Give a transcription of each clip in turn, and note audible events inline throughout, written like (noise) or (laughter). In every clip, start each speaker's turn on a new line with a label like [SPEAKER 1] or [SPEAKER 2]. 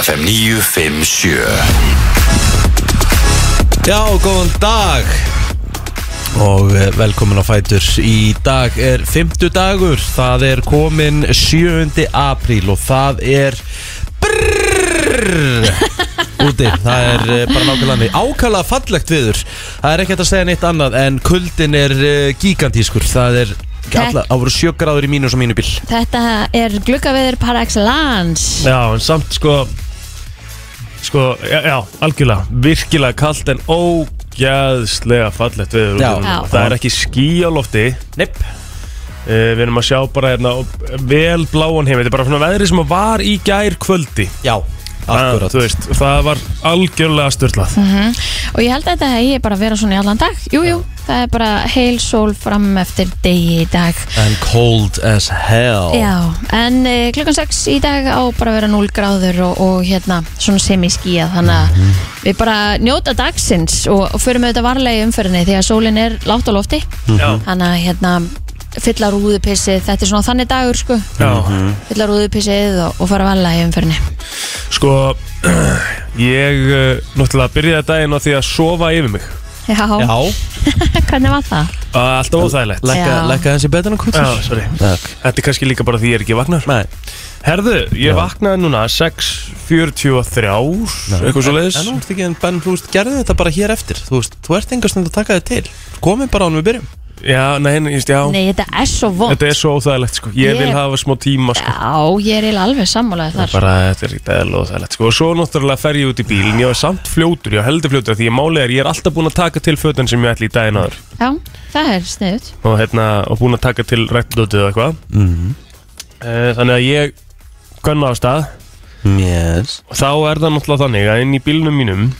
[SPEAKER 1] FM 957
[SPEAKER 2] Já, góðan dag og eh, velkomin á Fætur Í dag er fimmtudagur, það er komin 7. apríl og það er brrrr úti, það er eh, bara nákvæmlega þannig. ákala fallegt viður það er ekki hægt að segja neitt annað en kuldin er eh, gigantískur, það er alla, það voru sjögráður í mínus og mínu bíl
[SPEAKER 3] Þetta er gluggaveður par excellence
[SPEAKER 4] Já, en samt sko Sko, já, já algjörlega Virkilega kalt en ógæðslega fallegt við
[SPEAKER 2] Já.
[SPEAKER 3] Já.
[SPEAKER 4] Það er ekki ský á lofti
[SPEAKER 2] Nepp
[SPEAKER 4] Uh, við erum að sjá bara hérna vel bláan heim, þetta er bara svona veðrið sem var í gær kvöldi
[SPEAKER 2] Já, akkurat
[SPEAKER 4] Ah, Þú veist, það var algjörlega störtlað
[SPEAKER 3] Og ég held að þetta hegi bara að vera svona í allan dag Jú, jú, það er bara heil sól fram eftir degi í dag
[SPEAKER 2] And cold as hell
[SPEAKER 3] Já, en e, klukkan 6 í dag á bara að vera 0 gráður og, og hérna svona semiskía þannig að
[SPEAKER 4] Mhm.
[SPEAKER 3] við bara njóta dagsins og, og förum auðvitað varlega í umferðinni því að sólin er lágt á lofti
[SPEAKER 4] Já.
[SPEAKER 3] þannig að hérna fylla rúðupissið, þetta er svona þannig dagur sko,
[SPEAKER 2] Mhm.
[SPEAKER 4] Já,
[SPEAKER 3] fylla rúðupissið og, og fara varlega í umferðinni
[SPEAKER 4] sko (clears throat) ég uh, náttúrulega byrjaði daginn á því að sofa yfir mig
[SPEAKER 3] Já,
[SPEAKER 2] Já,
[SPEAKER 3] hvernig var það?
[SPEAKER 2] Ah,
[SPEAKER 4] Alltaf óþægilegt
[SPEAKER 2] lækka
[SPEAKER 3] Já.
[SPEAKER 2] lækka þessi betur en
[SPEAKER 4] Já,
[SPEAKER 2] kvöldur
[SPEAKER 4] sorry
[SPEAKER 2] Takk
[SPEAKER 4] Þetta er kannski líka bara því ég er ekki vaknar
[SPEAKER 2] Nei,
[SPEAKER 4] Herðu, ég
[SPEAKER 2] Já.
[SPEAKER 4] vaknaði núna 6.43 eitthvað svo leiðis
[SPEAKER 2] En nú ertu ekki en Ben, þú veist, gerði þetta bara hér eftir Þú veist, þú ert engast að taka þig til Komið bara ánum við byrjum
[SPEAKER 4] Já, nei, nei, just, já
[SPEAKER 3] Nei, þetta er svo vond
[SPEAKER 4] Þetta er svo óþægilegt sko Ég vil
[SPEAKER 3] Ég-
[SPEAKER 4] hafa smá tíma sko
[SPEAKER 3] Já, ég er eiginlega alveg sammálaðið þar
[SPEAKER 4] bara þetta er ekkert eðla óþægilegt sko og svo náttúrulega fer ég út í bílinn ég var samt fljótur, ég var heldur fljótur því ég málið er ég er alltaf búin að taka til fötun sem ég ætli í daginn aður
[SPEAKER 3] Já, það er sniðut
[SPEAKER 4] og hérna og búin að taka til rættdótið og eitthvað
[SPEAKER 2] Mhm.
[SPEAKER 4] Eh, þannig að ég gönna á stað
[SPEAKER 2] Yes
[SPEAKER 4] og þá er það náttúrulega þannig að inn í bílnum mínum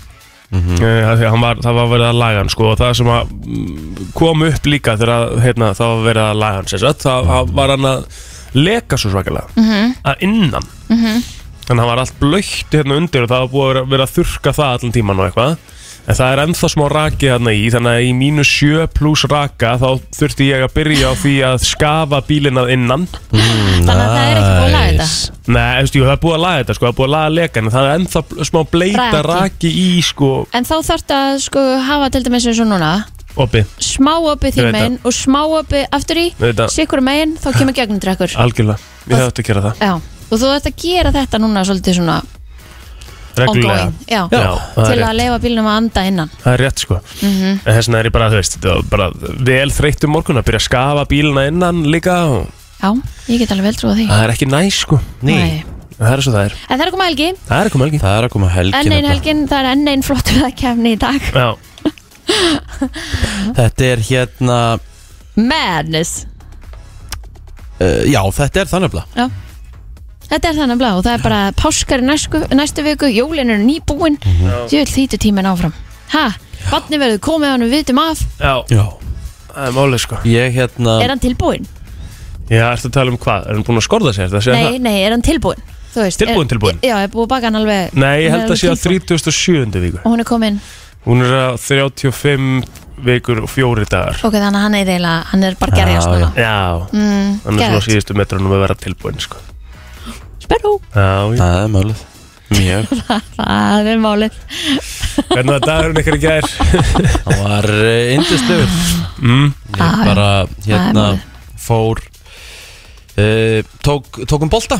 [SPEAKER 4] mm -hmm. var, það var verið að laga hann sko, og það sem að mm, kom upp líka þegar að, hérna, það var verið að laga hann sem sagt, það það var hann að leka svo svakalega -hmm. að innan mm -hmm. þannig að hann var allt blöytt hérna undir og það var búið að vera, vera að þurka það allan tíman og eitthvað en það er ennþá smá raki þarna í þannig að í mínus 7 pluss raka þá þurfti ég að byrja á því að skafa bílinn að innan
[SPEAKER 3] Þannig að það er ekki búin að laga þetta
[SPEAKER 4] Nei, eftir, jú, það er búið að laga þetta sko, það er búið að laga lekan en það er ennþá bl- smá bleita
[SPEAKER 3] Raki.
[SPEAKER 4] raki í sko
[SPEAKER 3] En þá þarftu að sko hafa til dæmis eins og núna
[SPEAKER 4] opi,
[SPEAKER 3] smá opið því
[SPEAKER 4] Ég veit
[SPEAKER 3] megin og smá opið aftur í
[SPEAKER 4] Ég veit það.
[SPEAKER 3] sikkur megin þá kemur gegnum drekkur
[SPEAKER 4] algjörlega Við höfum þetta að gera það,
[SPEAKER 3] Já, og þú ert að gera þetta núna svolítið svona
[SPEAKER 4] reglulega
[SPEAKER 3] ongoing Já,
[SPEAKER 4] Já, það,
[SPEAKER 3] til
[SPEAKER 4] er
[SPEAKER 3] að Mhm.
[SPEAKER 4] rétt,
[SPEAKER 3] leifa bílnum að anda innan
[SPEAKER 4] það er rétt sko En þess vegna er ég bara, þú veist, þetta var bara vel þreytt um morgun að byrja að skafa bílina innan líka og
[SPEAKER 3] Já, ég get alveg vel trúið því
[SPEAKER 4] það er ekki næs sko
[SPEAKER 3] Nei.
[SPEAKER 4] En Það er svo það er,
[SPEAKER 3] En það er að koma helgi,
[SPEAKER 4] það er komið ekki
[SPEAKER 2] Það er að koma helgin
[SPEAKER 4] hérna.
[SPEAKER 3] enn einn
[SPEAKER 2] nefnilega.
[SPEAKER 3] helgin það er enn einn flottur að kemni í dag
[SPEAKER 4] Já,
[SPEAKER 2] Þetta er hérna
[SPEAKER 3] Madness
[SPEAKER 2] uh, Já, þetta er þannig að
[SPEAKER 3] Þetta er þannig blá og það er bara páskar í næsku, næstu viku, jólin eru nýbúin Ég vil þýtu tíminn áfram Ha, vatni verður komið hann við vitum af
[SPEAKER 4] já,
[SPEAKER 2] Já
[SPEAKER 4] það er málið sko
[SPEAKER 2] Ég hérna
[SPEAKER 3] Er hann tilbúin?
[SPEAKER 4] Já, ertu að tala um hvað, er hann búin að skorða sér, það sé
[SPEAKER 3] Nei,
[SPEAKER 4] það
[SPEAKER 3] nei, er hann tilbúin? Þú Veist,
[SPEAKER 4] Tilbúinn,
[SPEAKER 3] er,
[SPEAKER 4] tilbúinn?
[SPEAKER 3] Já, er búið að baka hann alveg
[SPEAKER 4] Nei, ég
[SPEAKER 3] hann er
[SPEAKER 4] held að
[SPEAKER 3] alveg
[SPEAKER 4] sé á
[SPEAKER 3] tilbúinn.
[SPEAKER 4] 37. viku
[SPEAKER 3] Og hún er komin,
[SPEAKER 4] Hún er að 35 vikur og fjóri dagar
[SPEAKER 3] ok, þannig að hann er eiginlega Hann er bara gerjast
[SPEAKER 2] Já,
[SPEAKER 3] núna
[SPEAKER 4] Já,
[SPEAKER 3] mm,
[SPEAKER 4] þannig svona
[SPEAKER 3] geðveikt.
[SPEAKER 4] á síðustu metrónum að vera tilbúin sko.
[SPEAKER 3] Sperrú,
[SPEAKER 4] Já, já.
[SPEAKER 2] Það er málið Mjög
[SPEAKER 3] það er málið
[SPEAKER 4] Hvernig að dagurinn ykkur í (laughs) gær?
[SPEAKER 2] Það var uh, indislegur
[SPEAKER 4] Mm.
[SPEAKER 2] Ég
[SPEAKER 3] Já,
[SPEAKER 2] bara hérna
[SPEAKER 3] málið.
[SPEAKER 2] fór uh, tók, Tókum bolta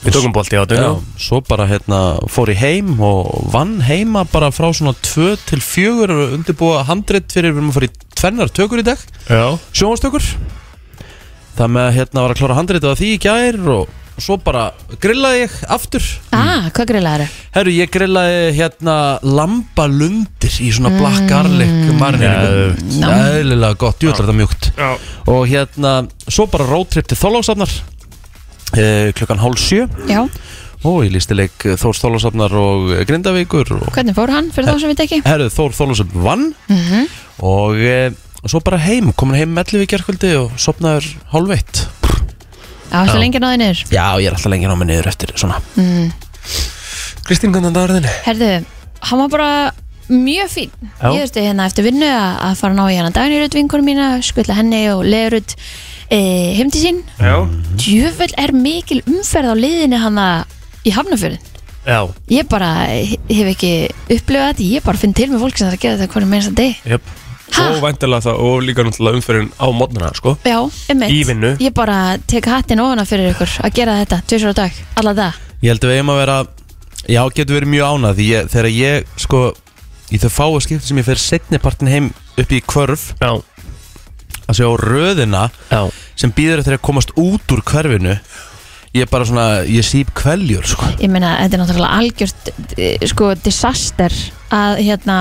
[SPEAKER 4] Við tókum bolti á
[SPEAKER 2] Já,
[SPEAKER 4] þetta
[SPEAKER 2] svo bara hérna fór ég heim og vann heima bara frá svona 2 til 4 og undirbúa handrit fyrir við erum að fara í tvennar tökur í dag
[SPEAKER 4] Já,
[SPEAKER 2] sjónvarstökur Það með að hérna var að klára handritið að því í gær og svo bara grillaði ég aftur
[SPEAKER 3] Ah, hvað grillaður?
[SPEAKER 2] Herru, ég grillaði hérna lambalundir í svona black garlic marniringu
[SPEAKER 4] Geðveikt.
[SPEAKER 2] Æðlilega gott, jú ætlar þetta mjúkt
[SPEAKER 4] já.
[SPEAKER 2] Og hérna, svo bara rótripp til Þorláksafnar eh, klukkan hálf sjö
[SPEAKER 3] Já,
[SPEAKER 2] og ég lísti leik Þórs Þorláksafnar og Grindavíkur og
[SPEAKER 3] hvernig fór hann fyrir þá sem við ekki?
[SPEAKER 2] herru Þór Þorláksafn vann og e, svo bara heim, komin heim mellið við gerkvöldi og sopnaður hálf eitt
[SPEAKER 3] Já, það er lengi náði niður
[SPEAKER 2] Já, ég er alltaf lengi námið niður eftir svona
[SPEAKER 4] Kristín, hvernig að dagurinn?
[SPEAKER 3] Herðu, hann var bara mjög fín
[SPEAKER 4] Já.
[SPEAKER 3] Ég þurfti hérna eftir vinnu að að fara að ná í hérna Dagnirut vinkunum mína, skvilla henni og leðurut e, heim til sín
[SPEAKER 4] Já Mhm.
[SPEAKER 3] Djöfell er mikil umferð á leiðinni hann að í Hafnafjörðin
[SPEAKER 4] Já,
[SPEAKER 3] Ég bara hef ekki upplifað þetta Ég bara finn til með fólk sem það er að gera þetta hvernig meins að deg
[SPEAKER 4] jöp
[SPEAKER 3] Ha?
[SPEAKER 4] Og væntalega það, og líka náttúrulega umferðin á mótnana, sko
[SPEAKER 3] Já, einmitt
[SPEAKER 4] Í vinnu.
[SPEAKER 3] Ég bara tek hattin ofana fyrir ykkur að gera þetta Tvisur á dag, alla dag
[SPEAKER 2] Ég held að við eigum að vera Já, getur verið mjög ánað Því ég, þegar ég, sko Í þau fáu skipt sem ég fer setnipartin heim upp í kvörf
[SPEAKER 4] Já,
[SPEAKER 2] Að sjá röðina
[SPEAKER 4] já
[SPEAKER 2] sem býður eftir að komast út úr hverfinu Ég er bara svona, ég síp kveljur, sko
[SPEAKER 3] Ég meina, þetta er náttúrulega algjört eh, sko, disaster að hérna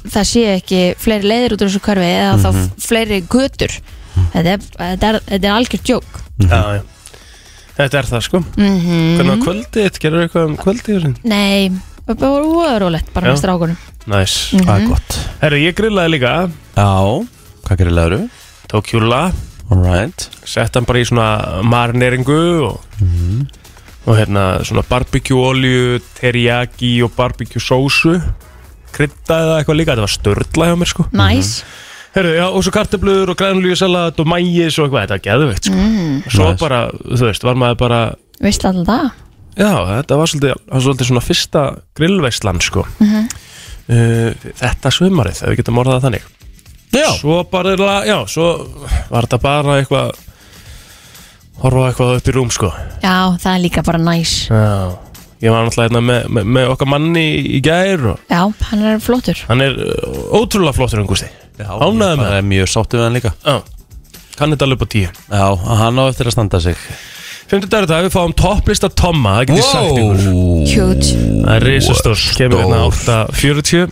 [SPEAKER 3] það sé ekki fleiri leiðir út úr þessu hverfi eða
[SPEAKER 4] Mhm.
[SPEAKER 3] þá fleiri götur þetta, er, þetta, er, þetta er algjört jók
[SPEAKER 4] Já, já Þetta er það sko Mhm. Hvernig var kvöldið þitt? Gerður eitthvað um kvöldið þitt?
[SPEAKER 3] Nei, það var óðurólegt bara
[SPEAKER 4] Já.
[SPEAKER 3] með strákunum
[SPEAKER 4] Næs
[SPEAKER 3] Mm.
[SPEAKER 2] Það er gott
[SPEAKER 4] Herru, ég grillaði líka
[SPEAKER 2] Já, hvað gerir leður?
[SPEAKER 4] Tók kjúla
[SPEAKER 2] Alright
[SPEAKER 4] Sett hann bara í svona marineringu og, og hérna svona barbecue-olju Teriyaki og barbecue-sósu Kryddaði það eitthvað líka Þetta var störla hjá mér sko
[SPEAKER 3] Næs,
[SPEAKER 4] Herru, já, og svo kartöflur og grænlíusalat og mægis og eitthvað Þetta var geðveikt sko Svo
[SPEAKER 2] Næs.
[SPEAKER 4] bara, þú veist, var maður bara
[SPEAKER 3] veist alltaf það
[SPEAKER 4] Já, þetta var svolítið, það var svolítið svona fyrsta grillveislan sko uh, Þetta sumarið, ef við getum orðað það þannig
[SPEAKER 2] Já,
[SPEAKER 4] Svo bara, eiginlega- já, svo var þetta bara eitthvað Horfa á eitthvað upp í rúm sko
[SPEAKER 3] Já, það er líka bara næs
[SPEAKER 4] Já Ég var náttúrulega hérna með, með, með okkar manni í gær og
[SPEAKER 3] Já, hann er flottur
[SPEAKER 4] hann er uh, ótrúlega flottur um gústi Ánægður með
[SPEAKER 2] það er mjög sáttu við hann líka
[SPEAKER 4] Já, kann þetta alveg upp á tíu
[SPEAKER 2] Já, hann á eftir að standa sig
[SPEAKER 4] Fymtu dagur þetta, við fáum topplista Tomma, það getur sagt ykkur
[SPEAKER 3] Huge
[SPEAKER 4] Það er risastór, kemur hérna 8.40 uh,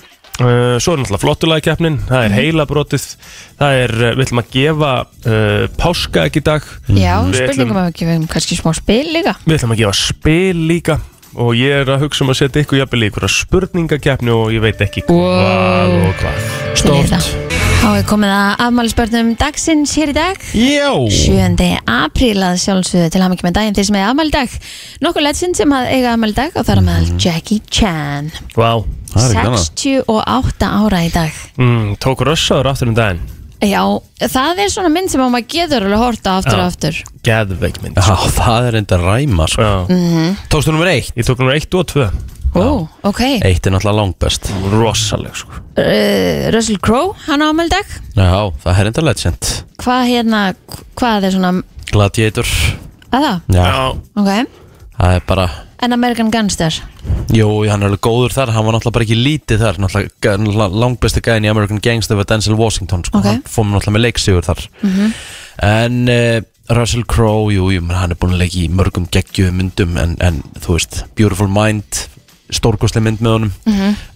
[SPEAKER 4] Svo er náttúrulega flottulega keppnin Það er heilabrotið Það er, uh, við ætlum að gefa uh, páska ekki í dag
[SPEAKER 3] Já,
[SPEAKER 4] Við
[SPEAKER 3] spurningum
[SPEAKER 4] ætlum-
[SPEAKER 3] að gefa um kannski smá spil líka
[SPEAKER 4] Við ætlum að gefa spil líka Og ég er að hugsa um að setja ykkur jafnvel í ykkur spurningakeppni og ég veit ekki hvað
[SPEAKER 3] Wow.
[SPEAKER 4] og hvað
[SPEAKER 3] Stórt Þá er komið að afmælisbörnum dagsins hér í dag
[SPEAKER 4] Já
[SPEAKER 3] 7. apríl að sjálfsögðu til hamingi með daginn þeir sem eiga afmæli í dag Nokkur legend sem að eiga afmæli í dag og það er að meðal Jackie Chan
[SPEAKER 4] Vá
[SPEAKER 2] Mhm. Það er ekki annað.
[SPEAKER 3] 68 ára í dag
[SPEAKER 4] mm, Tók rössaður aftur um daginn
[SPEAKER 3] Já, það er svona mynd sem að maður getur alveg horta aftur
[SPEAKER 4] Já.
[SPEAKER 3] og aftur
[SPEAKER 4] Geðveikmynd
[SPEAKER 2] Já, það er enda ræma, sko
[SPEAKER 4] Já
[SPEAKER 2] Tókstu nummer eitt?
[SPEAKER 4] Ég tók núna 1 og 2
[SPEAKER 3] Ó, ok
[SPEAKER 2] Eitt er náttúrulega langbest
[SPEAKER 4] Rosaleg sko
[SPEAKER 3] uh, Russell Crowe, hann á afmæli í dag
[SPEAKER 2] Já, það er enda legend
[SPEAKER 3] Hvað hérna, hvað er svona
[SPEAKER 2] Gladiator
[SPEAKER 3] að það?
[SPEAKER 2] Já,
[SPEAKER 3] Ok,
[SPEAKER 2] það er bara
[SPEAKER 3] en American Gangster
[SPEAKER 2] Jú, hann er alveg góður þar, hann var náttúrulega bara ekki lítið þar Náttúrulega náttúrulega langbesti gæðin í American Gangster var Denzel Washington sko.
[SPEAKER 3] Ok.
[SPEAKER 2] Hann fór mér náttúrulega með leiksigur þar En uh, Russell Crowe, jú, jú, menn, hann er búin að leika í mörgum geggjöðu myndum en, en þú veist, Beautiful Mind stórkostlega mynd með honum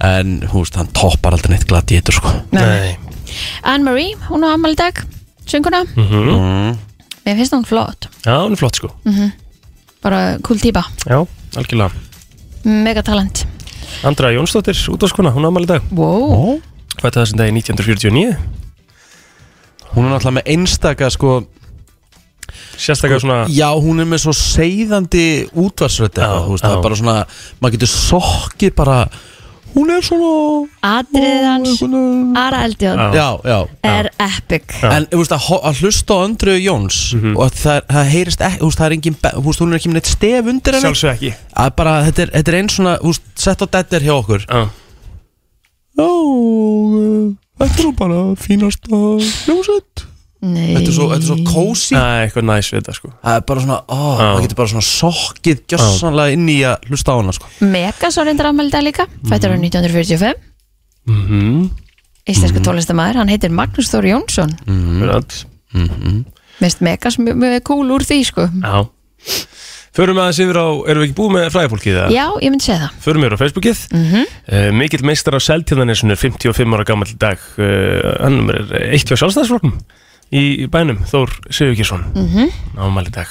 [SPEAKER 2] en þú veist, hann toppar aldrei neitt gladiður sko.
[SPEAKER 4] Nei
[SPEAKER 3] Anne-Marie, hún á afmæli í dag Sönguna,
[SPEAKER 2] mm.
[SPEAKER 3] mér finnst hún flott
[SPEAKER 4] Mhm. Já, hún er flott sko
[SPEAKER 3] Bara cool típa,
[SPEAKER 4] Já, algjörlega
[SPEAKER 3] megatalent
[SPEAKER 4] Andra Jónsdóttir, útvarskona, hún ámæli dag
[SPEAKER 3] Wow,
[SPEAKER 2] Ó,
[SPEAKER 4] Fætti þessum dag í 1949
[SPEAKER 2] Hún er náttúrulega með einstaka sko,
[SPEAKER 4] Sérstaklega svona
[SPEAKER 2] Já, hún er með svo seiðandi útvarsrödd
[SPEAKER 4] Já,
[SPEAKER 2] eitthvað, þú veist,
[SPEAKER 4] já.
[SPEAKER 2] það er bara svona maður getur sokkið bara hún er svona
[SPEAKER 3] atriðið hans
[SPEAKER 2] Einhvern-
[SPEAKER 3] Ara Eldjón
[SPEAKER 4] Já.
[SPEAKER 2] Já, já
[SPEAKER 3] er epic
[SPEAKER 4] Já.
[SPEAKER 2] En þú veist, að, ho- að hlusta á Andröðu Jóns og að það, það heyrist ekki, þú veist, það er engin be- þú veist, hún er ekki með neitt stef undir henni
[SPEAKER 4] Sjálfsög ekki
[SPEAKER 2] að bara, þetta er, þetta er einn svona, þú veist, sett á dettir hjá okkur
[SPEAKER 4] Já,
[SPEAKER 2] Já, eh, þetta er nú bara fínasta ljósett
[SPEAKER 3] Nei
[SPEAKER 2] Þetta er svo, þetta er svo kósi
[SPEAKER 4] Það er eitthvað næs við þetta sko
[SPEAKER 2] Það er bara svona, ó,
[SPEAKER 4] Já.
[SPEAKER 2] það getur bara svona sokkið gjössanlega inn í að hlusta á hana, sko
[SPEAKER 3] Megas á reyndar afmæli í dag líka Fættur á 1945
[SPEAKER 4] mm -hmm.
[SPEAKER 3] Íslensku tónlistamæður, hann heitir Magnús Þór Jónsson mm. Mest Megas mjög mjög cool úr því sko
[SPEAKER 4] Já Förum aðeins yfir á, erum við ekki búið með fræðafólkið það?
[SPEAKER 3] Já, ég myndi segja það
[SPEAKER 4] Förum yfir á Facebookið mm Mikill meistar á Seltjörðanesinu, 55 ára gammal dag uh, Hann er eitt hjá sjálfstæðsflokkum í, í bænum, Þór Sigurkjesson mm -hmm. Ámæli dag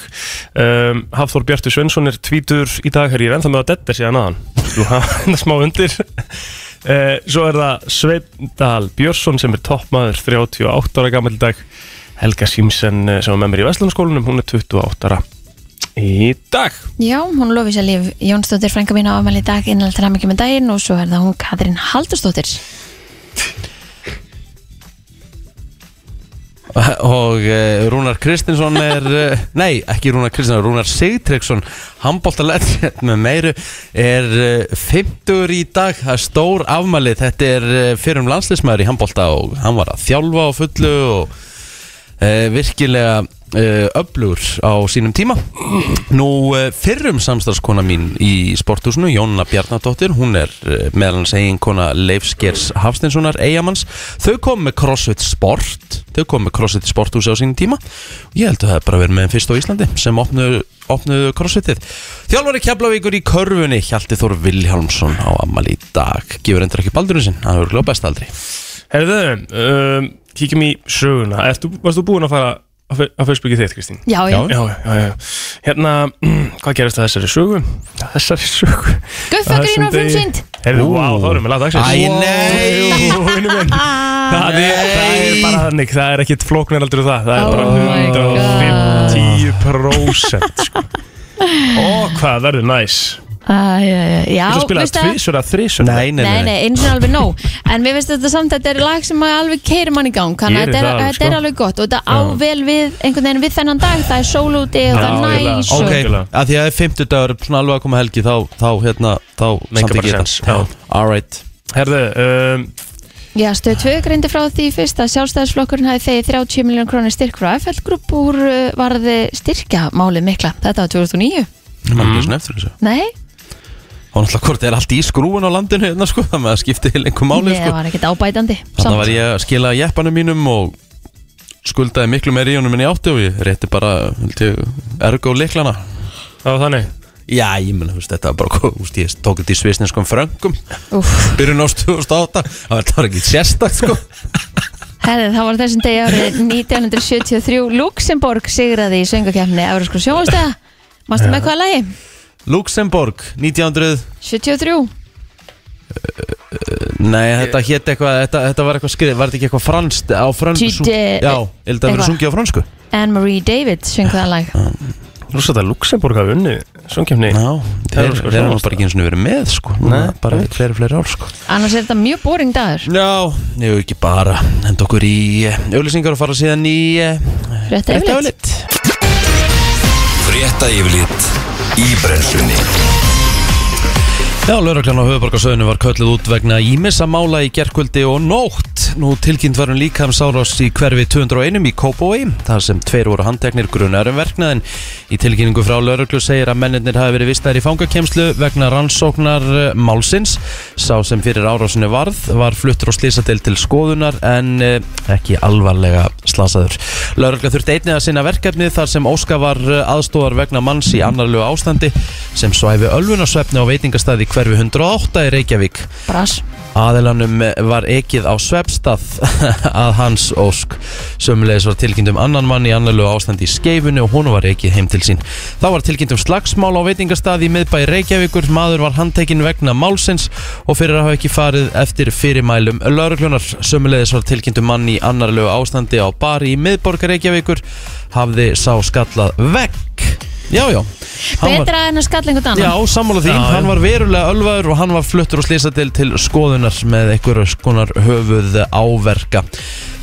[SPEAKER 4] um, Hafþór Bjartur Svensson er tvítur í dag Hér ég er ennþá með að detta síðan aðan Þú (laughs) hafa smá undir uh, Svo er það Sveindal Björnsson sem er toppmaður 38 ára gammal dag Helga Simsen eh, sem er með mér í Vestlandskólanum Hún er 28 ára í dag
[SPEAKER 3] Já, hún lofið sér líf Jónsdóttir frænka mín á afmæli í dag innanlega til hamingjum með daginn og svo er það hún Katrín Haldursdóttir
[SPEAKER 2] og uh, Rúnar Kristinsson er uh, nei, ekki Rúnar Kristinsson, Rúnar Sigtryggsson handbóltalett með meiru er uh, 50 í dag það er stór afmæli, þetta er uh, fyrir um landslismæður í handbólta og hann var að þjálfa á fullu og uh, virkilega uh, öflugur á sínum tíma nú uh, fyrrum samstarfskona mín í sporthúsinu, Jónna Bjarnadóttir hún er uh, meðal hans eigin kona Leifskers Hafstinssonar, eigamanns þau kom með CrossFit Sport þau kom með CrossFit Sporthúsi á sínum tíma og ég held að það hafi bara verið með þeim fyrst á Íslandi sem opnuðu, opnuðu CrossFitið þjálfari Keflavíkur í körfunni Hjalti Þór Vilhjálmsson á ammali í dag gefur endur ekki baldurinn sinn, hann hefur glópast aldrei
[SPEAKER 4] Herðu, um, kíkjum í söguna Ertu, Varst þú búin að fara á fe- á Facebookið þitt, Kristín?
[SPEAKER 3] Já, já,
[SPEAKER 4] Já, já, já Hérna, (clears throat) hvað gerist að þessari sögu? Þessari sögu
[SPEAKER 3] Guffagrín var frumsýnd
[SPEAKER 4] Herðu, vá, þá erum við laðið
[SPEAKER 2] Æ,
[SPEAKER 4] dagsins
[SPEAKER 2] nei!
[SPEAKER 4] Jú, vinur minn. Það er, það er bara þannig, það er ekkit flóknar aldrei það Það er
[SPEAKER 3] Oh my
[SPEAKER 4] bara 150% sko. Ó, hvað verður næs
[SPEAKER 3] Æ, æ, æ, Já,
[SPEAKER 4] Þú spila
[SPEAKER 3] veistu það?
[SPEAKER 4] tvísur að þrísur
[SPEAKER 2] Nei, nei,
[SPEAKER 3] Nei, nei, eins og alveg nóg En mér finnst þetta samt að þetta er lag sem að alveg keirir mann í gang Þannig að
[SPEAKER 4] Gerir
[SPEAKER 3] þetta
[SPEAKER 4] það
[SPEAKER 3] er,
[SPEAKER 4] alveg,
[SPEAKER 3] þetta er
[SPEAKER 4] sko.
[SPEAKER 3] alveg gott Og þetta á vel við, einhvern veginn við þennan dag Það er sól úti og það
[SPEAKER 4] Já,
[SPEAKER 3] er
[SPEAKER 4] eiginlega.
[SPEAKER 3] næs
[SPEAKER 2] Ok,
[SPEAKER 3] og-
[SPEAKER 4] Algjörlega.
[SPEAKER 2] að því að það er 50 dagur svona alveg að koma helgi þá, þá hérna, þá
[SPEAKER 4] Make
[SPEAKER 2] samþykki
[SPEAKER 4] bara
[SPEAKER 2] ég
[SPEAKER 4] sense,
[SPEAKER 2] þetta. Alright
[SPEAKER 4] Herðu, um,
[SPEAKER 3] Já, stöð 2 greindi frá því fyrst að sjálfstæðisflokkurinn hafi þegið 30 miljón krónir styrk frá FL Group úr uh, varði styrkjamálið mikla. Þetta var 2009.
[SPEAKER 2] Það var ekki svona eftir þessu
[SPEAKER 3] Nei,
[SPEAKER 2] Og náttúrulega hvort er allt í skrúin á landinu hérna sko Það með að skipti lengur máli
[SPEAKER 3] ég
[SPEAKER 2] sko
[SPEAKER 3] var ekkert ábætandi.
[SPEAKER 2] Þannig var ég að skila jeppanum mínum og skuldaði miklu meir í honum en ég átti og ég rétti bara held ég, ergo leiklana
[SPEAKER 4] það var þannig
[SPEAKER 2] Já, ég mun, þú veist, þetta var bara, gó- þú veist, ég tók þetta í svisninskum fröngum
[SPEAKER 3] Úf,
[SPEAKER 2] Byrjun ást 2008, það var ekki sérstakt sko
[SPEAKER 3] herði, það var þessum degi árið 1973 Luxemborg sigraði í söngakefni Euróskur sjóhastega. Mástu með hvaða lagi?
[SPEAKER 2] Luxemborg, 1900
[SPEAKER 3] 73.
[SPEAKER 2] Nei, þetta hétt eitthvað, þetta, þetta var eitthvað skrið, var þetta ekki eitthvað franskt á fransku?
[SPEAKER 3] Tite-
[SPEAKER 2] Já, ég held að það verið
[SPEAKER 3] eitthvað.
[SPEAKER 2] sungið á fransku.
[SPEAKER 3] Anne-Marie David söng það lag.
[SPEAKER 4] Rúst að Luxemburg hafi unnið Sjónkjöfni
[SPEAKER 2] Já, þeir,
[SPEAKER 4] sko
[SPEAKER 2] þeir eru
[SPEAKER 4] sjónvarps-
[SPEAKER 2] bara ekki eins og verið með, sko. Núna,
[SPEAKER 4] Nei,
[SPEAKER 2] bara í fleiri, fleiri ár, sko.
[SPEAKER 3] Annars er þetta mjög boring dagur.
[SPEAKER 2] Já, ég hef ekki bara hend okkur í auðlýsingar og fara síðan í eh,
[SPEAKER 3] Rétt eflitt.
[SPEAKER 1] Frétta yfirlit í brenslunni
[SPEAKER 2] Já, lauröklann á höfuborgarsöðinu var kölluð út vegna ímissa mála í gerkvöldi og nótt. Nú tilkynnt var um líkamsárás í hverfi 201 í Kópói, þar sem tveir voru handteknir grunarum verknaðin. Í tilkynningu frá lauröklu segir að mennirnir hafi verið vistaðir í fangakemslu vegna rannsóknar eh, málsins. Sá sem fyrir árásinu varð var fluttur á slísadel til skoðunar en eh, ekki alvarlega slasaður. Laurökla þurfti einnig að sinna verkefni þar sem Óska var eh, aðstóðar vegna manns í annarlegu ástandi sem svæfi ölvunarsvefni á veitingastæði hverfi 108 í Reykjavík.
[SPEAKER 3] Brass.
[SPEAKER 2] Aðilanum var ekið á svefstað (laughs) að hans ósk. Sömulegis var tilkynnt um annan mann í annarlegu ástandi í skeifinu og hún var ekið heim til sín. Þá var tilkynnt um slagsmál á veitingastað í miðbæ Reykjavíkur. Maður var handtekinn vegna málsins og fyrir að hafa ekki farið eftir fyrirmælum lauruglunar. Sömulegis var tilkynnt um mann í annarlegu ástandi á bari í miðborg Reykjavíkur. Hafði sá skallað vegg. Já, já. Hann var-
[SPEAKER 3] Betra en að skalla einhvern annan.
[SPEAKER 2] Já, sammála því,
[SPEAKER 4] Já, já.
[SPEAKER 2] hann var verulega ölvaður og hann var fluttur og slýsa til til skoðunar með einhverju skonar höfuð áverka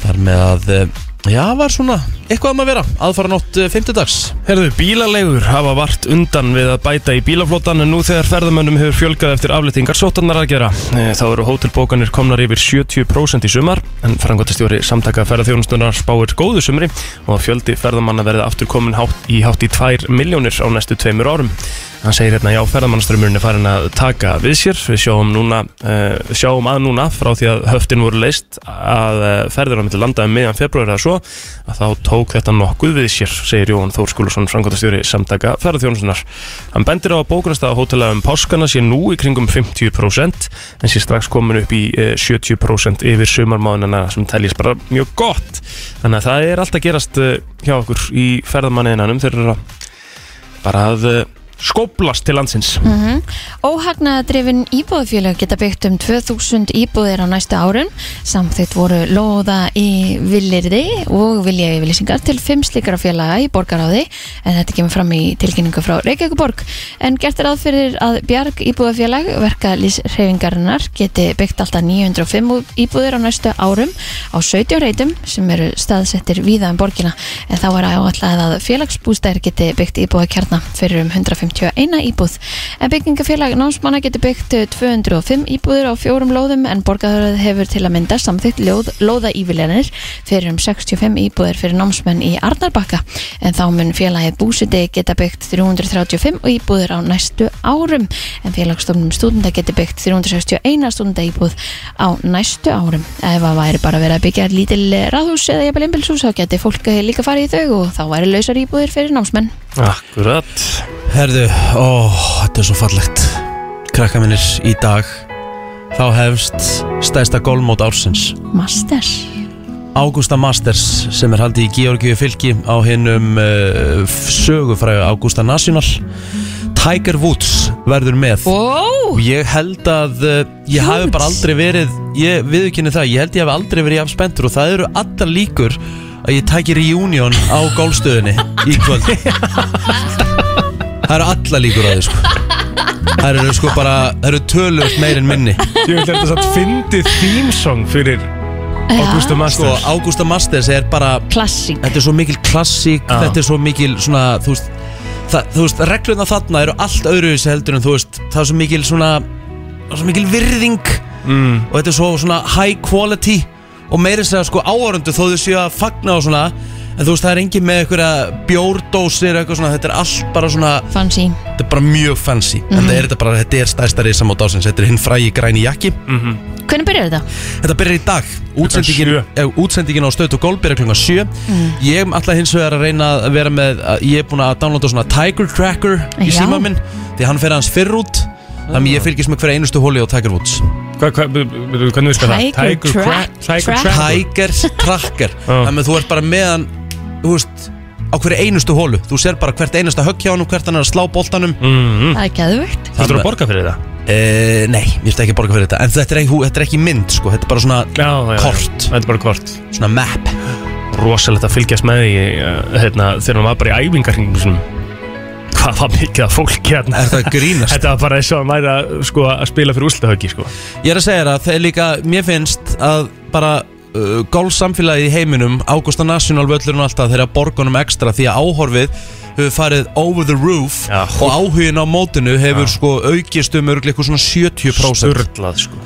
[SPEAKER 2] þar með að, eh, já, var svona eitthvað um að vera, aðfara nótt fymtudags
[SPEAKER 4] Herðu, bílaleigur hafa vart undan við að bæta í bílaflótan en nú þegar ferðamönnum hefur fjölgað eftir aflýtingar sótarnar aðgerða. E, Þá eru hótelbókanir komnar yfir 70% í sumar en frangotastjóri samtaka ferðarþjónustunar spáir góðu sumri og að fjöldi ferðamanna verði aftur komin hátt í hátt í 2 miljónir á næstu tveimur árum. Hann segir hérna já, ferðamannaströmmurinn er farin að taka við sér. Við sjáum, núna, uh, sjáum að núna frá því að höftin voru leist að uh, ferðurna mitt landaði meðan februari eða svo að þá tók þetta nokkuð við sér, segir Jóhann Þór Skúlusson, framkvæmtastjóri samtaka ferðarþjónustunar. Hann bendir á að bókunarstaða hótela um páskana sé nú í kringum 50% en sé strax komin upp í eh, 70% yfir sumarmáðunana sem teljist bara mjög gott. Þannig að það er allt að gerast eh, hjá okkur í ferðamanniðinanum þegar bara að eh, skóplast til landsins
[SPEAKER 3] Óhagnaðadrifin íbúðfélög Mhm. geta byggt um 2000 íbúðir á næstu árum samþitt voru lóða í villirði og vilja yfirlýsingar til fimm slíkara félaga í borgaráði en þetta kemur fram í tilkynningu frá Reykjavíkuborg en gert er að fyrir að Bjarg íbúðfélag verkalýsreifingarinnar geti byggt alltaf 905 íbúðir á næstu árum á 17 reytum sem eru staðsettir víða um borgina en þá er áallega að félagsbústæðir geti byggt íbúðakjarna fyrir um 151 íbúð en byggingafélag námsmanna getur byggt eh, 205 íbúður á fjórum lóðum en borgarhörð hefur til að mynda samþygt ljóð, lóða íviljanir fyrir um 65 íbúður fyrir námsmenn í Arnarbakka en þá mun félagið Búsiti geta byggt 335 íbúður á næstu árum en félagstofnum stúdenda getur byggt 361 stúdenda íbúð á næstu árum ef að væri bara verið að byggja lítil eh, ráðhús eða jafnvel einbilshús þá geti fólk eh, líka farið í þau og þá væri lausar íbúður fyrir námsmenn
[SPEAKER 4] Akkurat
[SPEAKER 2] Herðu, ó, þetta er svo fallegt Krakka minnir í dag Þá hefst stæsta golfmót ársins
[SPEAKER 3] Masters
[SPEAKER 2] Ágústa Masters sem er haldið í Georgiu fylki á hinnum uh, sögufræðu Ágústa National Tiger Woods verður með
[SPEAKER 3] Wow!
[SPEAKER 2] og ég held að uh, ég hafi bara aldrei verið ég viðkynni það, ég held ég hafi aldrei verið jafn spenntur og það eru allar líkur að ég tæki reunion á gólstöðinni í kvöld það eru allar líkur á því sko það eru sko bara, það eru tölvöld meir en minni
[SPEAKER 4] Ég vil þetta satt fyndi theme song fyrir Augusta
[SPEAKER 2] sko,
[SPEAKER 4] Masters
[SPEAKER 2] Ágústa Masters er bara
[SPEAKER 3] Klassík
[SPEAKER 2] þetta er svo mikil klassík
[SPEAKER 4] Já.
[SPEAKER 2] þetta er svo mikil svona þú veist, það, þú veist regluna þarna eru allt öðruvísi heldur en þú veist það er svo mikil svona það er svo mikil virðing
[SPEAKER 4] mm.
[SPEAKER 2] og þetta er svo svona high quality og meira þess að sko áhörundu þó þau séu að fagna og svona en þú veist það er engin með einhverja bjórdósir eða eitthvað svona þetta er allt bara svona
[SPEAKER 3] Fancy
[SPEAKER 2] þetta er bara mjög fancy en það er þetta bara þetta er stærsta reysam á dásins þetta er hinn frægi græni jakki
[SPEAKER 3] Hvernig byrjar þetta?
[SPEAKER 2] Þetta byrjar í dag Útsendingin,
[SPEAKER 4] sjö.
[SPEAKER 2] eh, útsendingin á stöðt og gólf byrjar klunga 7 Ég er alltaf hins vegar að reyna að vera með að- Ég er búin að downloada svona Tiger Tracker í
[SPEAKER 3] Já.
[SPEAKER 2] síma minn Því hann fer hans fyrr út Þannig ég fylgist með hverja einustu hóli á Tiger Woods
[SPEAKER 4] hva, hva, b- b- b- Hvernig við það?
[SPEAKER 3] Tiger Track-
[SPEAKER 4] Cra- Tiger
[SPEAKER 3] Track.
[SPEAKER 4] Track
[SPEAKER 2] Tiger Tracker
[SPEAKER 4] (laughs) Já.
[SPEAKER 2] Þannig að þú ert bara með hann Þú veist á hverju einustu hólu Þú sér bara hvert einasta högg hjá hann Hvert hann er að slá boltanum
[SPEAKER 4] mm.
[SPEAKER 3] Það er geðvögt
[SPEAKER 4] Þú þurfum að borga fyrir það
[SPEAKER 2] Eh, Nei, ég ætti ekki að borga fyrir þetta En þetta er ekki, þetta er ekki mynd sko Þetta er bara svona,
[SPEAKER 4] já, já, já.
[SPEAKER 2] Kort.
[SPEAKER 4] Þetta er bara kort
[SPEAKER 2] svona map
[SPEAKER 4] Rosalegt að fylgjast með því eh, hérna, þegar hann var bara í æfingarhingum sinum Hvað var mikið að fólki hérna
[SPEAKER 2] Er þetta að
[SPEAKER 4] (laughs)
[SPEAKER 2] grínast?
[SPEAKER 4] Þetta var bara eins og hann væri að, sko, að spila fyrir úrslutahöggi sko.
[SPEAKER 2] Ég er að segja þér að það er líka, mér finnst að bara uh, golfsamfélagið í heiminum, Augusta National völlurinn og alltaf, þeir eru að borga honum ekstra því að áhorfið hefur farið over the roof
[SPEAKER 4] Já.
[SPEAKER 2] og áhugin á mótinu hefur sko aukist um örgleikur svona 70%
[SPEAKER 4] Sturlað sko.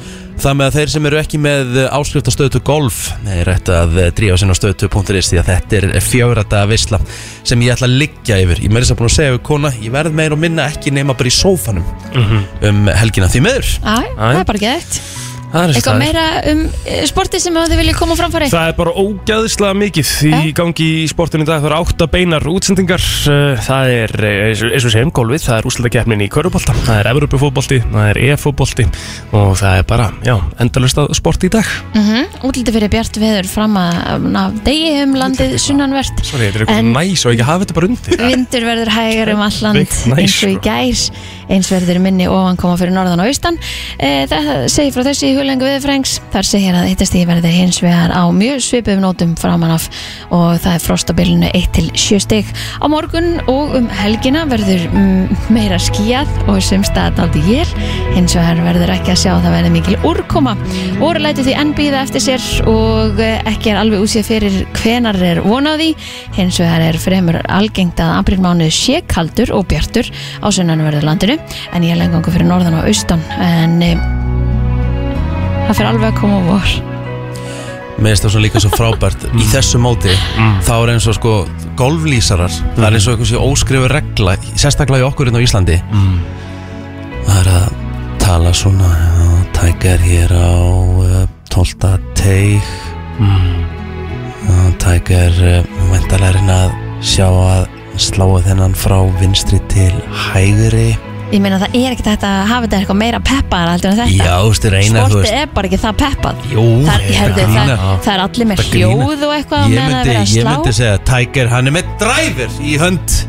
[SPEAKER 2] Það með að þeir sem eru ekki með áskriftastöðtu golf er rétt að eh, drífa sinna stöðtu.is því að þetta er fjárata visla sem ég ætla að liggja yfir Ég meðlis að búin að segja við kona, ég verð meir og minna ekki nema bara í sófanum um helgina því meður
[SPEAKER 3] Æ, það er bara geðvögt
[SPEAKER 4] Það er
[SPEAKER 3] Eitthvað meira um eh, sportið sem að þið viljið koma á framfæri
[SPEAKER 4] Það er bara ógæðislega mikið í
[SPEAKER 3] Já.
[SPEAKER 4] gangi í sportinu í dag, það eru átta beinar útsendingar, uh, það er eh, eins og eins og segjum gólfið, það er úrslutakeppnin í körubólta, það er Evropafótbolti, það er EF-fótbolti og það er bara, já, endalust að sporti í dag.
[SPEAKER 3] mm Útlítið fyrir bjart veður fram að na, degi um landið sunnanvert
[SPEAKER 4] Sorry, þetta er
[SPEAKER 3] eitthvað
[SPEAKER 4] eitthvað
[SPEAKER 3] En-
[SPEAKER 4] næs og ekki hafa þetta bara undir.
[SPEAKER 3] Vindur verður hægar um alland
[SPEAKER 4] Big nice,
[SPEAKER 3] eins og í
[SPEAKER 4] bro.
[SPEAKER 3] gær eins verður minni ofankoma fyrir norðan og austan Eh, Það segir frá þessi í hulengu viðfrængs þar segir að hittastíði verður hins vegar á mjög svipum nótum framan af og það er frost á bylunu 1 til 7 stig á morgun og um helgina verður mm, meira skíjað og sem staðnaldi ég hins vegar verður ekki að sjá að það verður mikil úrkoma Úr lætur því enn býða eftir sér og eh, ekki er alveg úsið fyrir hvenar er vonaði hins vegar er fremur algengt að aprilmánuð sé kaldur og bjartur á sunnanverðu landinu en ég er lengangu fyrir norðan og austan en eh, það fyrir alveg að koma á vor
[SPEAKER 2] Mér finnst það svona líka svo frábært Í þessu móti þá er eins og sko golflýsarar, það er eins og einhversi óskrifu regla, sérstaklega í okkur hérna á Íslandi Það er að tala svona já, Tiger hér á uh, 12. teig mm. Tiger uh, væntalega reyna að sjá að sláa þennan frá vinstri til hægri
[SPEAKER 3] ég meina það er ekkert hægt að hafa þetta eitthvað meira peppar heldur en þetta
[SPEAKER 2] Já, þú veist, reyna þú
[SPEAKER 3] sportið
[SPEAKER 2] veist
[SPEAKER 3] er bara ekki það peppað
[SPEAKER 2] Jú,
[SPEAKER 3] það, er, herðu,
[SPEAKER 2] þetta
[SPEAKER 3] það,
[SPEAKER 2] grína.
[SPEAKER 3] það er allir með
[SPEAKER 2] Þetta grína.
[SPEAKER 3] hljóð og eitthvað á
[SPEAKER 2] Ég
[SPEAKER 3] meðan það er
[SPEAKER 2] myndi,
[SPEAKER 3] verið að
[SPEAKER 2] ég
[SPEAKER 3] slá (laughs)
[SPEAKER 2] myndi segja að Tiger hann er með driver í hönd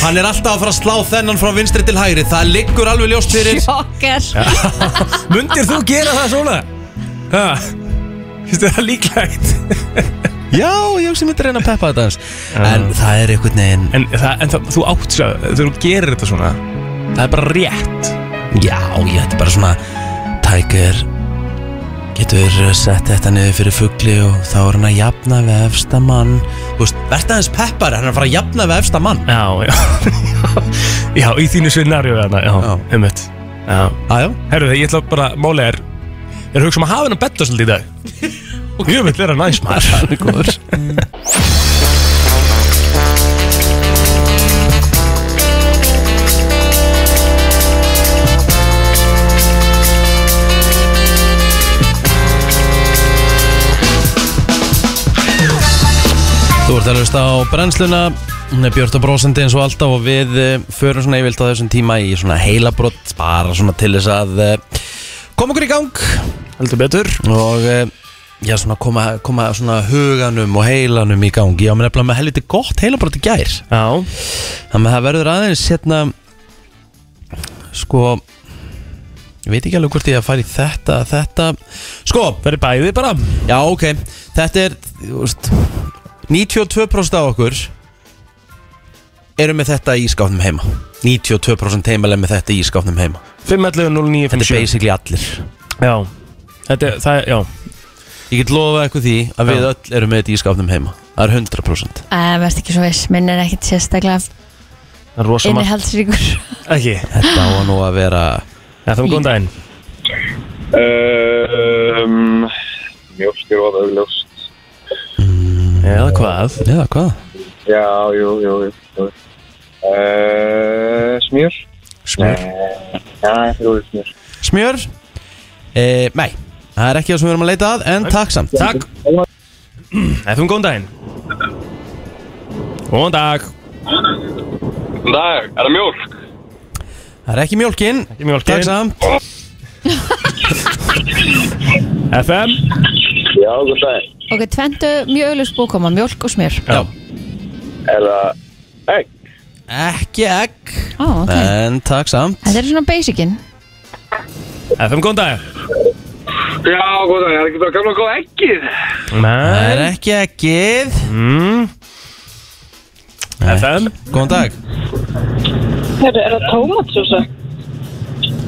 [SPEAKER 2] Hann er alltaf að fara að slá þennan frá vinstri til hægri Það liggur alveg ljóst fyrir
[SPEAKER 3] Sjokker
[SPEAKER 4] Mundir þú gera það svona? Ha? Finnst þér það líklegt?
[SPEAKER 2] Já, ég sem myndi reyna að peppa þetta aðeins. En það er einhvern veginn
[SPEAKER 4] En, það, en það, þú átt sér, þegar þú gerir þetta svona Það er bara rétt
[SPEAKER 2] Já, ég þetta er bara svona Tiger getur sett þetta niður fyrir fugli og þá er hann að jafna við efsta mann Þú veist, verða aðeins peppar hann er að fara að jafna við efsta mann
[SPEAKER 4] Já, já (laughs) Já, í þínu scenaríu þarna, já,
[SPEAKER 2] Já.
[SPEAKER 4] um mitt Já,
[SPEAKER 2] Aðjó,
[SPEAKER 4] herru ég ætla bara, máli er Ég er að hugsa um að hafa hennar betta svolítið í
[SPEAKER 2] (laughs)
[SPEAKER 4] dag Ég vil vera næs maður
[SPEAKER 2] hann er góður Þú ert að hlusta á brennsluna, hún er björt og brósandi eins og alltaf og við eh, förum svona yfirlt á þessum tíma í svona heilabrott, bara svona til þess að eh, koma okkur í gang
[SPEAKER 4] Heldur betur
[SPEAKER 2] og eh, já, svona koma, koma svona huganum og heilanum í gang. Já, menn er bara með helviti gott heilabrott í gær,
[SPEAKER 4] Já,
[SPEAKER 2] þannig að það verður aðeins hérna, sko, ég veit ekki alveg hvort ég að fara í þetta, þetta, sko,
[SPEAKER 4] verið bæði bara
[SPEAKER 2] já, ok, þetta er, þú veist, 92% af okkur eru með þetta í skáfnum heima 92% heimil er með þetta í skáfnum heima
[SPEAKER 4] 511
[SPEAKER 2] Þetta er
[SPEAKER 4] 0957
[SPEAKER 2] basically allir
[SPEAKER 4] Já, þetta er, það er, já
[SPEAKER 2] Ég get lofað eitthvað því að við
[SPEAKER 4] Já.
[SPEAKER 2] öll erum með þetta í skáfnum heima Það er 100%
[SPEAKER 3] Verð ekki svo viss, minn er ekkit sérstaklega
[SPEAKER 4] Það er rosa margt
[SPEAKER 3] innihaldsríkur
[SPEAKER 4] Ekki
[SPEAKER 2] Þetta á nú að vera
[SPEAKER 4] Já, það var góðan daginn
[SPEAKER 5] Um, mjólk er of augljóst.
[SPEAKER 4] Eða hvað
[SPEAKER 2] Já, hvað?
[SPEAKER 5] Já, jú, jú, jú. jú. Uh, smjör?
[SPEAKER 4] Smjör
[SPEAKER 5] Já, þetta er orðið smjör.
[SPEAKER 2] Smjör? E, nei, það er ekki það sem við erum að leita að En takk samt
[SPEAKER 4] Takk Efum góðan daginn Góðan dag
[SPEAKER 5] Dag, er það mjólk?
[SPEAKER 2] Það er ekki mjólkin
[SPEAKER 4] Ekki mjólkin
[SPEAKER 2] Takk samt
[SPEAKER 4] FM
[SPEAKER 5] Já, góð dag.
[SPEAKER 3] Ok, tventu mjög auðlust bókoma, mjölk og smjör
[SPEAKER 2] Já.
[SPEAKER 5] Er það... Hei,
[SPEAKER 2] Ekki egg
[SPEAKER 3] Á, ok
[SPEAKER 2] En takk samt
[SPEAKER 3] Þetta er svona basicin
[SPEAKER 4] FM góðan dag
[SPEAKER 5] já, góð dag, er ekki bara gamla góð ekkið?
[SPEAKER 2] Það er
[SPEAKER 4] Nei
[SPEAKER 2] ekki eggið
[SPEAKER 4] mm. FM
[SPEAKER 2] Góðan dag
[SPEAKER 6] Herru, er það tómatsósa?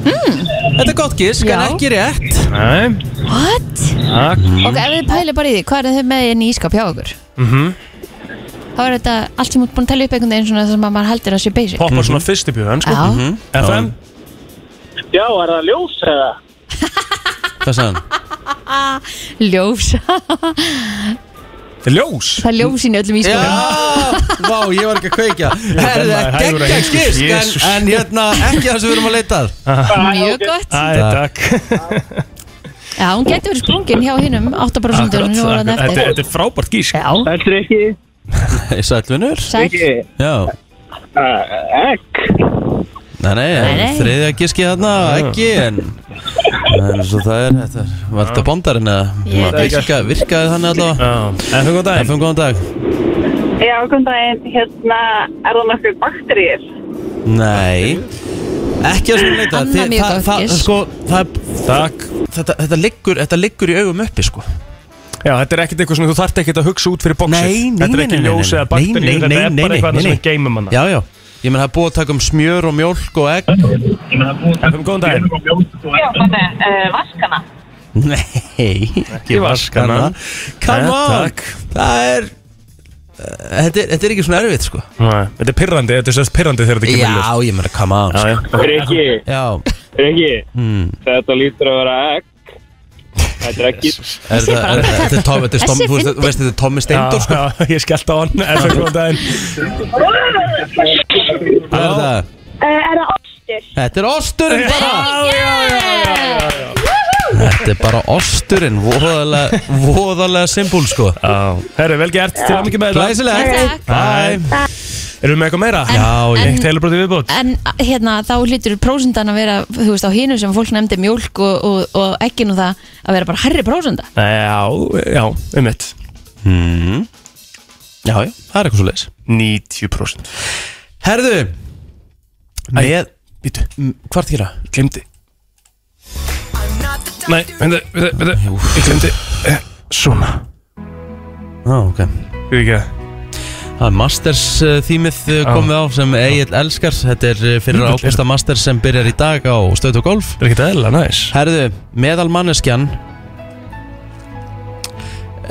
[SPEAKER 2] Mm. Þetta er gott gísk, en
[SPEAKER 3] Já.
[SPEAKER 2] ekki rétt
[SPEAKER 4] Nei
[SPEAKER 3] What?
[SPEAKER 4] Takk
[SPEAKER 3] Ok, ef þið pælið bara í því, hvað er þið með inn í ískap hjá okkur?
[SPEAKER 4] Mhm.
[SPEAKER 3] Þá er þetta allt sem út búin að tella upp einhvern veginn svona sem að maður heldur að sé basic
[SPEAKER 4] Poppa svona fyrst upp í hugan sko
[SPEAKER 3] Já,
[SPEAKER 4] FM
[SPEAKER 6] Já, er það ljós eða?
[SPEAKER 2] Hvað sagði hann?
[SPEAKER 3] ljós (laughs)
[SPEAKER 4] Þetta er Ljós
[SPEAKER 3] Það er ljós inn í öllum
[SPEAKER 2] Já,
[SPEAKER 3] ískapum
[SPEAKER 2] vá, ég var ekki að kveikja
[SPEAKER 4] er
[SPEAKER 2] Herðu,
[SPEAKER 4] maður hægur að
[SPEAKER 2] geggja
[SPEAKER 4] heimsku.
[SPEAKER 2] gísk en,
[SPEAKER 4] Jesus.
[SPEAKER 2] en hérna, ekki það sem við erum að leita að
[SPEAKER 3] Mjög gott
[SPEAKER 4] Æ,
[SPEAKER 2] Takk.
[SPEAKER 4] takk
[SPEAKER 3] Já, hún getur verið sprungin hjá hinnum 8% og nú er hann
[SPEAKER 4] Þetta
[SPEAKER 3] eftir
[SPEAKER 4] þetta er frábært gísk
[SPEAKER 3] Já,
[SPEAKER 6] Heldur ekki?
[SPEAKER 2] Sælvinur
[SPEAKER 3] sæl
[SPEAKER 2] Já
[SPEAKER 6] Egg.
[SPEAKER 2] Nei, nei,
[SPEAKER 3] Nei, nei.
[SPEAKER 2] þriðja gíski þarna, ekki en En svo það er, þetta er- var þetta bondarinn að
[SPEAKER 3] Ég veit ekki.
[SPEAKER 2] virka, virkaði þannig allavega
[SPEAKER 4] Já. FM góðan daginn
[SPEAKER 2] FM, góðan dag
[SPEAKER 6] Já, kom daginn, hérna, er það nokkuð bakteríur?
[SPEAKER 2] Nei, ekki að svona leita
[SPEAKER 3] Annað
[SPEAKER 2] Þið-
[SPEAKER 3] mjög
[SPEAKER 2] það-
[SPEAKER 3] gott
[SPEAKER 2] það-
[SPEAKER 3] gisk.
[SPEAKER 2] Sko, það,
[SPEAKER 4] Takk
[SPEAKER 2] þetta, þetta, liggur, þetta liggur í augum uppi, sko
[SPEAKER 4] Já, þetta er ekkert eitthvað sem þú þarft ekkert að hugsa út fyrir bóksið
[SPEAKER 2] Nei, nei,
[SPEAKER 4] Þetta
[SPEAKER 2] nei,
[SPEAKER 4] er ekki
[SPEAKER 2] nei, nei,
[SPEAKER 4] ljós
[SPEAKER 2] nei.
[SPEAKER 4] eða
[SPEAKER 2] Nei, nei,
[SPEAKER 4] bakteríu Þetta
[SPEAKER 2] nei,
[SPEAKER 4] er
[SPEAKER 2] nei,
[SPEAKER 4] bara
[SPEAKER 2] nei, nei,
[SPEAKER 4] eitthvað sem
[SPEAKER 2] nei.
[SPEAKER 4] við geymum hana
[SPEAKER 2] Já, já Ég menn, það er búið að taka um smjör og mjólk og egg
[SPEAKER 4] FM góðan daginn
[SPEAKER 6] Já, þannig, uh, vaskana.
[SPEAKER 2] Nei, ekki
[SPEAKER 4] vaskana.
[SPEAKER 2] Come
[SPEAKER 4] Nei,
[SPEAKER 2] on,
[SPEAKER 4] takk.
[SPEAKER 2] það er Þetta er, þetta er ekki svona erfitt, sko
[SPEAKER 4] Nei, Þetta er pirrandi, þetta er sérst pirrandi þegar þetta kemur í ljós.
[SPEAKER 2] Já, ég menn, come on
[SPEAKER 4] Já,
[SPEAKER 2] sko.
[SPEAKER 4] já.
[SPEAKER 5] Riki,
[SPEAKER 2] Já,
[SPEAKER 5] Riki,
[SPEAKER 2] hmm
[SPEAKER 5] þetta lítur að vera egg. Þetta er ekki...
[SPEAKER 2] Er
[SPEAKER 3] Þessi er
[SPEAKER 2] það-
[SPEAKER 3] bara-
[SPEAKER 2] er- Þetta er Tommi, þetta er Tommi,
[SPEAKER 3] Þessi er
[SPEAKER 2] þú veist, þú veist, þetta er Tommi Steindor sko.
[SPEAKER 4] Já, já, ég skellt á hann (laughs) Ef það góðan daginn
[SPEAKER 2] Hvað er það?
[SPEAKER 6] Eh, er það ostur?
[SPEAKER 2] Þetta er osturinn bara
[SPEAKER 4] Já, já, já, já, já, já.
[SPEAKER 2] Þetta er bara osturinn, voðalega, voðalega symbol sko
[SPEAKER 4] Já, herru, vel gert, til að mikið með þetta
[SPEAKER 2] Glæsilegt
[SPEAKER 3] Takk.
[SPEAKER 4] Bye. Erum við með eitthvað meira?
[SPEAKER 2] Já,
[SPEAKER 3] en-
[SPEAKER 2] ég
[SPEAKER 4] Eitt heilabróti viðbútt
[SPEAKER 3] En hérna, þá hlýtur prósendan að vera, þú veist, á hinu sem fólk nefndi mjólk og, og, og ekkin og það að vera bara herri prósenda.
[SPEAKER 4] Já, já, um mitt
[SPEAKER 2] Mm. Já, já, það er eitthvað svo leis
[SPEAKER 4] 90%
[SPEAKER 2] Herðu Með,
[SPEAKER 4] Býtu,
[SPEAKER 2] m, hvað er þýra?
[SPEAKER 4] ég glemdi Nei, veitu, veitu, veitu Ég glemdi eh, Svona
[SPEAKER 2] Já, ok
[SPEAKER 4] Við ekki það
[SPEAKER 2] Það er Masters uh, þýmið uh, komið á sem Egil elskar Þetta er uh, fyrir
[SPEAKER 4] Jökull,
[SPEAKER 2] ágústa Masters sem byrjar í dag á stöðt og golf
[SPEAKER 4] Það er ekkert eðla, næs
[SPEAKER 2] Herðu, meðal manneskjan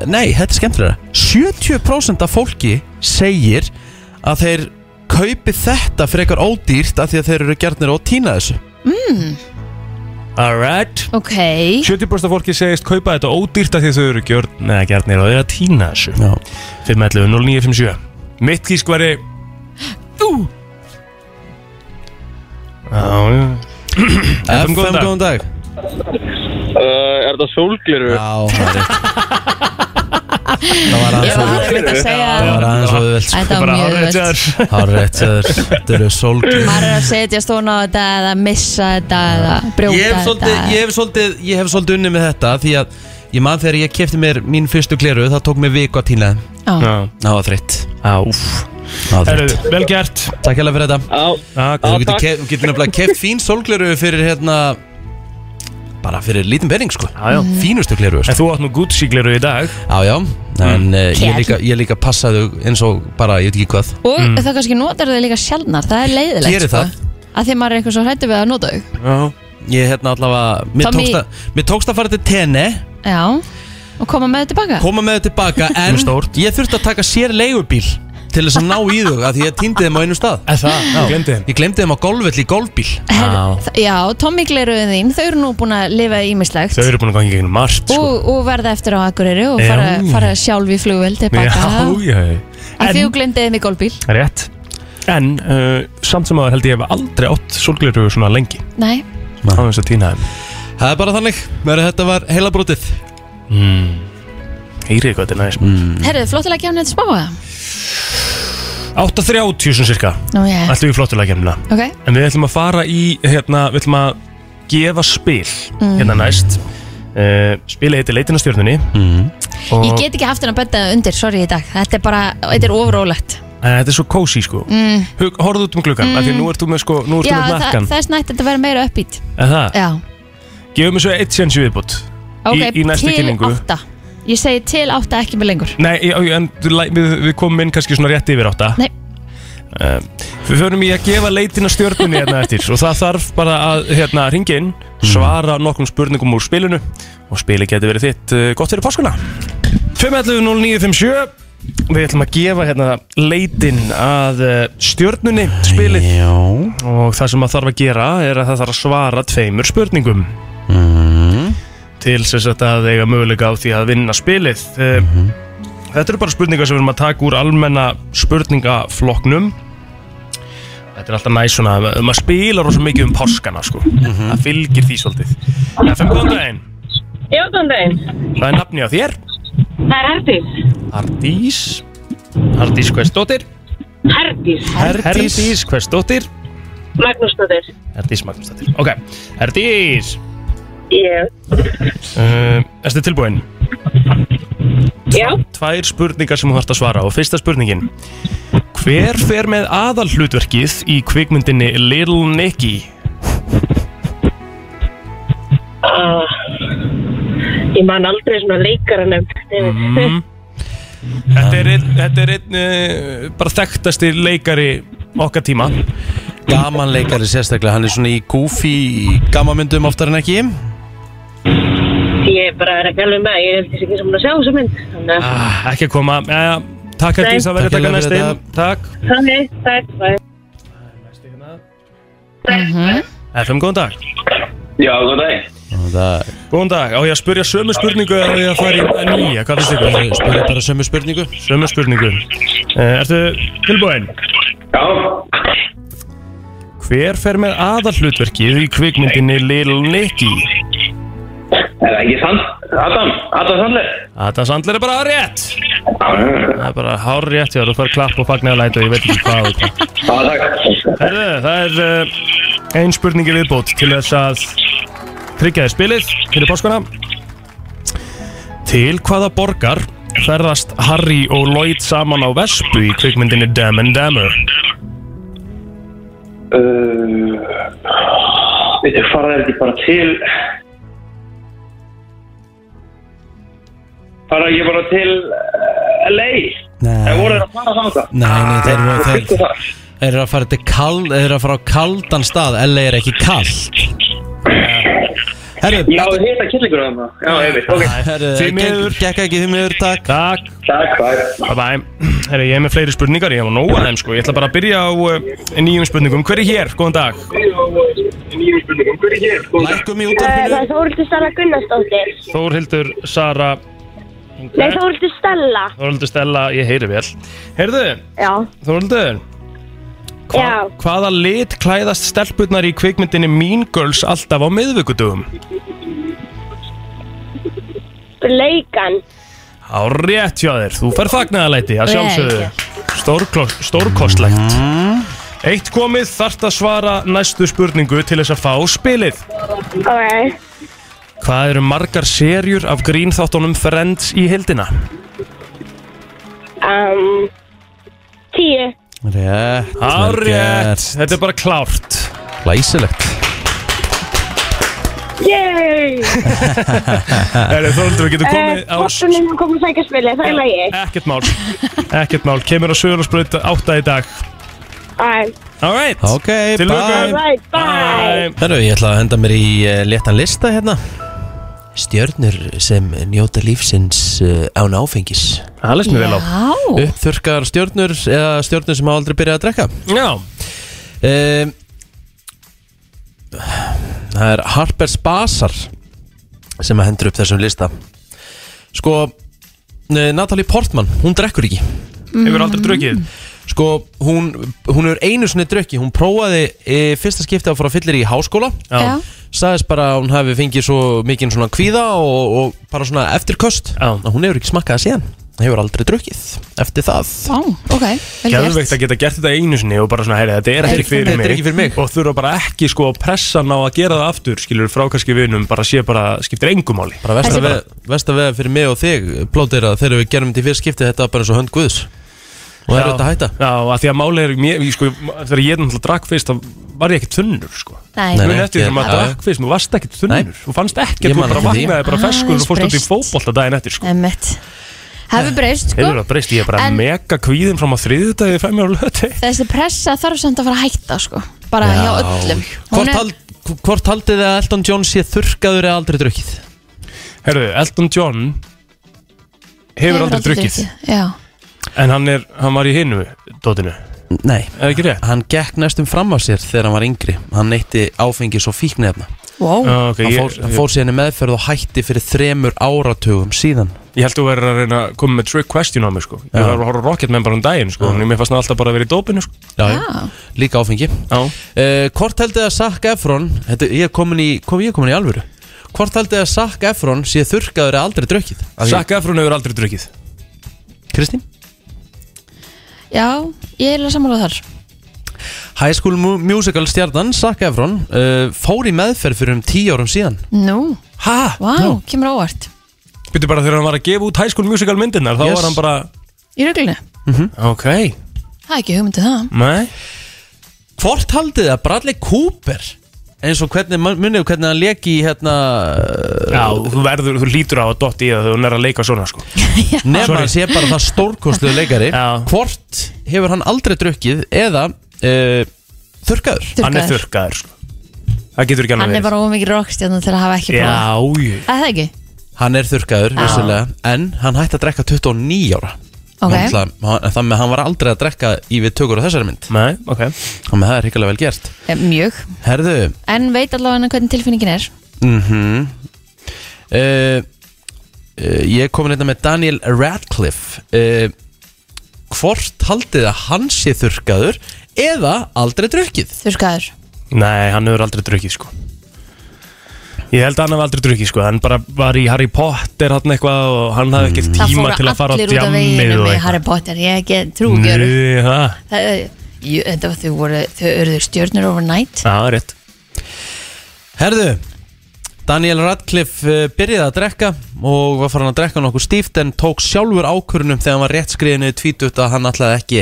[SPEAKER 2] Nei, þetta er skemmtilega 70% af fólki segir að þeir kaupi þetta frekar ódýrt af því að þeir eru gerðnir og týna þessu
[SPEAKER 4] Alright
[SPEAKER 3] Ok,
[SPEAKER 4] 70% af fólki segist kaupa þetta ódýrt af því að þau eru gjörn Nei, gjarnir og þau eru að týna þessu
[SPEAKER 2] Já.
[SPEAKER 4] 511 0957 Mitt kísk væri Þú Já, já
[SPEAKER 2] FM,
[SPEAKER 4] góðan
[SPEAKER 2] góðan
[SPEAKER 4] dag.
[SPEAKER 2] dag, góðan dag.
[SPEAKER 5] Eh, Er þetta sólgliru?
[SPEAKER 2] Já, það er rétt Það var
[SPEAKER 3] ég
[SPEAKER 2] aðeins
[SPEAKER 3] var
[SPEAKER 2] og
[SPEAKER 3] að mynda að segja
[SPEAKER 2] Það var aðeins og
[SPEAKER 3] Æ,
[SPEAKER 2] auðvelt sko.
[SPEAKER 3] Þetta var
[SPEAKER 4] Sko, Bara
[SPEAKER 3] mjög
[SPEAKER 4] hárrétt hjá
[SPEAKER 3] auðvelt.
[SPEAKER 4] þér.
[SPEAKER 2] Það var rétt, það er- þetta eru sólgrið
[SPEAKER 3] Maður er að setja stóna á þetta eða missa þetta eða brjóta
[SPEAKER 2] ég hef, svolítið,
[SPEAKER 3] þetta
[SPEAKER 2] ég, hef svolítið, ég hef svolítið unni með þetta Því að ég man þegar ég kefti mér mín fyrstu gleru Það tók mér viku að týna þeim.
[SPEAKER 3] Já.
[SPEAKER 4] Já,
[SPEAKER 2] Það var þreytt
[SPEAKER 4] á, úff
[SPEAKER 2] Það var þreytt
[SPEAKER 4] Herru, vel gert
[SPEAKER 2] Takk hella fyrir þetta
[SPEAKER 5] Já,
[SPEAKER 4] Takk
[SPEAKER 2] Þú getur, kef, þú getur nefnilega keft fín sólgleru fyrir hérna Bara fyrir lítinn pening sko
[SPEAKER 4] Já, já.
[SPEAKER 3] Mm.
[SPEAKER 2] Fínustu gleru
[SPEAKER 4] En þú átt nú Gucci gleru í dag
[SPEAKER 2] Já, já En uh, ég,
[SPEAKER 3] Kjell.
[SPEAKER 2] líka, ég líka passa þau eins og bara, ég veit ekki hvað
[SPEAKER 3] Og það kannski notar þau líka sjálfnar Það er leiðilegt
[SPEAKER 2] Gerir það.
[SPEAKER 3] Að því maður er eitthvað svo hrættu við að nota þau
[SPEAKER 4] Já
[SPEAKER 2] Ég hérna allavega Mér
[SPEAKER 3] Tommy-
[SPEAKER 2] tókst, að, mér tókst að fara til tenni
[SPEAKER 3] Já Og koma með þetta tilbaka
[SPEAKER 2] Koma með þau tilbaka En
[SPEAKER 4] Stórt.
[SPEAKER 2] ég þurfti að taka sér leigubíl Til þess að ná í þau af Því ég týndi þeim á einu stað
[SPEAKER 4] Er það? Þú glemdi þeim
[SPEAKER 2] Ég glemdi þeim á golfvöll í golfbíl
[SPEAKER 4] Já.
[SPEAKER 3] Her, Já, Tommy Gleruðin þín Þau eru nú búin að lifa ímislegt
[SPEAKER 4] Þau eru búin að ganga í gegnum margt sko.
[SPEAKER 3] og, og verða eftir á Akureyri Og
[SPEAKER 4] Já.
[SPEAKER 3] fara, fara sjálf í flugvél tilbaka
[SPEAKER 4] Já, já
[SPEAKER 3] Að því
[SPEAKER 4] En-
[SPEAKER 3] þú glemdiði mig gólbíl
[SPEAKER 4] Rétt En uh, samt sem að held ég hef aldrei átt solgleru svona lengi
[SPEAKER 3] Nei,
[SPEAKER 4] á þess að týna þeim
[SPEAKER 2] Það er bara þannig Verður þetta var heila brotið
[SPEAKER 4] mm. Heyrið hvað þetta er næst mm.
[SPEAKER 3] herruðu, flottilega kemna þetta spáða
[SPEAKER 4] 8.30 sem cirka
[SPEAKER 3] Nú, já,
[SPEAKER 4] Ætlum við flottulega kemna
[SPEAKER 3] ok
[SPEAKER 4] En við ætlum að fara í hérna, Við ætlum að gefa spil
[SPEAKER 3] Mm.
[SPEAKER 4] Hérna næst uh, Spilið heitir Leitin að stjörnunni og,
[SPEAKER 3] Ég get ekki haft hennar betta undir, sorry í dag Þetta er bara, þetta er ofrólegt
[SPEAKER 4] En þetta er svo kósi sko mm. Horðu út um gluggan mm. Því nú ert þú með sko Nú ert
[SPEAKER 3] Já,
[SPEAKER 4] þú með
[SPEAKER 3] það,
[SPEAKER 4] nakkan
[SPEAKER 3] það er snætt að þetta verður meira uppýtt
[SPEAKER 4] Er það?
[SPEAKER 3] Já,
[SPEAKER 4] Gefum þessu eitt séns í viðbútt
[SPEAKER 3] ok,
[SPEAKER 4] í, í næstu
[SPEAKER 3] til
[SPEAKER 4] kynningu
[SPEAKER 3] átta Ég segi til átta ekki með lengur
[SPEAKER 4] Nei, já, já, en þú læ- við, við komum inn kannski svona rétt yfir átta
[SPEAKER 3] Nei.
[SPEAKER 4] Eh, Við förum í að gefa leitina stjörnunni hérna eftir og það þarf bara að hérna ringa inn, svara nokkrum spurningum úr spilinu og spili getur verið þitt eh, gott fyrir páskuna 511-0957 Við ætlum að gefa hérna leitin að eh, stjörnunni spilið
[SPEAKER 2] Já
[SPEAKER 4] og það sem að þarf að gera er að það þarf að svara tveimur spurningum til sem sagt að eiga möguleika á því að vinna spilið Ehm, þetta eru bara spurningar sem við erum að taka úr almenna spurningafloknum þetta er alltaf næst svona ef maður spilar rosa mikið um páskana sko. það fylgir því svolítið FM góðan daginn,
[SPEAKER 6] Já, góðan daginn.
[SPEAKER 4] það er nafni á þér
[SPEAKER 6] Það er Herdís.
[SPEAKER 4] Hardís Hardís Hversdóttir
[SPEAKER 6] Herdís.
[SPEAKER 2] Herdís.
[SPEAKER 4] Herdís Hversdóttir
[SPEAKER 6] Magnúsdóttir.
[SPEAKER 4] Herdís Magnúsdóttir ok, Herdís
[SPEAKER 6] Ég.
[SPEAKER 4] Uh, Erstu tilbúin?
[SPEAKER 6] Já.
[SPEAKER 4] Tvær spurningar sem þú þarfst að svara og fyrsta spurningin Hver fer með aðal hlutverkið í kvikmyndinni Little Nicky?
[SPEAKER 6] Ah, ég man aldrei svona leikaranum. Mm.
[SPEAKER 4] Þetta er einn, þetta er einn uh, bara þekktasti leikari okkar tíma
[SPEAKER 2] Gaman leikari sérstaklega Hann er svona í goofy gamanmyndum oftar en ekki
[SPEAKER 6] Ég bara er ekki alveg með. um Ég held þess ekki sem hún að sjá þessu mynd. Þannig að
[SPEAKER 4] ah, Ekki að koma, uh, takk
[SPEAKER 6] Nei.
[SPEAKER 4] Herdís að verið
[SPEAKER 2] Takk
[SPEAKER 4] taka
[SPEAKER 2] hérlega
[SPEAKER 4] næst
[SPEAKER 2] fyrir
[SPEAKER 4] inn Takk
[SPEAKER 6] það er, það er, það er.
[SPEAKER 4] FM, góðan dag
[SPEAKER 5] já, góð dag
[SPEAKER 2] Og Það
[SPEAKER 4] Góðan dag, á ég að spyrja sömu spurningu eða á ég að fara í að nýja, hvað finnst ykkur?
[SPEAKER 2] spurði bara sömu spurningu
[SPEAKER 4] Sömu spurningu uh, Ertu tilbúin?
[SPEAKER 5] Já,
[SPEAKER 4] Hver fer með aðalhlutverkið í kvikmyndinni Little Nicky?
[SPEAKER 5] er það ekki sann? Adam, Adam Sandler
[SPEAKER 4] Adam Sandler er bara rétt!
[SPEAKER 5] Já,
[SPEAKER 2] Ah.
[SPEAKER 4] Það er bara hár rétt, já, þú fær klapp og fagnaði læti og ég veit ekki hvað og hvað.
[SPEAKER 5] takk
[SPEAKER 4] Herðu, það er uh, ein spurningi viðbót til þess að tryggja þér spilið fyrir páskuna. Til hvaða borgar ferðast Harry og Lloyd saman á Vespu í kvikmyndinni Dumb and Dumber?
[SPEAKER 5] Uh, Þetta fara þær ekki bara til Fara ekki bara til uh, LA
[SPEAKER 2] Nei,
[SPEAKER 5] En voru þeir að fara þangað?
[SPEAKER 2] Nei, nei, þeir eru-
[SPEAKER 5] Þeir fylgdu þar
[SPEAKER 2] Þeir eru að fara, til kal, þeir eru að fara á kaldan stað LA er ekki kallt Herru,
[SPEAKER 5] Já, þið heita kyllingur að það Já, ég veit, ok
[SPEAKER 2] herru
[SPEAKER 4] Því miður.
[SPEAKER 2] gekk, gekk ekki því miður, takk
[SPEAKER 4] Takk
[SPEAKER 5] Takk, bye
[SPEAKER 4] Bye bye Herri, ég er með fleiri spurningar, ég hef nóg að þeim sko Ég ætla bara að byrja á uh, nýjum spurningum Hver er hér? Góðan dag
[SPEAKER 2] Lækum í
[SPEAKER 7] Eh, Það
[SPEAKER 2] útarfinu
[SPEAKER 7] er Þóruldur Stella Gunnarsdóttir.
[SPEAKER 4] Þórhildur, Sara
[SPEAKER 7] Nei, Þóruldur Stella.
[SPEAKER 4] Þórhildur Stella, ég heyri vel Heyrðu,
[SPEAKER 7] Já.
[SPEAKER 4] Þórhildur hva,
[SPEAKER 7] Já.
[SPEAKER 4] Hvaða lit klæðast stelpurnar í kvikmyndinni Mean Girls alltaf á miðvikudugum?
[SPEAKER 7] Bleikan.
[SPEAKER 4] Á rétt hjá þér, þú fær fagnaðalæti að
[SPEAKER 3] Vel
[SPEAKER 4] sjálfsögðu Stórklo- Stórkostlegt Eitt komið þarft að svara næstu spurningu til þess að fá spilið
[SPEAKER 7] Ok.
[SPEAKER 4] Hvað eru margar serjur af grínþáttunum Friends í hildina?
[SPEAKER 7] Um, tíu.
[SPEAKER 2] Rétt, vel
[SPEAKER 4] Árétt,
[SPEAKER 2] gert.
[SPEAKER 4] þetta er bara klárt
[SPEAKER 2] Læsilegt
[SPEAKER 7] Yay!
[SPEAKER 2] Eh.
[SPEAKER 4] Erið þóldur, við getum komið á
[SPEAKER 7] Hvortunum uh, kom að sækja spilið, það Eh, er lagi.
[SPEAKER 4] Ekkert mál, ekkert mál Kemur á Söðurlandsbröð 8 í dag
[SPEAKER 7] Alright,
[SPEAKER 4] Alright,
[SPEAKER 2] Ok,
[SPEAKER 4] til
[SPEAKER 2] bye
[SPEAKER 4] lukku
[SPEAKER 7] right, bye!
[SPEAKER 2] Herru, ég ætla að henda mér í uh, léttan lista hérna Stjörnur sem njóta lífsins uh, án áfengis
[SPEAKER 4] Það lesnum við vel á
[SPEAKER 3] Já,
[SPEAKER 2] Uppþurkar stjörnur eða stjörnur sem hafa aldrei byrjað að drekka
[SPEAKER 4] Já,
[SPEAKER 2] um, Það er Harper's Bazaar sem að hendur upp þessum lista Sko eh, Natalie Portman, hún drekkur ekki
[SPEAKER 4] hefur aldrei drukkið
[SPEAKER 2] Sko, hún, hún er einu sinni drukki Hún prófaði e, fyrsta skipti að fara að fyllir í háskóla
[SPEAKER 3] já,
[SPEAKER 2] Sagðist bara að hún hafi fengið svo mikinn svona kvíða og, og bara svona eftirköst
[SPEAKER 4] Já.
[SPEAKER 2] Að Hún hefur ekki smakkað síðan Hún hefur aldrei drukkið eftir það
[SPEAKER 3] já, ok vel gert.
[SPEAKER 4] Gæðvegt að geta gert þetta einu sinni og bara svona, heyri, þetta er ekki fyrir,
[SPEAKER 2] þetta er
[SPEAKER 4] mig.
[SPEAKER 2] ekki fyrir mig.
[SPEAKER 4] Og þurfa bara ekki sko að pressa ná að gera það aftur Skilur frá kannski vinum, bara sé bara, skiptir engum máli
[SPEAKER 2] Bara versta
[SPEAKER 3] Þessi-
[SPEAKER 2] veða- versta veða fyrir mig og þig Plótir að þegar við gerum þetta í fyrst skipti Þetta var bara eins og hönd guðs Og það er
[SPEAKER 4] Já.
[SPEAKER 2] þetta að hætta
[SPEAKER 4] Já, að því að máli er, mér, ég, sko, þegar ég náttúrulega drakk fyrst þá var ég ekkert þunnur, sko
[SPEAKER 3] Nei,
[SPEAKER 2] Nei,
[SPEAKER 4] Muna
[SPEAKER 2] nei.
[SPEAKER 4] eftir því
[SPEAKER 2] ég-
[SPEAKER 4] þegar maður
[SPEAKER 2] já, já.
[SPEAKER 4] drakk fyrst, maður varst ekkert þunnur
[SPEAKER 2] Nei.
[SPEAKER 4] Þú fannst
[SPEAKER 2] Ég
[SPEAKER 4] ekkert, þú
[SPEAKER 2] man
[SPEAKER 4] bara
[SPEAKER 2] eftir því.
[SPEAKER 4] vaknaði bara
[SPEAKER 3] Ah,
[SPEAKER 4] feskur og fórst út í
[SPEAKER 3] breyst.
[SPEAKER 4] fótbolta daginn eftir, sko
[SPEAKER 3] emmitt Hefur breyst,
[SPEAKER 4] Hefur
[SPEAKER 3] sko
[SPEAKER 4] það breyst, ég er bara
[SPEAKER 3] En-
[SPEAKER 4] mega kvíðin frá maður þriðudagi fæmi á löti
[SPEAKER 3] Þessi pressa þarf samt að fara að hætta, sko Bara hjá öllum Hún
[SPEAKER 2] Hvort,
[SPEAKER 3] er-
[SPEAKER 2] hald, hvort haldið þið að Elton John sé þurrkaður eða aldrei drukkið?
[SPEAKER 4] Herðu, Elton John hefur aldrei drukkið
[SPEAKER 3] Já,
[SPEAKER 4] En hann, er, hann var í hinu, dótinu
[SPEAKER 2] Nei
[SPEAKER 4] Er ekki rétt?
[SPEAKER 2] Hann gekk næstum fram af sér þegar hann var yngri Hann neytti áfengis og fíknefna
[SPEAKER 3] wow
[SPEAKER 4] Já, ok,
[SPEAKER 2] Hann
[SPEAKER 4] ég,
[SPEAKER 2] fór, hann fór síðan í meðferð og hætti fyrir þremur áratugum síðan
[SPEAKER 4] ég held þú verður að reyna að koma með trick question á mig sko. Ég
[SPEAKER 2] Já.
[SPEAKER 4] var að horfa á Rocketman bara um daginn sko. En mér fannst hann alltaf bara að vera í dópinu sko.
[SPEAKER 2] Já,
[SPEAKER 3] Já.
[SPEAKER 2] Líka áfengi
[SPEAKER 4] Já.
[SPEAKER 2] uh, Hvort haldið að Zac Efron þetta, Ég er komin í, kom, ég er komin í alvöru Hvort haldið að Zac Efron sé þurrkaður eða aldrei drukkið? Af því-
[SPEAKER 4] Zac Efron hefur aldrei drukkið
[SPEAKER 2] Kristín?
[SPEAKER 3] Já, ég er að samála þar
[SPEAKER 2] High School Mu- Musical stjarnan Zac Efron uh, fór í meðferð fyrir um tíu árum síðan
[SPEAKER 3] Nú,
[SPEAKER 4] Hæ?
[SPEAKER 3] vá, kemur óvart
[SPEAKER 4] Býttu bara þegar hann var að gefa út High School Musical myndirnar Þá
[SPEAKER 2] Yes.
[SPEAKER 4] var hann bara
[SPEAKER 3] Í ruglunni
[SPEAKER 4] Ok,
[SPEAKER 3] Það er ekki hugmyndið það
[SPEAKER 4] nei
[SPEAKER 2] Hvort haldið þið að Bradley Cooper eins og hvernig, munið hvernig hann leki í hérna eh,
[SPEAKER 4] Já, þú verður, þú lítur á að dotti í það þegar hún er að leika svona sko.
[SPEAKER 2] nefn
[SPEAKER 4] Sorry.
[SPEAKER 2] hann sé bara það stórkostluðu leikari
[SPEAKER 4] (laughs) Já.
[SPEAKER 2] Hvort hefur hann aldrei drukkið eða uh, þurrkaður
[SPEAKER 4] Hann er
[SPEAKER 3] Þurrkaður.
[SPEAKER 4] þurrkaður sko. Það getur ekki
[SPEAKER 3] Hann
[SPEAKER 4] annað
[SPEAKER 3] er bara ómikið rockstjarnan til að hafa ekki prófað
[SPEAKER 4] Já, jú.
[SPEAKER 3] Er það ekki?
[SPEAKER 2] Hann er þurrkaður,
[SPEAKER 3] Já.
[SPEAKER 2] vissulega En hann hætti að drekka 29 ára
[SPEAKER 3] Ok.
[SPEAKER 2] Hann ætla- hann- Þannig að hann var aldrei að drekka í við tökur á þessari mynd
[SPEAKER 4] Nei, ok
[SPEAKER 2] Þannig að það er hrikalega vel gert
[SPEAKER 3] Eh, Mjög
[SPEAKER 2] Herðu
[SPEAKER 3] En veit allavega hvernig tilfinningin er
[SPEAKER 2] Mhm. uh, uh, Ég er komin hérna með Daniel Radcliffe uh, Hvort haldið að hann sé þurrkaður Eða aldrei drukkið
[SPEAKER 3] Þurrkaður
[SPEAKER 4] Nei, hann hefur aldrei drukkið sko Ég held að hann hefur aldrei drukkið sko Hann bara var í Harry Potter hann eitthvað og hann hafði ekki
[SPEAKER 3] Það
[SPEAKER 4] tíma til að fara á
[SPEAKER 3] allir út af
[SPEAKER 4] djammið
[SPEAKER 3] veginu
[SPEAKER 4] og
[SPEAKER 3] með
[SPEAKER 4] eitthvað
[SPEAKER 3] Harry Potter Ég get trú
[SPEAKER 4] Nei,
[SPEAKER 3] ekki öru
[SPEAKER 4] það-
[SPEAKER 3] Þetta var þau voru Þau eru þau stjörnur overnight
[SPEAKER 4] Já, það er rétt
[SPEAKER 2] Herðu Daniel Radcliffe eh, byrjaði að drekka og var farin að drekka nokkuð stíft en tók sjálfur ákvörunum þegar hann var rétt skriðinu tvítut að hann ætlaði ekki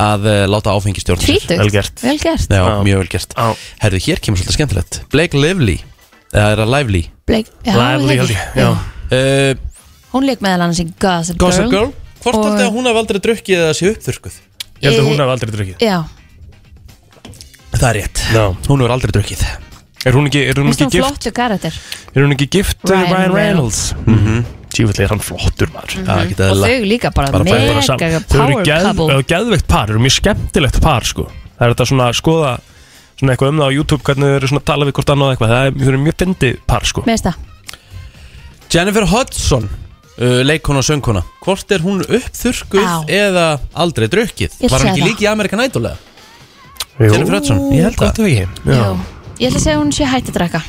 [SPEAKER 2] að eh, láta áfengistjórn sér.
[SPEAKER 3] Tvítugt.
[SPEAKER 4] Vel gert.
[SPEAKER 3] Vel gert.
[SPEAKER 2] Já,
[SPEAKER 4] Já.
[SPEAKER 2] mjög vel gert
[SPEAKER 4] Já.
[SPEAKER 2] Herðu, hér kemur svolítið skemmtilegt Blake Lively, eða er að Lively
[SPEAKER 3] Blake, já,
[SPEAKER 4] Lively,
[SPEAKER 3] er það
[SPEAKER 4] held
[SPEAKER 3] ekki?
[SPEAKER 4] ég, já.
[SPEAKER 2] uh,
[SPEAKER 3] Hún leik meðal annars í Gossip Girl.
[SPEAKER 2] Gossip Girl, hvort
[SPEAKER 3] Og-
[SPEAKER 2] haldið að hún hafi aldrei drukkið eða sé uppþurkuð?
[SPEAKER 4] Ég
[SPEAKER 3] Eh,
[SPEAKER 4] held að hún hef aldrei drukkið
[SPEAKER 3] Já,
[SPEAKER 2] Það er rétt,
[SPEAKER 4] Já.
[SPEAKER 2] hún hefur aldrei drukkið
[SPEAKER 4] Er hún ekki, er hún
[SPEAKER 3] finnst
[SPEAKER 4] ekki
[SPEAKER 3] hún
[SPEAKER 4] gift?
[SPEAKER 3] flottu karakter
[SPEAKER 4] Er hún ekki gift eh,
[SPEAKER 3] Ryan
[SPEAKER 4] Ryan, Ryan Reynolds?
[SPEAKER 3] Reynolds.
[SPEAKER 4] Mm -hmm. Tjúvill er hann flottur maður
[SPEAKER 2] Það er ekki
[SPEAKER 3] og
[SPEAKER 2] eðla
[SPEAKER 3] þau líka bara,
[SPEAKER 2] Bara- bara-
[SPEAKER 4] bara
[SPEAKER 3] mega
[SPEAKER 4] saman. Þau eru
[SPEAKER 3] power
[SPEAKER 4] geð,
[SPEAKER 3] couple
[SPEAKER 4] þau eru geðveikt par, þau eru mjög skemmtilegt par sko. Það er þetta svona að skoða svona eitthvað um það á YouTube, hvernig þau eru svona að tala við hvort annað og eitthvað, það er, þau eru mjög fyndi par sko.
[SPEAKER 3] Mér finnst það,
[SPEAKER 2] Jennifer Hudson, uh, leikona og söngkona Hvort er hún uppþurkuð
[SPEAKER 3] Á.
[SPEAKER 2] eða aldrei drukkið?
[SPEAKER 3] Ég
[SPEAKER 2] Var
[SPEAKER 3] sé
[SPEAKER 2] hann ekki
[SPEAKER 3] það.
[SPEAKER 2] líki í Amerikan Idol eða?
[SPEAKER 4] Jú,
[SPEAKER 2] Jennifer Hudson, ég held
[SPEAKER 4] gott
[SPEAKER 2] það
[SPEAKER 4] ef ekki. Já.
[SPEAKER 3] jú Ég ætla að segja að hún sé hætt að drakka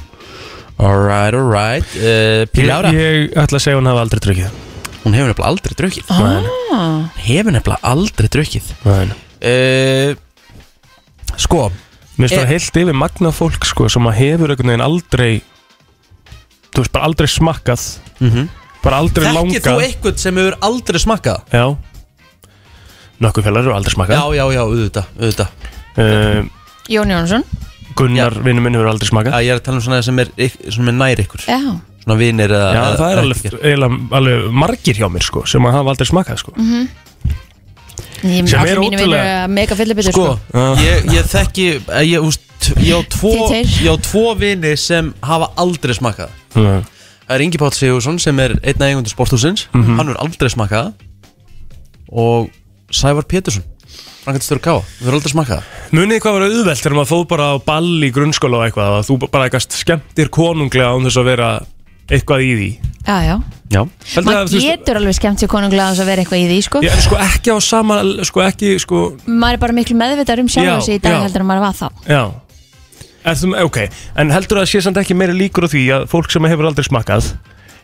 [SPEAKER 2] Alright, alright uh, Píli Ára,
[SPEAKER 4] Ég, ég ætla að segja að hún hafa aldrei drukkið
[SPEAKER 2] hún hefur nefnilega aldrei drukkið
[SPEAKER 3] ah,
[SPEAKER 2] Hefur nefnilega aldrei drukkið
[SPEAKER 4] Nei.
[SPEAKER 2] uh, Sko,
[SPEAKER 4] Mér finnst
[SPEAKER 2] Eh.
[SPEAKER 4] það heilt yfir magna fólk sko, sem að hefur einhvern veginn aldrei þú veist, bara aldrei smakkað
[SPEAKER 2] Mhm.
[SPEAKER 4] bara aldrei
[SPEAKER 2] þekkið þú
[SPEAKER 4] langað
[SPEAKER 2] eitthvað sem hefur aldrei smakkað?
[SPEAKER 4] Já Nokkuð félagur eru aldrei
[SPEAKER 2] Já,
[SPEAKER 4] smakkað
[SPEAKER 2] já, já, auðvitað, auðvitað
[SPEAKER 4] uh,
[SPEAKER 3] Jón Jónsson
[SPEAKER 4] Gunnar,
[SPEAKER 2] Já.
[SPEAKER 4] vinnu minn, hefur aldrei smakkað
[SPEAKER 2] að Ég er að tala um svona sem er, yk- sem er nær ykkur
[SPEAKER 3] Já,
[SPEAKER 2] Svona vinir eða
[SPEAKER 4] Já,
[SPEAKER 2] eða-
[SPEAKER 4] það er
[SPEAKER 2] eða
[SPEAKER 4] alveg,
[SPEAKER 2] ekki.
[SPEAKER 4] eiginlega, alveg margir hjá mér sko, sem að hafa aldrei smakað sko.
[SPEAKER 2] Mhm.
[SPEAKER 3] ég
[SPEAKER 4] Sem
[SPEAKER 3] allir
[SPEAKER 4] er
[SPEAKER 3] mínu vinnur
[SPEAKER 4] ótrúlega-
[SPEAKER 3] er mega fyllibitur
[SPEAKER 2] Sko,
[SPEAKER 3] sko.
[SPEAKER 4] Já.
[SPEAKER 2] ég, ég þekki eh, Ég, úst, ég,
[SPEAKER 3] (laughs)
[SPEAKER 2] á tvo,
[SPEAKER 3] Þið tveir.
[SPEAKER 2] ég á tvo vini sem hafa aldrei smakkað
[SPEAKER 4] mm.
[SPEAKER 2] Það er Ingi Páll Sigursson sem er einn af eigundur sporthúsins Hann hefur aldrei smakkað Og Sævar Pétursson Frankastur Káa, við höfum aldrei smakkað
[SPEAKER 4] Munið þið hvað var auðvelt þegar maður fóð bara á ball í grunnskóla og eitthvað að þú bara eitthvað skemmtir konunglega án þess að vera eitthvað í því
[SPEAKER 3] Já, já
[SPEAKER 2] Já,
[SPEAKER 4] Heldur það að
[SPEAKER 3] Maður
[SPEAKER 4] þú veist-
[SPEAKER 3] getur alveg skemmt sér konunglega þess að vera eitthvað í því sko.
[SPEAKER 4] Já, en sko ekki á sama, sko ekki, sko,
[SPEAKER 3] Maður er bara miklu meðvitað um sjálf
[SPEAKER 4] Já,
[SPEAKER 3] þessi í dag
[SPEAKER 4] já.
[SPEAKER 3] heldur en maður var þá
[SPEAKER 4] já Er þú, ok, en heldur það að sé samt ekki meira líkur á því að fólk sem hefur aldrei smakkað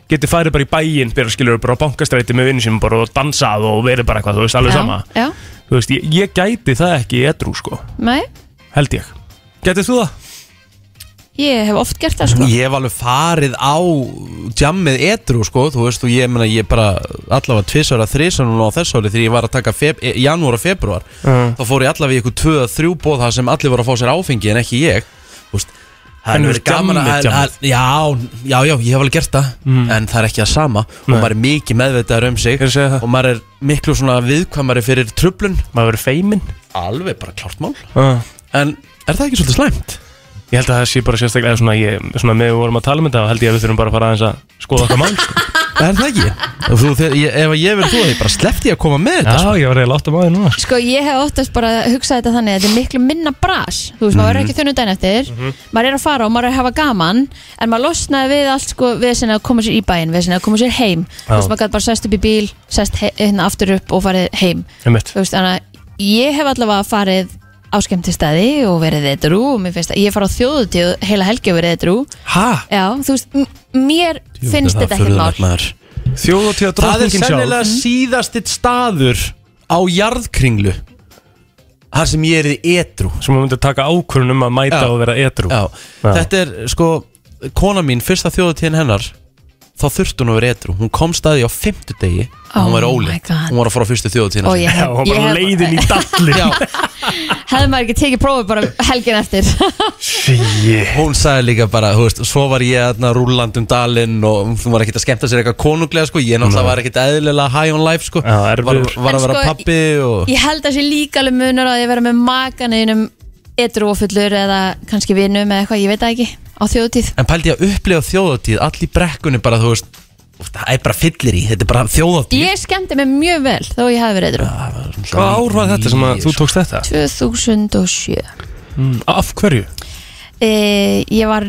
[SPEAKER 4] geti farið bara í bæinn, byrja skilur bara á bankastræti með vinn sem bara og dansað og verið bara eitthvað, þú veist, alveg sama
[SPEAKER 3] Já, já,
[SPEAKER 4] Þú veist, ég, ég gæti það ekki í edru, sko,
[SPEAKER 3] nei
[SPEAKER 4] held ég Gætið þú það?
[SPEAKER 3] Ég hef oft gert það sko
[SPEAKER 2] Ég hef alveg farið á jammið etru sko, þú veist og ég meina ég bara allavega tvisar að þrísar núna á þessu ári þegar ég var að taka feb, e- janúar og februar
[SPEAKER 4] Mm.
[SPEAKER 2] þá fór ég allavega í eitthvað tvö að þrjú bóð það sem allir voru að fá sér áfengi en ekki ég þú veist Það
[SPEAKER 4] En
[SPEAKER 2] er
[SPEAKER 4] þú
[SPEAKER 2] verið
[SPEAKER 4] veist,
[SPEAKER 2] gaman að,
[SPEAKER 4] jammið,
[SPEAKER 2] að,
[SPEAKER 4] Mm.
[SPEAKER 2] að, já, já, já, ég hef alveg gert það En það er ekki það sama Og
[SPEAKER 4] Nei.
[SPEAKER 2] maður er mikið meðveitaður um sig
[SPEAKER 4] Ég er að segja það.
[SPEAKER 2] Og maður er miklu svona viðkvæmari fyrir trublun
[SPEAKER 4] Maður verið feiminn
[SPEAKER 2] Alveg bara klart mál
[SPEAKER 4] uh.
[SPEAKER 2] En er það ekki svolítið slæmt?
[SPEAKER 4] Ég held að það sé bara sérstaklega eða svona, ég, svona með við vorum að tala um þetta þá held ég að við þurfum bara að fara aðeins að skoða okkar mál sko.
[SPEAKER 2] Er það ekki? Og Þú, þegar, ég, ef ég verið þú, ég bara sleppti ég að koma með þetta sko.
[SPEAKER 4] Já, ég var eiginlega átt að maður núna sko.
[SPEAKER 3] Sko ég hef oftast bara hugsað þetta þannig að þetta er miklu minna bras Þú veist, maður
[SPEAKER 4] Mhm.
[SPEAKER 3] er ekki þunnu dæn eftir Maður er að fara og maður er að hafa gaman En maður losnaði við allt sko Við sinna að koma sér í bæinn, við sinna að koma sér heim Þú veist, maður gæti bara sest upp í bíl Sest he- hérna aftur upp og farið heim
[SPEAKER 4] Einmitt.
[SPEAKER 3] Þú veist, þannig að ég hef allavega farið á skemmtistæði og verið eitrú og mér finnst að ég fara á þjóðutíð heila helgi og verið eitrú
[SPEAKER 2] sko.
[SPEAKER 4] Ha?
[SPEAKER 3] já, þú veist, m- mér finnst þetta ekki mál
[SPEAKER 2] Það
[SPEAKER 4] Þjóðatíða
[SPEAKER 2] er
[SPEAKER 4] drottningin
[SPEAKER 2] sennilega
[SPEAKER 4] sjálf Mhm.
[SPEAKER 2] síðastitt staður á jarðkringlu þar sem ég er í etru
[SPEAKER 4] sem maður myndi taka ákvörun um að mæta
[SPEAKER 2] Já.
[SPEAKER 4] og vera edru
[SPEAKER 2] Já.
[SPEAKER 4] Já.
[SPEAKER 2] Þetta er sko kona mín, fyrsta þjóðutíðin hennar þá þurfti hún að vera etru hún kom staði á fimmtudegi oh hún var
[SPEAKER 3] Oh
[SPEAKER 2] óli,
[SPEAKER 3] my God. Oh,
[SPEAKER 2] hún var að fara á fyrstu þjóðutíðin
[SPEAKER 3] og ég,
[SPEAKER 4] Já, og
[SPEAKER 3] hef, ég
[SPEAKER 4] bara
[SPEAKER 3] hef,
[SPEAKER 4] leiðin í dalli
[SPEAKER 2] Já,
[SPEAKER 3] (laughs) hefði maður ekki tekið prófið bara helgin eftir
[SPEAKER 4] (laughs) Shit.
[SPEAKER 2] hún sagði líka bara, þú veist, svo var ég aðna rúlland um dalinn og hún var ekkert að skemmta sér eitthvað konunglega, sko, ég náttúrulega var ekkert eðlilega high on life, sko,
[SPEAKER 4] Já,
[SPEAKER 2] var, var
[SPEAKER 4] erfiður.
[SPEAKER 2] að
[SPEAKER 3] En
[SPEAKER 2] vera
[SPEAKER 3] sko,
[SPEAKER 2] pappi og
[SPEAKER 3] ég held að sé líka alveg munur á því að vera með makan einum eitrú og fullur eða kannski vinum eða eitthvað, ég veit það ekki á þjóðutíð
[SPEAKER 2] En pældi ég að upplifa þjóðatíð Allir brekkunni bara, þú veist úff, Það er bara fyllir í, þetta er bara þjóðatíð
[SPEAKER 3] ég skemmti mig mjög vel þó ég hafi verið eitrú
[SPEAKER 2] Ah.
[SPEAKER 4] Hvað ár var þetta sem að þú tókst þetta?
[SPEAKER 3] 2007
[SPEAKER 4] Mm, Af hverju?
[SPEAKER 3] e, ég var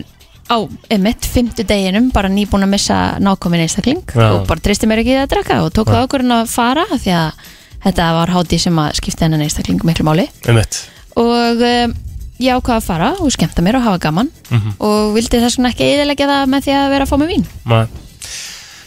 [SPEAKER 3] á emitt, fymtu deginum, bara nýbúin að missa nákomin einstakling
[SPEAKER 4] Já.
[SPEAKER 3] og bara tristi mér ekki í að drakka og tók það okkur en að fara af því að þetta var hátíð sem að skipta hennan einstakling miklu máli
[SPEAKER 4] Einmitt.
[SPEAKER 3] og um, ég ákvaða að fara og skemmta
[SPEAKER 4] Mhm.
[SPEAKER 3] mér og hafa gaman og vildi þess vegna ekki eðilegja það með því að vera að fá mig vín
[SPEAKER 4] Ma-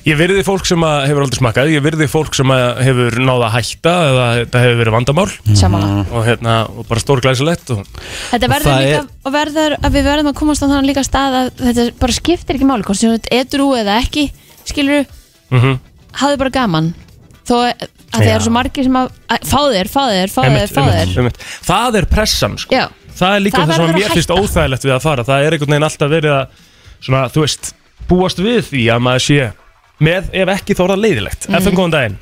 [SPEAKER 4] Ég virði fólk sem að hefur aldrei smakkað Ég virði fólk sem að hefur náða að hætta eða þetta hefur verið vandamál
[SPEAKER 3] samanlega
[SPEAKER 4] og, hérna, og bara stórglæsilegt og...
[SPEAKER 3] Þetta verður
[SPEAKER 2] það
[SPEAKER 3] líka,
[SPEAKER 2] er-
[SPEAKER 3] og verður að við verðum að komast á þannig líka stað að þetta bara skiptir ekki máli, hvort sem þú ert edru eða ekki, skilur þú,
[SPEAKER 4] mm -hmm.
[SPEAKER 3] hafðu bara gaman, þó að það
[SPEAKER 4] Já.
[SPEAKER 3] eru svo margir sem að, að fá þér, fá þér, fá þér, fá þér,
[SPEAKER 4] Það er pressan sko.
[SPEAKER 3] Eh, já,
[SPEAKER 4] Það er líka
[SPEAKER 3] Það
[SPEAKER 4] það,
[SPEAKER 3] verður
[SPEAKER 4] sem að
[SPEAKER 3] að
[SPEAKER 4] mér finnst
[SPEAKER 3] hætta.
[SPEAKER 4] óþægilegt við að fara Það er einhvern veginn alltaf verið að svona, þú veist, búast við því að maður sé með, ef ekki þá er það leiðilegt
[SPEAKER 3] Mhm.
[SPEAKER 4] FM góðan daginn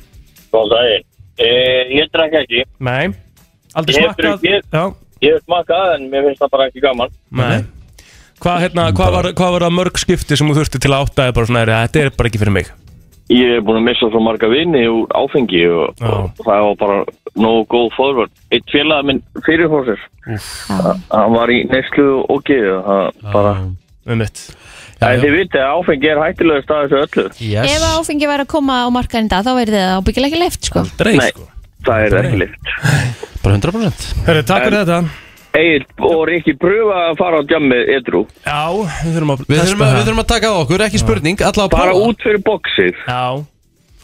[SPEAKER 8] Góðan daginn. E, ég drakk ekki.
[SPEAKER 4] Nei, aldrei
[SPEAKER 8] Ég
[SPEAKER 4] smakkað
[SPEAKER 8] drukkið.
[SPEAKER 4] Já,
[SPEAKER 8] Ég hef smakað en mér finnst það bara ekki gaman.
[SPEAKER 4] nei Hvað hérna, hva var, hva var það mörg skipti sem þú þurfti til að átta þig bara svona, "Heyrðu, þetta er bara ekki fyrir mig
[SPEAKER 8] Ég hef búin að missa svo marga vini úr áfengi og,
[SPEAKER 4] Já.
[SPEAKER 8] og það var bara no go forward. Eitt félag minn fyrirhósir,
[SPEAKER 3] já,
[SPEAKER 8] hann var í neyslu og geðu. Það bara,
[SPEAKER 4] um mitt
[SPEAKER 8] ja, þið vitið að áfengi er hættilega staðið þessu öllu.
[SPEAKER 2] yes.
[SPEAKER 3] ef að áfengi væri að koma á markaðin dag, þá verður það ábyggilega ekki leift, sko,
[SPEAKER 4] Dreif,
[SPEAKER 8] Nei.
[SPEAKER 4] sko.
[SPEAKER 8] Það er ekki lyft.
[SPEAKER 2] Bara 100%
[SPEAKER 4] Herru, takk fyrir þetta
[SPEAKER 8] Egil og Rikki, pröfa að fara á djammið edru.
[SPEAKER 4] Já, við þurfum að
[SPEAKER 2] Við þurfum,
[SPEAKER 4] testa
[SPEAKER 2] að, við
[SPEAKER 4] það.
[SPEAKER 2] þurfum að taka á okkur, ekki spurning Alla að
[SPEAKER 8] Bara
[SPEAKER 2] prófa.
[SPEAKER 8] út fyrir boxið.
[SPEAKER 4] Já,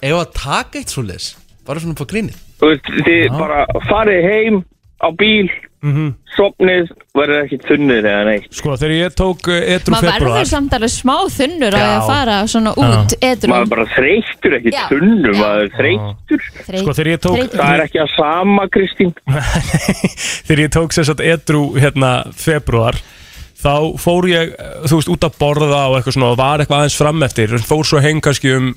[SPEAKER 2] Ef að taka eitt svo leis Bara svona på grínið
[SPEAKER 8] Þú veist, Þið bara farið heim á bíl,
[SPEAKER 4] mm
[SPEAKER 9] Mhm.
[SPEAKER 8] sopnið, verður ekki þunnið eða neitt.
[SPEAKER 4] sko þegar ég tók eh, edrú
[SPEAKER 3] maður verður
[SPEAKER 4] februar
[SPEAKER 3] samt alveg smá þunnur á
[SPEAKER 4] Já.
[SPEAKER 3] að fara svona út, edru,
[SPEAKER 8] maður er bara þreyttur, ekki
[SPEAKER 3] Já.
[SPEAKER 8] tunnu,
[SPEAKER 3] Já.
[SPEAKER 8] maður er þreyttur.
[SPEAKER 4] Sko þegar ég tók
[SPEAKER 3] Þreytur.
[SPEAKER 8] Það er ekki að sama,
[SPEAKER 4] (laughs)
[SPEAKER 8] Kristín.
[SPEAKER 4] þegar ég tók sér satt edru hérna februar þá fór ég, eh, þú veist, út að borða og eitthvað svona og var eitthvað aðeins fram eftir en fór svo heim kannski um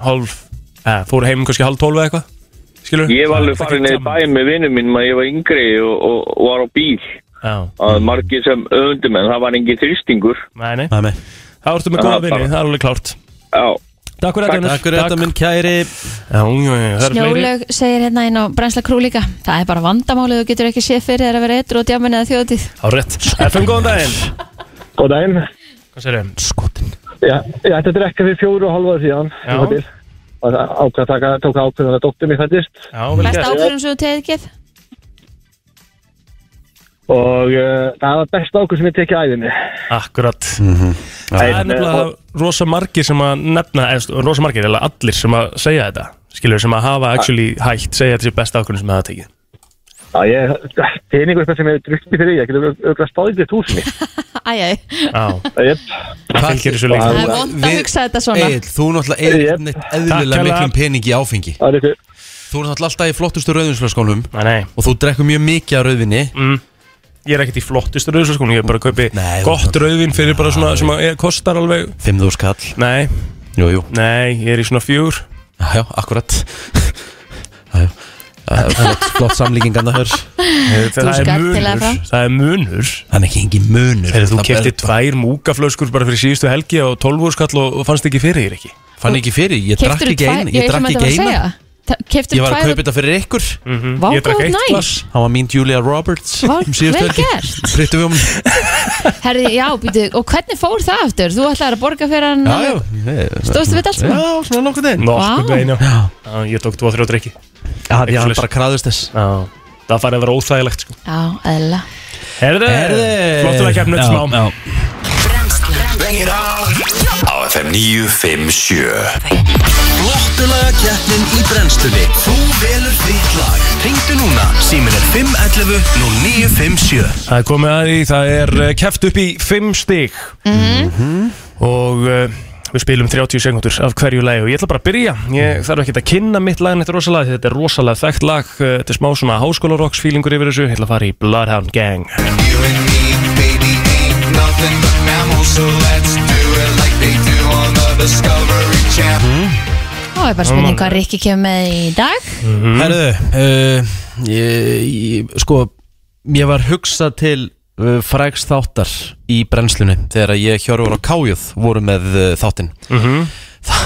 [SPEAKER 4] hálf, eða, fór heim kannski hálf tólf eða eitthvað, skilur?
[SPEAKER 8] Ég var alveg farin í bæin með vinnum minn maður ég var yngri og, og, og var á bíl.
[SPEAKER 4] Já,
[SPEAKER 9] Mhm.
[SPEAKER 8] Það var margir sem öðundum en það var engin þrýstingur.
[SPEAKER 4] nei, nei,
[SPEAKER 2] Nei, nei.
[SPEAKER 4] það varstu með
[SPEAKER 8] Það
[SPEAKER 4] góða
[SPEAKER 8] var
[SPEAKER 4] vinni,
[SPEAKER 8] bara-
[SPEAKER 4] það er alveg klárt
[SPEAKER 8] Já,
[SPEAKER 4] Takk fyrir þetta,
[SPEAKER 2] Takk fyrir þetta minn kæri
[SPEAKER 4] Já, já, já, það er fleiri
[SPEAKER 3] Snjólaug segir hérna inn á Brænsla Krú líka Það er bara vandamálið, þú getur ekki séð fyrir þér að vera eitru og djáminn eða þjóðtíð
[SPEAKER 4] Á rétt, FM góðan daginn
[SPEAKER 10] Góð daginn.
[SPEAKER 4] Hvað sér ég?
[SPEAKER 2] Skotin
[SPEAKER 10] Já, ég ætti að drekka fyrir fjóru og halvaður síðan.
[SPEAKER 4] Já.
[SPEAKER 10] um það bil. Og það ákvað að taka, tók ákveðan að dóttir mér fættist.
[SPEAKER 4] Já, vel
[SPEAKER 3] Best
[SPEAKER 4] gert
[SPEAKER 3] ákvörðum sem þú tekið
[SPEAKER 10] Og uh, það var besta ákveð sem ég tekið æðinni.
[SPEAKER 4] Akkurat Það er nefnilega rosa margir sem að nefna, eða rosa margir, eða allir sem að segja þetta, skilur, sem að hafa actually hægt, segja þetta sé besta ákvörðin sem það tekið.
[SPEAKER 10] Já, ég, peningur eitthvað sem ég drukti fyrir ég, ég getur auðvitað stáðið til túsinni.
[SPEAKER 3] Æjæ,
[SPEAKER 4] Já,
[SPEAKER 10] Jep.
[SPEAKER 4] það fylgir þessu lengi.
[SPEAKER 3] það er vond að hugsa þetta svona
[SPEAKER 2] Egil, þú náttúrulega
[SPEAKER 10] Jep.
[SPEAKER 2] er neitt eðlilega
[SPEAKER 4] Takk
[SPEAKER 2] miklum
[SPEAKER 4] hérlega.
[SPEAKER 2] peningi áfengi
[SPEAKER 10] Það er eitthvað,
[SPEAKER 2] Þú er náttúrulega alltaf í flottustu rauðinsflaskónum
[SPEAKER 4] Nei, nei,
[SPEAKER 2] Og þú drekkur mjög mikið af rauðvinni
[SPEAKER 3] Mm.
[SPEAKER 4] ég er ekkert í flottustu rauðsvöskunum, ég er bara að kaupi
[SPEAKER 2] Nei,
[SPEAKER 4] gott
[SPEAKER 2] þú-
[SPEAKER 4] rauðvin fyrir bara svona sem að ég kostar alveg.
[SPEAKER 2] 5.000 kall
[SPEAKER 4] Nei,
[SPEAKER 2] Jú, jú,
[SPEAKER 4] nei, ég er í svona fjúr.
[SPEAKER 2] já, akkurat (laughs) Já, já. Það er Flott, flott samlíkingan það hör
[SPEAKER 4] Það er
[SPEAKER 3] skalt til að
[SPEAKER 4] munur,
[SPEAKER 3] fram.
[SPEAKER 4] það er munur.
[SPEAKER 2] Það er ekki engin munur
[SPEAKER 4] Þegar þú
[SPEAKER 2] Það
[SPEAKER 4] kefti
[SPEAKER 2] bara-
[SPEAKER 4] tvær múkaflöskur bara fyrir síðustu helgi og 12 úrskall og, og fannst ekki fyrir þér ekki.
[SPEAKER 2] Fann ekki fyrir, ég drakk
[SPEAKER 3] Keyptirðu
[SPEAKER 2] ekki
[SPEAKER 3] tvær-
[SPEAKER 2] eina Ég
[SPEAKER 3] ég
[SPEAKER 2] drakk
[SPEAKER 3] sem
[SPEAKER 2] ekki
[SPEAKER 3] þetta var að
[SPEAKER 2] eina
[SPEAKER 3] segja. Ta-
[SPEAKER 2] Ég
[SPEAKER 3] Keyptirðu
[SPEAKER 2] var að
[SPEAKER 3] tvær
[SPEAKER 2] kaupa þetta fyrir ykkur
[SPEAKER 3] Vá,
[SPEAKER 4] Mhm. Ég drakk
[SPEAKER 3] hvað
[SPEAKER 4] eitt
[SPEAKER 3] næs.
[SPEAKER 4] glas.
[SPEAKER 2] Það var mín Julia Roberts
[SPEAKER 3] Vá,
[SPEAKER 2] um síðustu
[SPEAKER 3] vel
[SPEAKER 2] helgi.
[SPEAKER 3] gert.
[SPEAKER 2] Pryttu við um
[SPEAKER 3] Herði, já, býtu, og hvernig fór það aftur? Þú ætlaði að borga fyrir hann
[SPEAKER 2] Já, já
[SPEAKER 3] alveg- Stóðstu við þetta allt saman?
[SPEAKER 2] Já, svona nokkuð einn
[SPEAKER 4] Nokkuð
[SPEAKER 3] Vá.
[SPEAKER 4] veginn, já. Já, Ég tók 2-3 drikki.
[SPEAKER 2] Það er bara kraðust þess
[SPEAKER 4] Já, það farið að vera óþægilegt sko.
[SPEAKER 3] Já, eðla
[SPEAKER 4] Herðu, flottur að kemna þetta smá
[SPEAKER 11] Á FM 957
[SPEAKER 9] Flottulaga keppnin í brennslunni Þú velur þitt lag Ringdu núna, símin er 511 0957
[SPEAKER 4] Það er komið að því, það er eh, keppt upp í 5 stig og uh, við spilum 30 sekundur af hverju lagi og ég ætla bara að byrja ég þarf ekki að kynna mitt lag en þetta er rosalega því þetta er rosalega þekkt lag eh, þetta er smá svona háskólarocks feelingur yfir þessu ég ætla að fara í Bloodhound Gang
[SPEAKER 9] You and me, baby, ain't nothing but mammals So let's do it like they do on the Discovery Channel
[SPEAKER 3] Þá er bara spurning hvað Rikki kemur með í dag
[SPEAKER 2] Herðu, uh, ég, ég, sko, ég var hugsað til uh, frægst þáttar í brennslunni þegar ég Hjörvar og Kájuð voru með uh, þáttinn. Þa,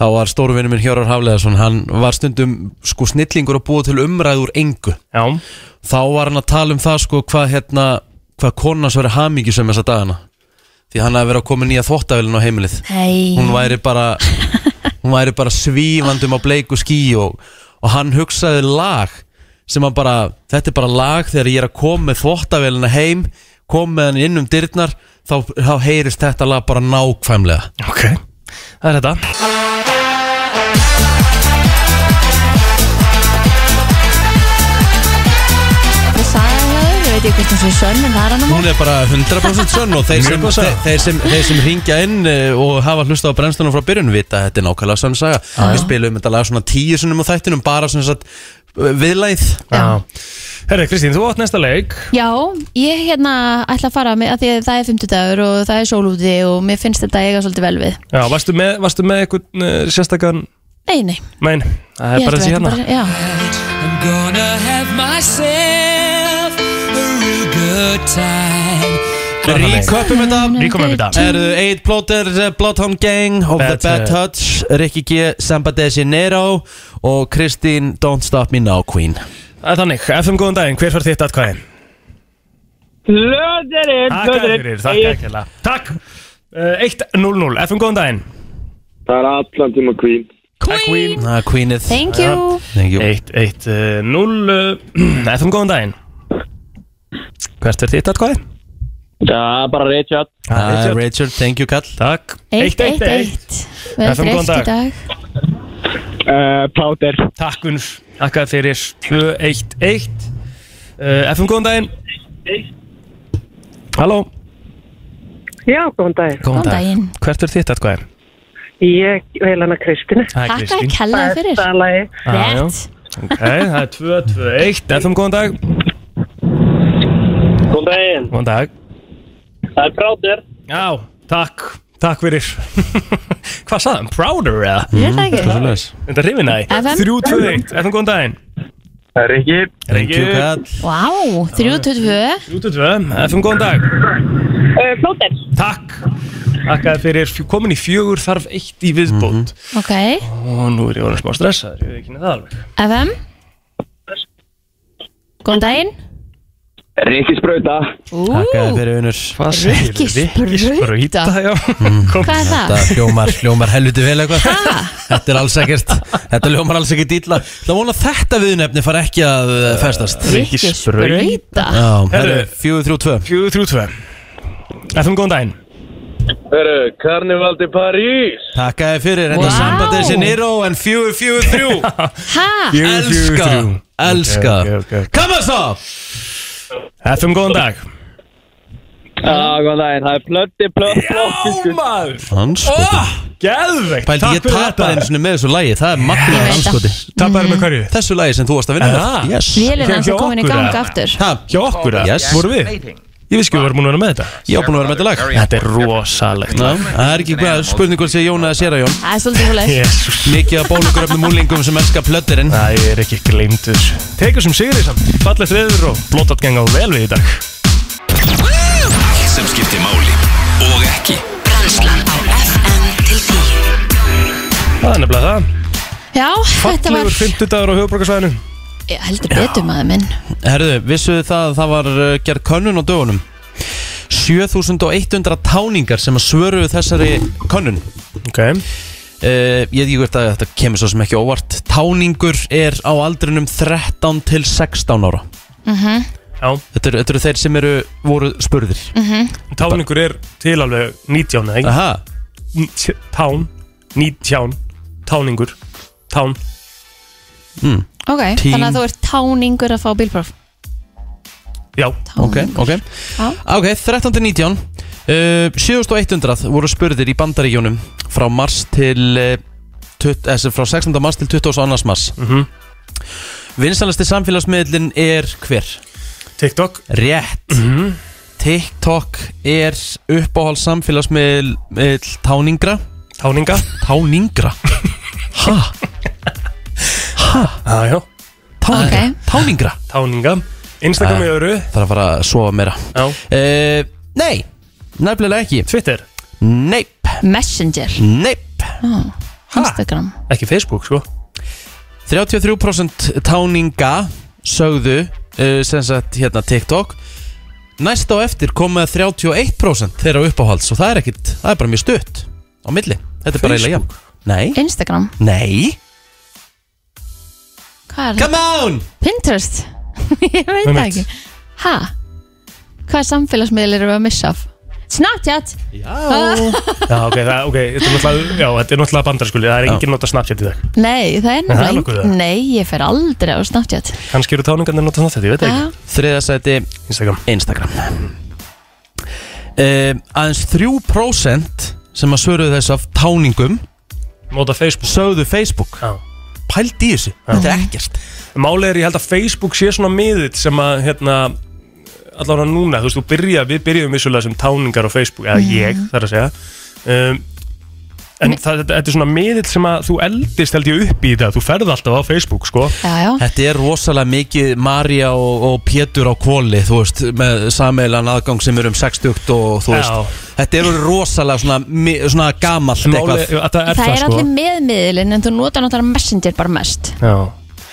[SPEAKER 2] þá var stóruvinni minn Hjörvar Hafleðarsson, hann var stundum sko snillingur að búa til umræð úr engu.
[SPEAKER 4] Já,
[SPEAKER 2] Þá var hann að tala um það sko hvað hérna, hvað konans verið hamingisum þessa dagana. Því hann hafði verið að koma nýja þvóttavélin á heimilið hún
[SPEAKER 3] Nei,
[SPEAKER 2] væri bara hún væri bara svífandum á bleiku skí og, og hann hugsaði lag sem hann bara, þetta er bara lag þegar ég er að koma með þvóttavélina heim koma með hann inn um dyrnar þá, þá heyrist þetta lag bara nákvæmlega
[SPEAKER 4] ok Það er þetta
[SPEAKER 3] svo sönnum var hann
[SPEAKER 2] Hún er bara 100% sönn og þeir sem,
[SPEAKER 4] Mjög
[SPEAKER 2] þeir,
[SPEAKER 4] satt.
[SPEAKER 2] þeir sem, þeir sem ringja inn eh, og hafa hlusta á brennstunum frá byrjun vita að þetta er nákvæmlega sönn saga Við spilum þetta lag svona tíu sunnum á þættinum bara sem sagt eh, viðlagið
[SPEAKER 3] Já.
[SPEAKER 4] Herri, Kristín, þú átt næsta leik
[SPEAKER 3] Já, ég hérna ætla að fara með, að því að það er fimmtudagur og það er sól úti og mér finnst þetta eiga svolítið vel við
[SPEAKER 4] Já, varstu með, varstu með einhvern uh, sérstakann
[SPEAKER 3] Nei, nei,
[SPEAKER 4] Nein, það er
[SPEAKER 3] ég held
[SPEAKER 4] bara þessi
[SPEAKER 3] að
[SPEAKER 4] hérna
[SPEAKER 3] þetta bara, já,
[SPEAKER 12] I'm gonna have myself a real good time
[SPEAKER 4] Ríköpum þetta Ríköpum þetta
[SPEAKER 2] Erðu Eid Plóter, Bloodhound Gang of the
[SPEAKER 4] Bad
[SPEAKER 2] Bad Touch, Ricky G, Samba de Janeiro og Kristín Don't Stop Me Now Queen
[SPEAKER 4] Það er þannig, FM góðan daginn, hver fær þitt atkvæði?
[SPEAKER 5] Blöðurinn,
[SPEAKER 4] Takk fyrir, takk ekki Takk Eh, 1-0-0, FM góðan daginn
[SPEAKER 10] Það er allan tíma kvín
[SPEAKER 4] Queen eh,
[SPEAKER 2] ah, Queenið
[SPEAKER 3] thank you
[SPEAKER 2] Thank you.
[SPEAKER 4] 1-1-0 (clears throat) FM eh, góðan daginn Hvert er þitt atkvæði?
[SPEAKER 10] Já, bara Richard
[SPEAKER 2] Ah, Richard, thank you kall
[SPEAKER 4] Takk 1-1-1
[SPEAKER 3] 1-1-1 Vel
[SPEAKER 4] FM, góðan
[SPEAKER 3] dreift í
[SPEAKER 4] dag.
[SPEAKER 3] dag
[SPEAKER 10] uh, Pláter
[SPEAKER 4] Takk Unnur, takk að fyrir 2-1-1 uh, FM góðan daginn Halló
[SPEAKER 5] Já, góðan daginn.
[SPEAKER 3] Góðan daginn
[SPEAKER 4] Hvert er þitt atkvæði?
[SPEAKER 5] Ég vil hana Kristina.
[SPEAKER 3] Takk að kella þið fyrir
[SPEAKER 5] Besta lagi.
[SPEAKER 4] Já, Ah, já.
[SPEAKER 3] Rétt
[SPEAKER 4] Ok, það er 2-2-1 FM góðan dag
[SPEAKER 10] Góðan daginn
[SPEAKER 4] Góðan dag
[SPEAKER 10] Það er Pláter
[SPEAKER 4] Já, takk, takk fyrir (laughs) Hvað sagðan? Prouder eða?
[SPEAKER 3] Ég er það ekki
[SPEAKER 4] Þetta hrifin aði
[SPEAKER 3] FM.
[SPEAKER 4] 3-2-1 FM góðan daginn
[SPEAKER 10] Það er Rikki
[SPEAKER 2] Thank you kall
[SPEAKER 3] Vá, 3-2-2
[SPEAKER 4] 3-2 FM góðan dag
[SPEAKER 6] Uh, Flóter.
[SPEAKER 4] Takk Takk að fyrir komin í fjögur þarf eitt í viðbót
[SPEAKER 3] Ok,
[SPEAKER 4] Og nú er ég orðin smá stressaður, ég veit ekki neða það alveg
[SPEAKER 3] FM Góðan daginn
[SPEAKER 10] Rikki sprauta
[SPEAKER 2] Takk að þið
[SPEAKER 3] Ú,
[SPEAKER 2] fyrir unur
[SPEAKER 4] Hvað segirðu?
[SPEAKER 3] Ríkisbrauta?
[SPEAKER 4] Ríkisbrauta, já
[SPEAKER 3] hvað er það?
[SPEAKER 2] Þetta hljómar, hljómar helviti vel eitthvað Þetta er alls ekkert Þetta hljómar alls ekkert illa Það vona að þetta viðnefni far ekki að eh, festast
[SPEAKER 3] Ríkisbrauta
[SPEAKER 2] Já, það er 432
[SPEAKER 4] Fjögur þrjú tvö FM góðan daginn
[SPEAKER 13] Herru, Carnival de Paris
[SPEAKER 2] Takk að þið fyrir Þetta
[SPEAKER 3] Wow.
[SPEAKER 2] wow. sambandið sér nýró en 443
[SPEAKER 3] Ha,
[SPEAKER 2] Elska, elska
[SPEAKER 4] Ok, ok, ok.
[SPEAKER 2] Come on stop
[SPEAKER 4] FM góðan dag
[SPEAKER 10] Já, góðan daginn Það er Plötti Plötti
[SPEAKER 4] Já maður
[SPEAKER 2] Hanskoti
[SPEAKER 4] Geðveikt
[SPEAKER 2] Pældi, ég
[SPEAKER 4] Ah, Takk fyrir
[SPEAKER 2] tapaði Mhm.
[SPEAKER 4] þetta.
[SPEAKER 2] eins og með þessu lægi Það er magnað
[SPEAKER 3] Ég veit það.
[SPEAKER 2] hanskoti
[SPEAKER 4] Tapaði með hverju?
[SPEAKER 2] Þessu lægi sem þú varst að vinna
[SPEAKER 4] Er
[SPEAKER 2] með.
[SPEAKER 4] það?
[SPEAKER 2] Yes
[SPEAKER 3] vélina hans
[SPEAKER 4] Hjá-
[SPEAKER 3] er
[SPEAKER 4] hjá
[SPEAKER 3] komin í
[SPEAKER 4] okkur,
[SPEAKER 3] gang
[SPEAKER 4] eða?
[SPEAKER 3] aftur
[SPEAKER 2] Ha,
[SPEAKER 4] Ah. Hjá okkur eða?
[SPEAKER 2] Yes.
[SPEAKER 4] Voru við? Ég vissi ekki að við vorum búin að vera með þetta
[SPEAKER 2] Ég var búin að vera með þetta lag
[SPEAKER 4] Þetta er rosalegt
[SPEAKER 2] Ná, Það er ekki hvað spurning hvort sé Jón eða Sera Jón
[SPEAKER 3] Það er svolítið fólk
[SPEAKER 4] Jésús
[SPEAKER 2] Mikið af bólugröfnum úlingum sem elska plötterinn
[SPEAKER 4] Það er ekki gleymdur Tekur sem sigri samt Fallið þriður og blótat geng á vel við í dag
[SPEAKER 12] Allt sem skiptir máli og ekki
[SPEAKER 14] Brennslan á FM til 10
[SPEAKER 4] Það er nefnilega það
[SPEAKER 3] Já, þetta var
[SPEAKER 4] Fallegur 50 dagur á höfuborgarsvæðinu
[SPEAKER 3] Ég heldur betur maður minn
[SPEAKER 2] Herðu, vissuðu það að það var uh, gerð könnun á dögunum 7100 táningar sem að svöruðu þessari könnun
[SPEAKER 4] Ok
[SPEAKER 2] uh, Ég veit ekki hvert að þetta kemur svo sem ekki óvart Táningur er á aldrinum 13 til 16 ára
[SPEAKER 4] Já
[SPEAKER 2] Þetta eru, þetta eru þeir sem eru voru spurðir
[SPEAKER 4] Táningur er til alveg 19 eða ekki?
[SPEAKER 2] Aha,
[SPEAKER 4] Nítj- Tán 19 Táningur Tán
[SPEAKER 3] Ok,
[SPEAKER 2] Teen.
[SPEAKER 3] þannig að þú ert táningur að fá bílpróf
[SPEAKER 4] Já
[SPEAKER 2] ok,
[SPEAKER 3] Táningur
[SPEAKER 2] ok Ok, 13 til 19 uh, 7100 voru spurðir í bandaríkjónum frá mars til uh, 20, eh, sem frá 16. mars til 22. mars mm -hmm. Vinsalasti samfélagsmiðlinn er hver?
[SPEAKER 4] TikTok
[SPEAKER 2] Rétt TikTok er uppáhald samfélagsmiðl miðl táningra
[SPEAKER 4] Táninga
[SPEAKER 2] Táningra? Ha?
[SPEAKER 4] Já já
[SPEAKER 2] Táningra?
[SPEAKER 3] Ok.
[SPEAKER 2] Táningra?
[SPEAKER 4] Táninga Instagram í öru
[SPEAKER 2] Það er að fara að sofa meira
[SPEAKER 4] Já
[SPEAKER 2] uh, Nei, nefnilega ekki
[SPEAKER 4] Twitter
[SPEAKER 2] Neip,
[SPEAKER 3] Messenger
[SPEAKER 2] neip
[SPEAKER 3] Instagram
[SPEAKER 4] Ekki Facebook sko
[SPEAKER 2] 33% táninga sögðu uh, sem sagt hérna TikTok næst á eftir kom með 31% þeirra uppáhalds og það er ekkit það er bara mjög stutt á milli þetta er bara eiginlega jafn. Nei,
[SPEAKER 3] Instagram
[SPEAKER 2] nei,
[SPEAKER 3] Hvað er það?
[SPEAKER 2] come on
[SPEAKER 3] Pinterest (laughs) Ég veit það
[SPEAKER 4] Einmitt.
[SPEAKER 3] ekki Ha? Hvað samfélagsmiðlir eru að missa af? Snapchat
[SPEAKER 2] Já
[SPEAKER 4] Já, ok, það, ok, þetta er náttúrulega, já, þetta er náttúrulega bandarskuli, það er enginn nota Snapchat í dag.
[SPEAKER 3] Nei, það er
[SPEAKER 4] Það er
[SPEAKER 3] nefnilega
[SPEAKER 4] nokkuð
[SPEAKER 3] engin-
[SPEAKER 4] það.
[SPEAKER 3] Nei, ég fer aldrei á Snapchat
[SPEAKER 4] Kannski eru táningarnir nota Snapchat, ég veit það
[SPEAKER 3] Já.
[SPEAKER 4] ekki.
[SPEAKER 2] Þriða sæti
[SPEAKER 4] Instagram.
[SPEAKER 2] Instagram um, Aðeins 3% sem að svöruðu þess af táningum
[SPEAKER 4] Nota Facebook.
[SPEAKER 2] Sögðu Facebook
[SPEAKER 4] Já.
[SPEAKER 2] Pælt í þessu, þetta er ekkert.
[SPEAKER 4] Málið er, ég held að Facebook sé svona miðill sem að, hérna, allavega núna, þú veist, þú byrja, við byrjum vissulega sem táningar á Facebook, eða
[SPEAKER 3] Mhm.
[SPEAKER 4] ég, þar að segja. Um, en það, þetta, þetta er svona miðill sem að þú eldist held ég upp í þetta, þú ferð alltaf á Facebook, sko.
[SPEAKER 3] Já, já
[SPEAKER 2] Þetta er rosalega mikið Marja og, og Pétur á kvóli Þú veist, með sameilan aðgang sem er um 60 og þú veist
[SPEAKER 4] Já.
[SPEAKER 2] Þetta er rosalega svona, mi- svona gamalt
[SPEAKER 4] Málið,
[SPEAKER 2] eitthvað
[SPEAKER 4] að það er það,
[SPEAKER 3] er
[SPEAKER 4] sko.
[SPEAKER 3] allir meðmiðlinn en þú notar náttúrulega Messenger bara mest
[SPEAKER 4] Já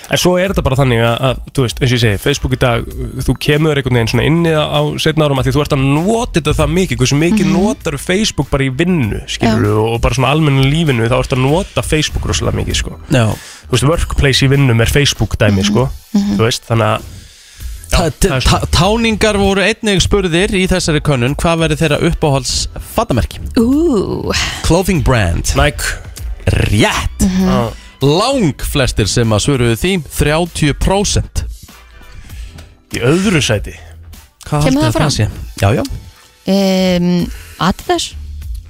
[SPEAKER 4] En svo er þetta bara þannig að, að, þú veist, eins og ég segi, Facebook í dag, þú kemur einhvern veginn svona inni á, á setna árum að því þú ert að nota þetta það mikið, hversu mikið mm notar Facebook bara í vinnu, skilur og bara svona almennu lífinu, þá ert að nota Facebook rosalega mikið, sko.
[SPEAKER 2] Já
[SPEAKER 4] Þú veist, workplace í vinnum er Facebook dæmi, sko, þú veist, þannig að,
[SPEAKER 2] Já,
[SPEAKER 4] það er svona.
[SPEAKER 2] Táningar voru einnig spurðir í þessari könnun Hvað verður þeirra uppáhalds fatamerki?
[SPEAKER 3] Ú,
[SPEAKER 2] Clothing brand
[SPEAKER 4] Nike,
[SPEAKER 2] Rétt
[SPEAKER 4] mm
[SPEAKER 2] Lang flestir sem að svöruðu því 30%
[SPEAKER 4] í öðru sæti,
[SPEAKER 2] Hvað
[SPEAKER 3] Kemur
[SPEAKER 2] haldið
[SPEAKER 3] það fram?
[SPEAKER 2] sé? Já, já
[SPEAKER 3] um, Adidas,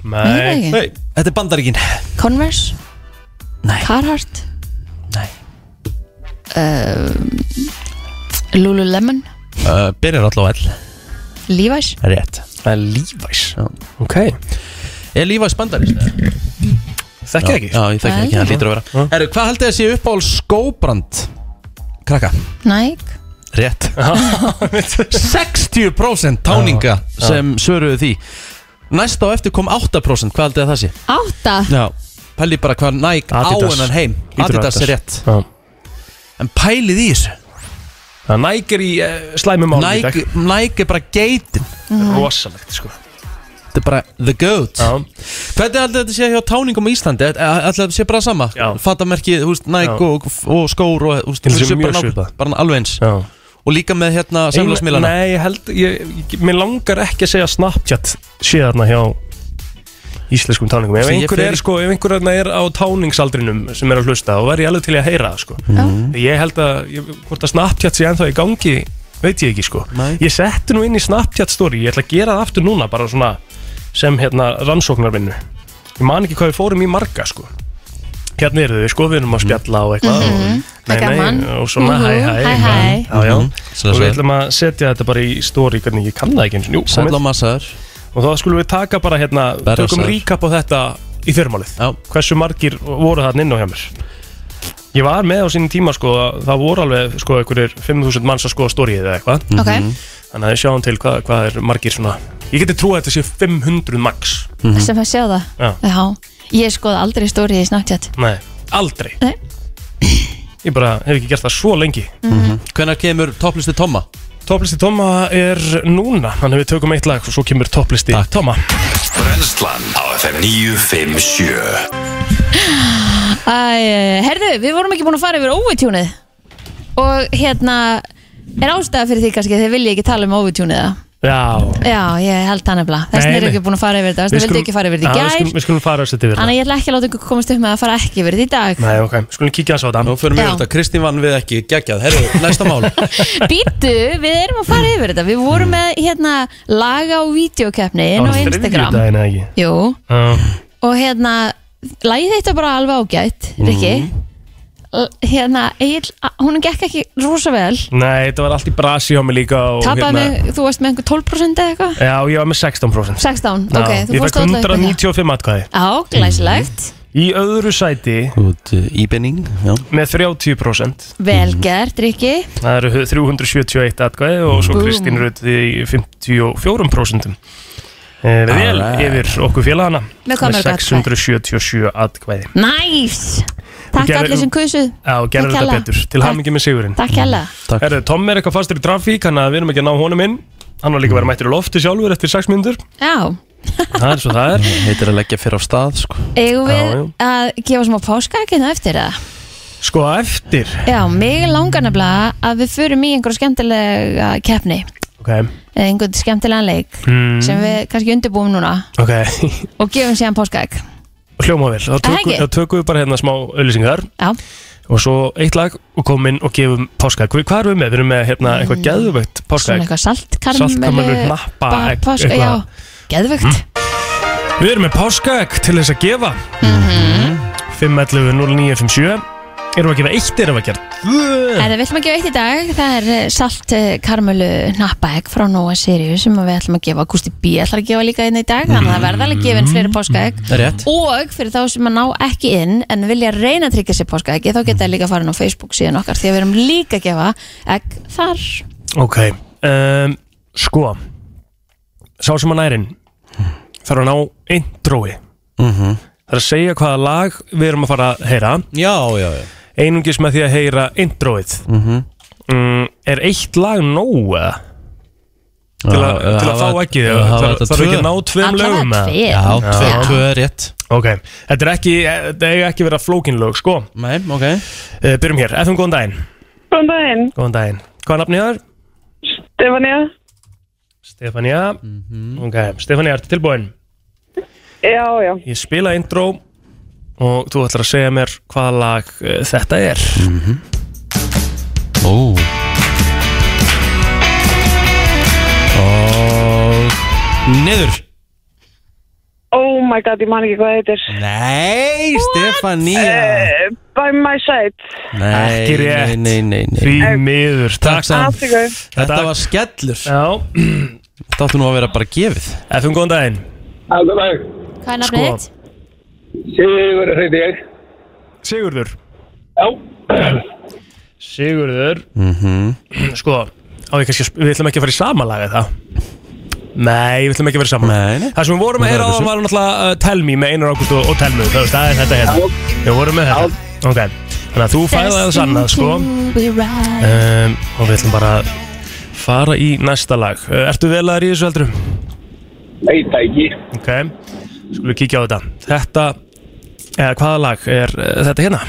[SPEAKER 3] Nei,
[SPEAKER 4] nei,
[SPEAKER 3] það
[SPEAKER 4] nei,
[SPEAKER 3] er
[SPEAKER 2] Þetta er bandaríkin
[SPEAKER 3] Converse
[SPEAKER 2] Nei.
[SPEAKER 3] Carhartt
[SPEAKER 2] Nei
[SPEAKER 3] Lululemon,
[SPEAKER 2] uh, Byrjar allavega all
[SPEAKER 3] Levi's
[SPEAKER 2] Rétt
[SPEAKER 4] það er Levi's,
[SPEAKER 2] Já.
[SPEAKER 4] ok,
[SPEAKER 2] Er lífæs bandaríkin?
[SPEAKER 4] þekki ekki,
[SPEAKER 2] Já, ég þekki
[SPEAKER 3] Nei.
[SPEAKER 2] ekki, það lítur að vera
[SPEAKER 4] Já.
[SPEAKER 2] Herru, hvað haldið þið að sé uppáhalds skóbrand? Krakka
[SPEAKER 3] Nike
[SPEAKER 2] Rétt 60% táninga sem svöruðu því Næst á eftir kom 8% Hvað haldið þið að það sé?
[SPEAKER 3] Átta
[SPEAKER 2] Já, pæli bara hvað Nike á
[SPEAKER 4] Adidas.
[SPEAKER 2] hennan heim
[SPEAKER 4] Hlýtur að
[SPEAKER 2] Adidas er rétt
[SPEAKER 4] Já.
[SPEAKER 2] En pælið í þessu
[SPEAKER 4] Það er Nike er í uh, slæmum álum í dag,
[SPEAKER 2] Nike, Nike er bara geitin
[SPEAKER 4] rosalegt, sko.
[SPEAKER 2] Þetta er bara the goat
[SPEAKER 4] Já.
[SPEAKER 2] Hvernig ætlaði þetta sé hjá táningum í Íslandi? Ætlaði þetta sé bara sama?
[SPEAKER 4] Já.
[SPEAKER 2] Fatamerki, húst, Nike
[SPEAKER 4] Já.
[SPEAKER 2] og, og skór og húst,
[SPEAKER 4] Ég held að sé
[SPEAKER 2] bara,
[SPEAKER 4] mjög
[SPEAKER 2] nák-
[SPEAKER 4] svipað.
[SPEAKER 2] bara alveg eins
[SPEAKER 4] Já.
[SPEAKER 2] Og líka með hérna samfélagsmiðlana
[SPEAKER 4] Nei, ég held, ég, ég, mér langar ekki að segja Snapchat sé þarna hjá íslenskum táningum ef
[SPEAKER 2] Sem ég
[SPEAKER 4] einhver,
[SPEAKER 2] fer
[SPEAKER 4] er,
[SPEAKER 2] í-
[SPEAKER 4] sko, ef einhver þarna er á táningsaldrinum sem er að hlusta þá væri ég alveg til í að heyra það sko.
[SPEAKER 2] Mm.
[SPEAKER 4] ég held að, ég, hvort að Snapchat sé ennþá í gangi veit ég ekki sko
[SPEAKER 2] Nei.
[SPEAKER 4] ég setti nú inn í Snapchat story, ég ætla að gera það aftur núna bara svona sem hérna rannsóknarvinnu ég man ekki hvað við fórum í marga sko hérna eru þau sko, við erum að spjalla og eitthvað mm -hmm. og,
[SPEAKER 3] Mhm. Það er gaman.
[SPEAKER 4] og svona
[SPEAKER 3] Mhm,
[SPEAKER 4] hæ hæ
[SPEAKER 3] hæ,
[SPEAKER 4] eitthvað.
[SPEAKER 3] hæ.
[SPEAKER 4] Já, já.
[SPEAKER 2] Mhm. Svo
[SPEAKER 4] og við
[SPEAKER 2] svo.
[SPEAKER 4] ætlum að setja þetta bara í story hvernig ég kann það ekki eins og njú,
[SPEAKER 2] Sæll
[SPEAKER 4] komið.
[SPEAKER 2] og massaður
[SPEAKER 4] og þá skulum við taka bara hérna
[SPEAKER 2] Berra
[SPEAKER 4] tökum
[SPEAKER 2] sæll.
[SPEAKER 4] recap á þetta í fyrrmálið
[SPEAKER 2] Já.
[SPEAKER 4] hversu margir voru þarna inn á hjá mér ég var með á sínum tíma sko, að það voru alveg sko einhverjir 5.000 manns að skoða storyið eða eitthvað
[SPEAKER 2] Mm.
[SPEAKER 3] Ok,
[SPEAKER 4] þannig að við sjáum til hvað, hvað er margir svona ég geti trúið að þetta sé 500 max
[SPEAKER 3] sem að sjá það
[SPEAKER 4] Já.
[SPEAKER 3] Já, ég skoði aldrei stórið í Snapchat
[SPEAKER 4] nei, aldrei
[SPEAKER 3] Nei.
[SPEAKER 4] ég bara hef ekki gert það svo lengi
[SPEAKER 2] Hvenær kemur topplisti Tomma?
[SPEAKER 4] topplisti Toma er núna þannig að við tökum eitt lag og svo kemur topplisti Toma
[SPEAKER 1] Brennslan á FM 957
[SPEAKER 3] Æ, herðu, við vorum ekki búin að fara yfir óvitjúnið og hérna er ástæða fyrir því kannski að þið vilja ekki tala um óvitjúnið það?
[SPEAKER 4] já
[SPEAKER 3] Já, ég held það nefnilega þess vegna
[SPEAKER 4] Nei,
[SPEAKER 3] er
[SPEAKER 4] nei.
[SPEAKER 3] ekki búin að fara yfir þetta þess vegna vildi ekki fara yfir þetta
[SPEAKER 4] Já, við
[SPEAKER 3] í
[SPEAKER 4] skulum,
[SPEAKER 3] gær
[SPEAKER 4] við skulum fara þessi yfir
[SPEAKER 3] þannig
[SPEAKER 4] það
[SPEAKER 3] að ég ætla ekki að láta ykkur komast upp með að fara ekki yfir þetta í dag
[SPEAKER 4] Nei, ok, við skulum kíkja þessi á
[SPEAKER 2] Nú
[SPEAKER 4] þetta
[SPEAKER 2] fyrir mér
[SPEAKER 3] Já.
[SPEAKER 2] þetta, Kristín vann við ekki, geggjað Herru, næsta
[SPEAKER 4] (laughs)
[SPEAKER 2] mál
[SPEAKER 3] Býtu, við erum að fara yfir þetta Við vorum með hérna laga og vídeokeppni inn á Instagram
[SPEAKER 4] Það var þriðjudaginn, eða ekki
[SPEAKER 3] Jú,
[SPEAKER 4] Já.
[SPEAKER 3] og hérna lagið þetta bara alveg ágætt, Rikki
[SPEAKER 4] Mhm.
[SPEAKER 3] L- Hérna, Egil, hún gekk ekki rosa vel
[SPEAKER 4] Nei, þetta var allt í brasi hjá mig líka og hérna-
[SPEAKER 3] Tapaði mig, þú varst með einhver 12% eða eitthvað
[SPEAKER 4] Já, ég var með 16%
[SPEAKER 3] 16,
[SPEAKER 4] Já,
[SPEAKER 3] ok, þú
[SPEAKER 4] Ég
[SPEAKER 3] fórst
[SPEAKER 4] fekk Mhm.
[SPEAKER 3] alltaf upp með það
[SPEAKER 4] 195 atkvæði
[SPEAKER 3] Já, glæsilegt,
[SPEAKER 4] Í öðru sæti
[SPEAKER 2] Út íbenning, já
[SPEAKER 4] með 30%
[SPEAKER 3] vel gert, Rikki
[SPEAKER 4] Það eru 371 atkvæði og svo
[SPEAKER 3] Búm.
[SPEAKER 4] Kristín Rutt í 54% Eh, Við vel
[SPEAKER 2] Alright.
[SPEAKER 4] yfir okkur félagana
[SPEAKER 3] Með hvað mörg atkvæði?
[SPEAKER 4] 677 atkvæði
[SPEAKER 3] Næs, takk
[SPEAKER 4] gerðum-
[SPEAKER 3] allir sem kusuð
[SPEAKER 4] Já, gerðu
[SPEAKER 3] Takk
[SPEAKER 4] þetta
[SPEAKER 3] hérlega.
[SPEAKER 4] betur Til
[SPEAKER 3] Takk.
[SPEAKER 4] hamingi með sigurinn
[SPEAKER 3] Takk hella
[SPEAKER 2] Takk
[SPEAKER 4] Herru, Tom er eitthvað fastur í trafík, hann að við erum ekki að ná honum inn Hann var líka að vera mættur í lofti sjálfur eftir 6 mínútur
[SPEAKER 3] Já,
[SPEAKER 4] Það er svo það er
[SPEAKER 2] Heitir að leggja fyrir á stað, sko
[SPEAKER 3] eigum við
[SPEAKER 4] Já,
[SPEAKER 3] að gefa smá páskakinu eftir það
[SPEAKER 4] Sko eftir
[SPEAKER 3] Já, mig langar nefnilega að við förum í einhverja skemmtilega keppni
[SPEAKER 4] Ok,
[SPEAKER 3] eða einhvern skemmtilegan leik
[SPEAKER 4] Mm.
[SPEAKER 3] sem við kannski undirbúum núna
[SPEAKER 4] ok
[SPEAKER 3] og gefum síðan páskaegg
[SPEAKER 4] Hljóma vel, þá tökum,
[SPEAKER 3] ekki?
[SPEAKER 4] þá tökum við bara hérna smá auðlýsingar
[SPEAKER 3] Já.
[SPEAKER 4] Og svo eitt lag og komum inn og gefum páskaegg Hvað hvað erum við með? Við erum með hérna eitthvað geðvögt
[SPEAKER 3] Mm. svona
[SPEAKER 4] páskaegg
[SPEAKER 3] eitthvað saltkarmelu
[SPEAKER 4] Saltkarmelu, hnappa,
[SPEAKER 3] ba-
[SPEAKER 4] egg,
[SPEAKER 3] páska-
[SPEAKER 4] eitthvað. Mm.
[SPEAKER 3] já, geðvögt
[SPEAKER 4] Við erum með páskaegg til þess að gefa mm
[SPEAKER 3] Mhm.
[SPEAKER 4] 511 0957 Erum við að gefa eitt, erum við að gera
[SPEAKER 3] En það villum Eh, að gefa eitt í dag, það er eh, salt eh, karmölu nappaegg frá Nóa Sirius sem að við ætlum að gefa, Gusti B ætlar að gefa líka inn í dag, þannig að það verða alveg
[SPEAKER 4] Mm.
[SPEAKER 3] gefin fleiri páskaegg
[SPEAKER 2] Rétt.
[SPEAKER 3] og fyrir þá sem að ná ekki inn en vilja reyna að tryggja sér páskaegg þá geta það líka farin á Facebook síðan okkar því að við erum líka að gefa egg þar
[SPEAKER 4] Ok, um, sko Sá sem að nærin þarf að ná introi
[SPEAKER 2] Mhm.
[SPEAKER 4] Það er að segja hvaða lag við erum að fara að heyra
[SPEAKER 2] Já, já, já
[SPEAKER 4] Einungis með því að heyra introið
[SPEAKER 2] Mhm.
[SPEAKER 4] mm, Er eitt lag nóg eða? Til, að,
[SPEAKER 2] Já,
[SPEAKER 4] til að fá
[SPEAKER 2] hafa-
[SPEAKER 4] ekki
[SPEAKER 2] já, hafa
[SPEAKER 4] Þarf
[SPEAKER 2] þetta
[SPEAKER 4] þarf ekki
[SPEAKER 2] tvö.
[SPEAKER 4] að ná tveim
[SPEAKER 2] Allavega
[SPEAKER 4] lögum eða?
[SPEAKER 2] tveir. Já, tveir, tvö er rétt
[SPEAKER 4] Ok, þetta er ekki, þetta eiga ekki að vera flókin lög, sko Eh,
[SPEAKER 2] Nei, ok
[SPEAKER 4] Byrjum hér, FM góðan daginn
[SPEAKER 6] Góðan daginn,
[SPEAKER 4] Góðan daginn, hvað er nafnið þar?
[SPEAKER 6] Stefania.
[SPEAKER 4] Stefania
[SPEAKER 2] Mhm.
[SPEAKER 4] Ok, Stefania, ertu tilbúin?
[SPEAKER 6] Já, já.
[SPEAKER 4] Ég spila intro og þú ætlar að segja mér hvaða lag uh, þetta er
[SPEAKER 2] Mhm. Ó
[SPEAKER 4] Og Niður
[SPEAKER 6] Oh my god, ég man ekki hvað þetta er.
[SPEAKER 2] Nei, Stefania
[SPEAKER 6] Eh, by my side.
[SPEAKER 2] Nei,
[SPEAKER 4] Ekki rétt.
[SPEAKER 2] Nei, nei, nei, nei.
[SPEAKER 4] Því miður, takk
[SPEAKER 2] samt
[SPEAKER 6] Afsakið.
[SPEAKER 2] Þetta var skellur
[SPEAKER 4] Já
[SPEAKER 2] Þetta áttu nú að vera bara gefið
[SPEAKER 4] FM góðan daginn
[SPEAKER 5] Alveg dag.
[SPEAKER 3] Hvað er nafnið
[SPEAKER 4] Sko.
[SPEAKER 3] þitt?
[SPEAKER 5] Sigur heiti ég.
[SPEAKER 4] Sigurður
[SPEAKER 5] Já.
[SPEAKER 4] Sigurður
[SPEAKER 2] Mhm.
[SPEAKER 4] Sko, á ég kannski, að sp- við ætlum ekki að fara í sama lag eða Nei, við ætlum ekki að vera saman
[SPEAKER 2] Nei, nei
[SPEAKER 4] Það sem við vorum að
[SPEAKER 2] Það er
[SPEAKER 4] heyra á
[SPEAKER 2] þessu.
[SPEAKER 4] var náttúrulega uh, Tell Me með Einar Ágúst og, og Tell Me þú veist, Það er þetta hérna Við vorum með þetta Ok, þannig að þú fæðaði það sannað sko um, Og við ætlum bara að fara í næsta lag uh, Ertu vel aðar í þessu heldur?
[SPEAKER 5] Veit það ekki.
[SPEAKER 4] Ok, skulum kíkja á þetta Þetta, eða hvaða lag er uh, þetta hérna?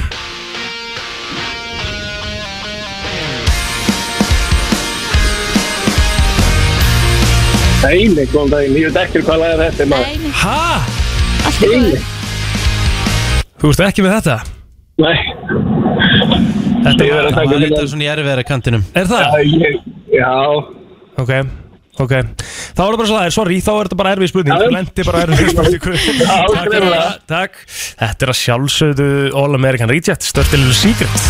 [SPEAKER 5] Nei, nei, góðan daginn. Ég veit ekki hvað lagar þetta er maður.
[SPEAKER 4] Ha?
[SPEAKER 3] Allt í góðu.
[SPEAKER 4] Þú veist ekki með þetta?
[SPEAKER 5] Nei.
[SPEAKER 4] Þetta
[SPEAKER 5] Ég verð að taka
[SPEAKER 2] Það
[SPEAKER 5] þetta.
[SPEAKER 2] leitaði svona í erfiðara kantinum
[SPEAKER 4] er það?
[SPEAKER 5] Já, ég- Já.
[SPEAKER 4] Ok, ok Þá er það bara svo það er, sorry, þá er þetta bara erfið spurning Þú lendi bara erfið spurningu (laughs) Takk fyrir
[SPEAKER 5] greinilega.
[SPEAKER 4] það, Takk Þetta er að sjálfsögðu All American Reject Störtilegur Secret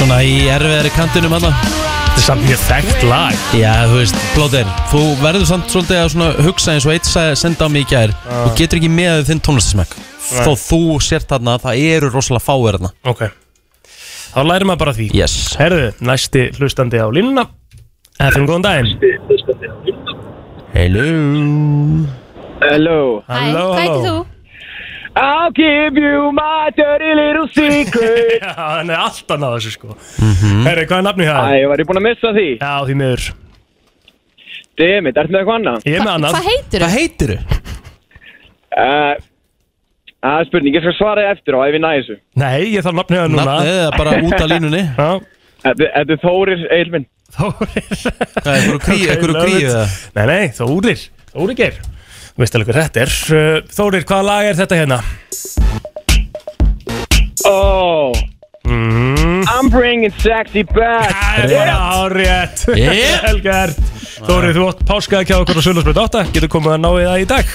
[SPEAKER 2] Svona í erfiðari kantinum hann
[SPEAKER 4] Þetta er samt mjög þekkt lag
[SPEAKER 2] Já, þú veist, Blóðir Þú verður samt svolítið að svona hugsa eins og eitt sagði- sendi á mig í gær Þú getur ekki með þinn tónlistasmekk Þó þú sért þarna að það eru rosalega fáir þarna
[SPEAKER 4] Ok Þá lærir maður bara því
[SPEAKER 2] Yes
[SPEAKER 4] Herðu, næsti hlustandi á línuna Efum góðan daginn
[SPEAKER 2] Hello
[SPEAKER 10] Hello
[SPEAKER 3] Hæ, hvað heitir þú?
[SPEAKER 10] I'll give you my dirty little secret
[SPEAKER 4] Já, hann er alltaf náða þessu sko
[SPEAKER 9] Mhm.
[SPEAKER 4] Herru, hvað er nafnið það?
[SPEAKER 10] Æ, var ég búinn að missa því?
[SPEAKER 4] Já, því miður
[SPEAKER 10] Demit, ertu með eitthvað annað?
[SPEAKER 4] Ég er með
[SPEAKER 3] Hva-
[SPEAKER 4] annað
[SPEAKER 3] Hvað heitir
[SPEAKER 2] Hvað
[SPEAKER 3] þú?
[SPEAKER 2] heitir þú?
[SPEAKER 10] Eh, Það er spurning, ég skal svara þér eftir á ef ég næði þessu
[SPEAKER 4] Nei, ég þarf nafnið það núna
[SPEAKER 2] Nafnið eða bara út af línunni
[SPEAKER 4] Já,
[SPEAKER 10] Þetta þetta er Þórir Eilminn
[SPEAKER 4] Þórir
[SPEAKER 2] Hvað er
[SPEAKER 4] Ok,
[SPEAKER 2] ekkur
[SPEAKER 4] love it.
[SPEAKER 2] gríð eða?
[SPEAKER 4] Nei, nei, Þórir Þórir Geir Þú veist alveg hvað þetta er Uh, Þórir, hvaða lag er þetta hérna?
[SPEAKER 10] Oh,
[SPEAKER 4] Mm.
[SPEAKER 10] I'm bringing sexy back
[SPEAKER 4] Árétt
[SPEAKER 2] Yep.
[SPEAKER 4] Helgert Þórir, þú átt páskaði kjá okkur á Sölursbröð 8 Getur komið að ná í það í dag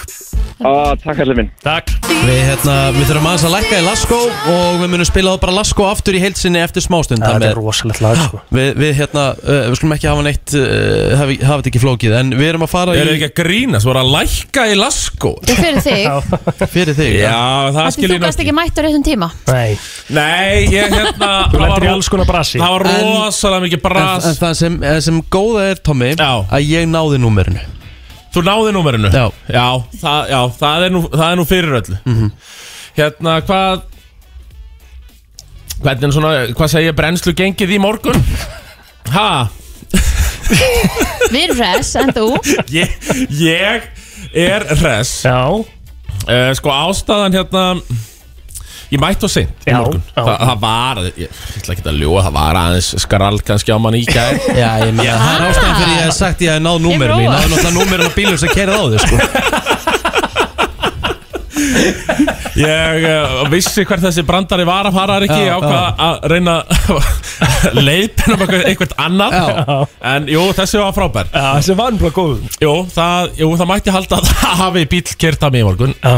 [SPEAKER 10] Ó, Ah, Takk allir minn
[SPEAKER 4] Takk
[SPEAKER 2] Við hérna, við þurfum aðeins að lækka í Lasko og við munum spila það bara Lasko aftur í heilsinni eftir smástund
[SPEAKER 4] Það
[SPEAKER 2] Þannig
[SPEAKER 4] er rosalegt lag sko
[SPEAKER 2] að við, við hérna, uh, við skulum ekki hafa neitt, uh, hafa, hafa þetta ekki flókið En við erum að fara
[SPEAKER 9] Ég er
[SPEAKER 2] í,
[SPEAKER 9] ekki að grína, þú voru að lækka í lasko
[SPEAKER 3] Þetta er fyrir
[SPEAKER 4] (laughs)
[SPEAKER 3] þig, af
[SPEAKER 2] fyrir þig
[SPEAKER 9] Já, það
[SPEAKER 3] því
[SPEAKER 9] skil
[SPEAKER 3] þú
[SPEAKER 9] ég
[SPEAKER 3] gast
[SPEAKER 9] nokkuð
[SPEAKER 3] ekki mætt á réttum tíma
[SPEAKER 4] Nei
[SPEAKER 9] Nei, ég hérna
[SPEAKER 4] Þú
[SPEAKER 9] það var-
[SPEAKER 4] lendir í alls konar brasi
[SPEAKER 9] Það var
[SPEAKER 2] En-
[SPEAKER 9] rosalega mikið
[SPEAKER 2] En, en
[SPEAKER 9] bras
[SPEAKER 2] það sem, eh, sem góða er, Tommy,
[SPEAKER 9] Já.
[SPEAKER 2] að ég náði númerinu
[SPEAKER 9] Þú náði númerinu
[SPEAKER 2] Já.
[SPEAKER 9] það, já það, er nú, það er nú fyrir öllu Hérna, hvað Hvernig svona, hvað segja brennslu gengið í morgun? Ha?
[SPEAKER 3] Við erum res, en
[SPEAKER 4] (laughs)
[SPEAKER 3] þú?
[SPEAKER 9] Ég, ég er Eh, res
[SPEAKER 4] Já
[SPEAKER 9] uh, Sko ástæðan hérna Ég mætti á seint í
[SPEAKER 2] Já,
[SPEAKER 9] morgun
[SPEAKER 2] já.
[SPEAKER 9] Þa, Það var, ég ég ætla ekki að ljóa Það var aðeins skrall kannski á manni í gæð
[SPEAKER 2] Já, ég meina, það er ástæðan fyrir ég hef sagt ég hef náð númerum mín, það er náttúrulega númerum á bílum sem kerið á þau, sko
[SPEAKER 9] (laughs) Ég uh, vissi hvert þessi brandari var að fara ekki
[SPEAKER 2] Já,
[SPEAKER 9] á hvað að reyna að (laughs) leiðbina um eitthvað- eitthvað annað
[SPEAKER 4] Já.
[SPEAKER 9] En jú, þessi var frábær
[SPEAKER 4] Já, þessi var nefnilega góð
[SPEAKER 9] Jú, það, jú, það mætti halda að það hafi bíl kert að mig í morgun
[SPEAKER 4] Já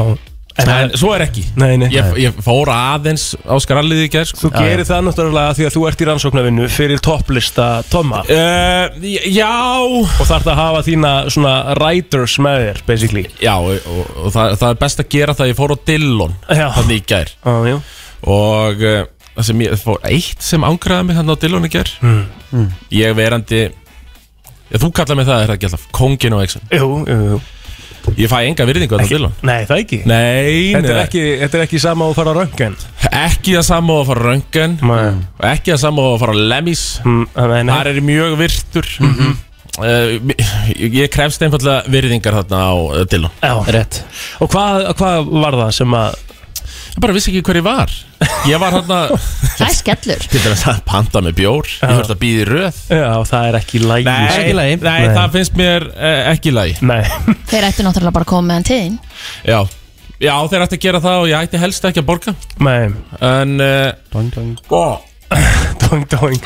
[SPEAKER 9] En, svo er ekki
[SPEAKER 4] Nei, nei
[SPEAKER 9] Ég, ég fór aðeins á skrallið í gæð sko.
[SPEAKER 4] Þú gerir það náttúrulega því að þú ert í rannsóknarvinnu fyrir topplista Tomma
[SPEAKER 9] uh,
[SPEAKER 4] Eh,
[SPEAKER 9] Já Og
[SPEAKER 4] þarf það að hafa þína svona riders með þér, basically
[SPEAKER 9] Já, og, og, og það, það er best að gera það Ég fór á Dillon Þannig í gær
[SPEAKER 4] ah,
[SPEAKER 9] Og uh, það sem ég, það fór eitt sem ángraði mig Þannig á Dillon í gær
[SPEAKER 4] Mm,
[SPEAKER 2] mm.
[SPEAKER 9] Ég verandi ég, Þú kallar mig það, er það ekki alltaf Kongin og Exxon
[SPEAKER 4] Jú, jú,
[SPEAKER 9] jú Ég fæ enga virðingu þarna á Dillon
[SPEAKER 4] Nei, það ekki
[SPEAKER 9] Nei,
[SPEAKER 4] Þetta er
[SPEAKER 9] nei.
[SPEAKER 4] ekki, þetta er ekki sama á að fara á röngan
[SPEAKER 9] Ekki það sama og að fara á röngan Og ekki það sama og að fara á Lemmys
[SPEAKER 4] mm,
[SPEAKER 9] Þar er ég mjög virtur mm
[SPEAKER 4] Mhm.
[SPEAKER 9] ég, ég krefst einfallega virðingar þarna á uh, Dillon
[SPEAKER 4] Já
[SPEAKER 2] Rétt
[SPEAKER 4] Og hvað, hvað var það sem að
[SPEAKER 9] Ég bara vissi ekki hver ég var Ég var hérna
[SPEAKER 3] Það er skellur
[SPEAKER 9] (laughs) Til dæmis að panta með bjór Ég höfði að býði röð
[SPEAKER 4] Já, það er ekki lægi
[SPEAKER 9] Nei,
[SPEAKER 2] Það er ekki í lagi.
[SPEAKER 9] nei,
[SPEAKER 2] Nei.
[SPEAKER 9] það finnst mér eh, ekki lægi
[SPEAKER 4] Nei (laughs)
[SPEAKER 3] Þeir ættu náttúrulega bara að koma meðan tíðin
[SPEAKER 9] Já, Já þeir ætti að gera það og ég ætti helst ekki að borga
[SPEAKER 4] Nei
[SPEAKER 9] En eh, Dang,
[SPEAKER 2] dang
[SPEAKER 9] Sko.
[SPEAKER 4] Dang, dang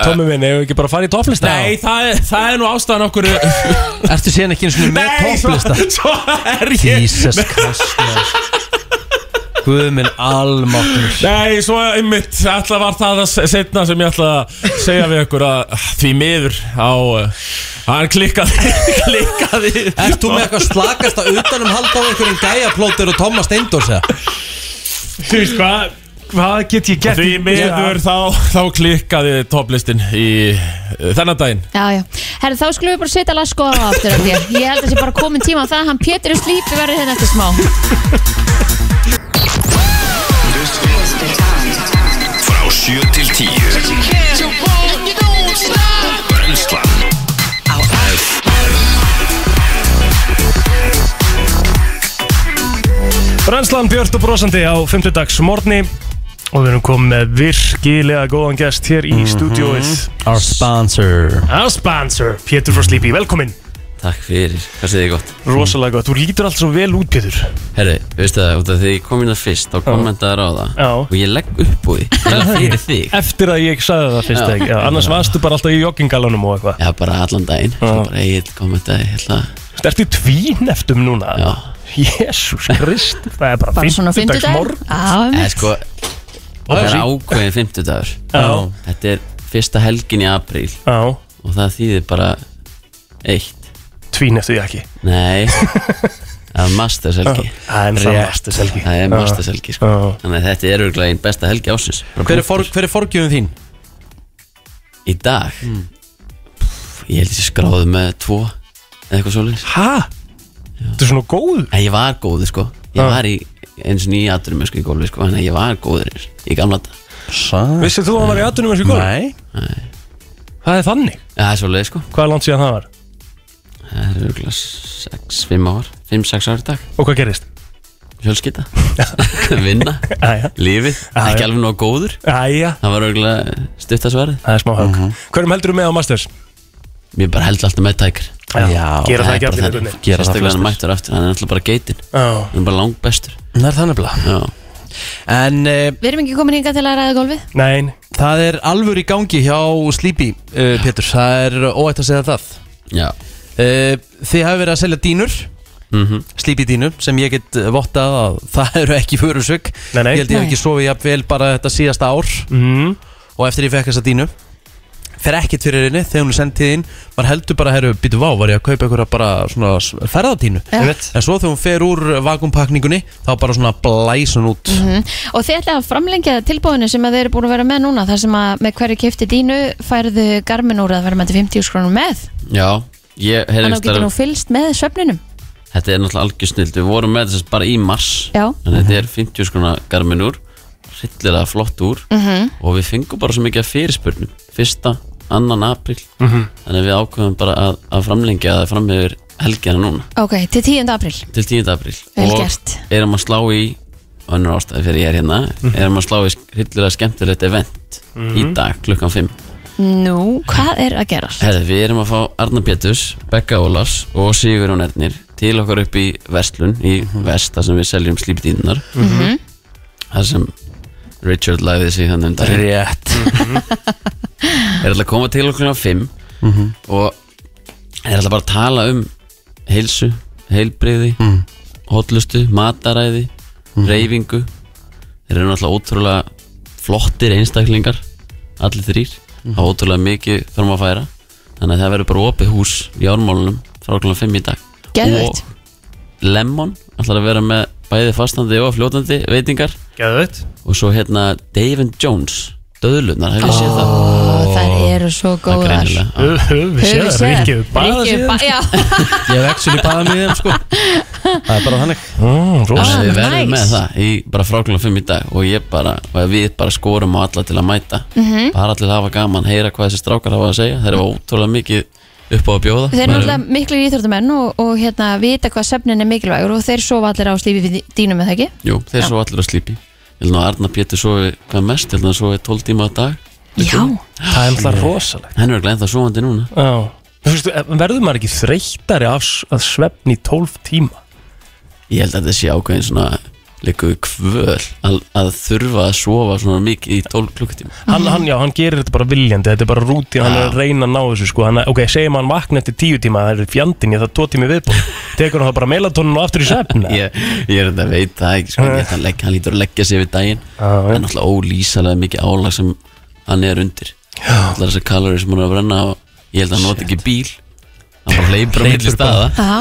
[SPEAKER 4] Tommi minn, hefur ekki bara farið í topplista
[SPEAKER 9] Nei, það er, það er nú ástæðan okkur (laughs)
[SPEAKER 2] Ertu síðan ekki eins og með
[SPEAKER 9] Nei, svo-
[SPEAKER 2] topplista?
[SPEAKER 9] svo er ég
[SPEAKER 2] Jesus Christ maður. Guð minn almáttur
[SPEAKER 9] (laughs) Nei, svo einmitt, alltaf var það að setna sem ég ætla að segja við ykkur að eh, því miður á uh, hann (laughs) klikkaði, klikkaði
[SPEAKER 2] Ert þú með eitthvað slakasta utanum halda á einhverjum gæjaplótir og Thomas Steindors eða?
[SPEAKER 4] Þú veist hvað Hvað get ég gert
[SPEAKER 9] Því miður þá, þá klikkaði topplistin í uh, þennan daginn
[SPEAKER 3] Já, já Herri, þá skulum við bara setja lasko á aftur af þér Ég held að sé bara komin tíma á það Hann Pétur í slípi verður hérna eftir smá
[SPEAKER 1] Frá 7 til 10 Brennslan Á
[SPEAKER 4] Brennslan Björn og brosandi á 5. dags morgni Og við erum komið með virkilega góðan gest hér í
[SPEAKER 8] Mhm.
[SPEAKER 4] mm
[SPEAKER 2] Our sponsor
[SPEAKER 4] Our sponsor, Pétur frá Sleepy, velkomin
[SPEAKER 8] Takk fyrir, hvað segir þið gott?
[SPEAKER 4] Rosalega gott, þú lítur allt svo vel út Pétur
[SPEAKER 8] Herru, veistu það, út af því ég kom inn að fyrst og kommentaði á það
[SPEAKER 4] Já.
[SPEAKER 8] og ég legg upp úr því
[SPEAKER 2] (laughs)
[SPEAKER 8] eiginlega (laughs) fyrir þig
[SPEAKER 4] Eftir að ég sagði það fyrst
[SPEAKER 8] Já.
[SPEAKER 4] ekki Já, Annars varstu bara alltaf í joggingalunum og eitthvað
[SPEAKER 8] Já, bara allan daginn, svo bara eigin kommentaði hérna
[SPEAKER 4] Ertu tvíneftum núna? Já Jésús Krist Það er bara,
[SPEAKER 3] Bara svona
[SPEAKER 4] fimmtudags
[SPEAKER 3] fimmtudagur.
[SPEAKER 4] morgun.
[SPEAKER 3] Já,
[SPEAKER 8] Eða
[SPEAKER 3] einmitt.
[SPEAKER 8] sko, það er
[SPEAKER 4] sí.
[SPEAKER 8] ákveðin fimmtudagur
[SPEAKER 4] Já.
[SPEAKER 8] Þetta er fyrsta helgin í apríl
[SPEAKER 4] Já
[SPEAKER 8] Og það þýðir bara eitt
[SPEAKER 4] Tvíneftu ég ekki
[SPEAKER 8] Nei, það er masterselgi
[SPEAKER 4] Já, það er náttúrulega mastershelgi.
[SPEAKER 8] Það
[SPEAKER 4] Já.
[SPEAKER 8] er masterselgi, sko Þannig að þetta er örgulega einn besta helgi ásins
[SPEAKER 2] Hver er, for, hver er forgjöfum þín?
[SPEAKER 8] Í dag
[SPEAKER 4] Hmm.
[SPEAKER 8] Pff, Ég held ég sé skráður með tvo Eða eitthvað svoleiðis
[SPEAKER 4] Hæ? Þetta er svona góð?
[SPEAKER 8] Ég var góður sko Ég
[SPEAKER 4] Já.
[SPEAKER 8] var í eins og nýja aturum sko, í gólfi sko Þannig að ég var góður eins í gamla dag
[SPEAKER 4] Vissið þú að hann var í atunum eins og góð? Nei Það er þannig
[SPEAKER 8] Það er svoleiðis sko
[SPEAKER 4] Hvað er langt síðan það var?
[SPEAKER 8] Það er örgulega 6-5 ár 5-6 ár í dag
[SPEAKER 4] Og hvað gerist? (laughs)
[SPEAKER 8] Hjölskytta Vinna Lífið Ekki alveg nóg góður
[SPEAKER 4] Æja
[SPEAKER 8] Það var örgulega stutt að svara
[SPEAKER 4] Það er smá högg Hverjum heldur þú með á Masters?
[SPEAKER 8] Mér bara heldur alltaf með tækir
[SPEAKER 4] Já, gera það ekki allir í rauninni.
[SPEAKER 8] Gera það flestir
[SPEAKER 2] flestir.
[SPEAKER 8] mættur aftur Hann er alltaf bara geitin
[SPEAKER 4] Já.
[SPEAKER 8] Hann er bara langbestur
[SPEAKER 2] Það er þannig blá
[SPEAKER 8] Já
[SPEAKER 2] En uh,
[SPEAKER 4] Eh.
[SPEAKER 3] Við erum ekki komin hingað til að ræða golfið
[SPEAKER 4] Nein
[SPEAKER 2] Það er alvöru í gangi hjá Sleepy, uh, Pétur Það er óætt að segja það
[SPEAKER 8] Já
[SPEAKER 2] uh, Þið hafi verið að selja dínur
[SPEAKER 8] Mhm.
[SPEAKER 2] Sleepy dínur Sem ég get eh, vottað að það (laughs) eru ekki förusök
[SPEAKER 4] Nei, nei.
[SPEAKER 2] Ég held ég hef
[SPEAKER 4] Nei.
[SPEAKER 2] ekki sofið jafnvel bara þetta síðasta ár
[SPEAKER 4] mm.
[SPEAKER 2] Og eftir ég fekk þessa dínu Fer ekkert fyrir henni þegar hún er sendið inn Var heldur bara, herru, býtu vá, var ég að kaupa einhverja bara svona s- ferðatínu
[SPEAKER 3] Já.
[SPEAKER 2] En svo þegar hún fer úr vakumpakningunni Þá bara svona blæs hún út
[SPEAKER 3] Mhm. Og þið ætlaði að framlengja tilbúðinu sem að þið eru búin að vera með núna þar sem að með hverju kefti dínu færðu garmin úr að vera með til 50 skrónum með
[SPEAKER 8] Já, ég heyrði
[SPEAKER 3] Þannig
[SPEAKER 8] einhvers
[SPEAKER 3] að þú getur
[SPEAKER 8] staðar-
[SPEAKER 3] nú fylst með svefninum
[SPEAKER 8] Þetta er náttúrulega algjör snild Við vorum með þess bara í mars
[SPEAKER 3] Já.
[SPEAKER 8] Þannig að þetta er 50 skrona garmin úr Rillilega flott úr
[SPEAKER 3] Mhm.
[SPEAKER 8] Og við fengum bara svo mikið af fyrirspurnum Fyrsta, annan april
[SPEAKER 4] Mhm.
[SPEAKER 8] Þannig að við ákveðum bara að, að framlengja Það fram yfir helgina núna
[SPEAKER 3] Ok, til 10. april
[SPEAKER 8] Til 10. april
[SPEAKER 3] Vel
[SPEAKER 8] Og
[SPEAKER 3] gert.
[SPEAKER 8] erum að slá í og önnur ástæði fyrir ég er hérna
[SPEAKER 3] Mhm.
[SPEAKER 8] erum að slá í sk- hryllilega skemmtilegt event í
[SPEAKER 3] Mhm.
[SPEAKER 8] dag klukkan 5
[SPEAKER 3] Nú, hvað er að gerast?
[SPEAKER 8] Herði, við erum að fá Arnar Péturs, Bekka Ólafs og Sigur og Nernir til okkar upp í Vestlun í Vest, þar sem við seljum slípdýnar
[SPEAKER 3] Mhm.
[SPEAKER 8] þar sem Richard lagði sig þannig um daginn
[SPEAKER 2] Rétt
[SPEAKER 8] Er alltaf að koma til okkur á 5
[SPEAKER 2] Mhm.
[SPEAKER 8] og er alltaf bara að tala um heilsu, heilbriði
[SPEAKER 2] Mhm.
[SPEAKER 8] hotlustu, mataræði reyfingu þeir eru náttúrulega ótrúlega flottir einstaklingar, allir þrýr
[SPEAKER 2] Mhm.
[SPEAKER 8] mm. hafa ótrúlega mikið þarfum að færa þannig að það verður bara opið hús í ármálunum frá okkur 5 í dag
[SPEAKER 3] Geðveikt.
[SPEAKER 8] og Lemon ætlar að vera með bæði fastandi og fljótandi veitingar
[SPEAKER 4] Geðveikt.
[SPEAKER 8] og svo hérna Dave and Jones döðlunar, hefur oh. séð það
[SPEAKER 3] Þær eru svo góðar
[SPEAKER 8] greinilega.
[SPEAKER 4] Höfum
[SPEAKER 3] Höfum við séð þær?
[SPEAKER 8] Rikki hefur baðað
[SPEAKER 3] Rikki
[SPEAKER 8] sig í
[SPEAKER 3] hefur
[SPEAKER 8] þeim,
[SPEAKER 3] ba- Já,
[SPEAKER 2] Ég hef actually baðað mig í þeim
[SPEAKER 3] (laughs)
[SPEAKER 2] sko Það er bara þannig
[SPEAKER 4] mm,
[SPEAKER 8] Þannig að við verðum
[SPEAKER 3] nice.
[SPEAKER 8] með það í bara fráklunum fimm í dag og ég bara, og við bara skorum á alla til að mæta
[SPEAKER 3] Mhm.
[SPEAKER 8] bara allir hafa gaman, heyra hvað þessi strákar hafa að segja þeir eru ótrúlega mikið upp á að bjóða
[SPEAKER 3] Þeir eru
[SPEAKER 8] Maður-
[SPEAKER 3] náttúrulega miklu íþróttamenn og, og hérna vita hvað svefnin er mikilvægur og þeir sofa allir á slífi fyrir dýnum með það ekki?
[SPEAKER 8] Jú, þeir svo allir að slípi Ég held nú að Arna Pétur sofi hvað mest, ég held að hann sofi 12 tíma á dag
[SPEAKER 3] Já
[SPEAKER 4] Það er alltaf rosalegt
[SPEAKER 8] Hann er ekki ennþá sofandi núna
[SPEAKER 4] Já Þú veist, verður maður ekki þreyttari af s- að svefni í 12 tíma?
[SPEAKER 8] Ég held að þetta sé ákveðin svona líku kvöl að, að þurfa að sofa svona mikið í 12 klukkutíma
[SPEAKER 4] Hann, hann, já, hann gerir þetta bara viljandi, þetta er bara rútín, hann er að reyna að ná þessu sko hann, Ok, segjum hann vakna eftir tíu tíma, það er fjandinn, ég það er tvo tími (laughs) viðbúin Tekur hann það bara melatonin og aftur í svefn
[SPEAKER 8] (laughs) ég, ég er þetta að veit það ekki sko, ég held að hann, legg, hann lítur að leggja sig við daginn það er náttúrulega ólýsalega mikið álag sem hann er undir allar þessar kalori sem hann er að brenna og ég held að hann noti ekki bíl hann bara hleypur á milli
[SPEAKER 2] Hleypur bara.
[SPEAKER 8] staða
[SPEAKER 3] Já,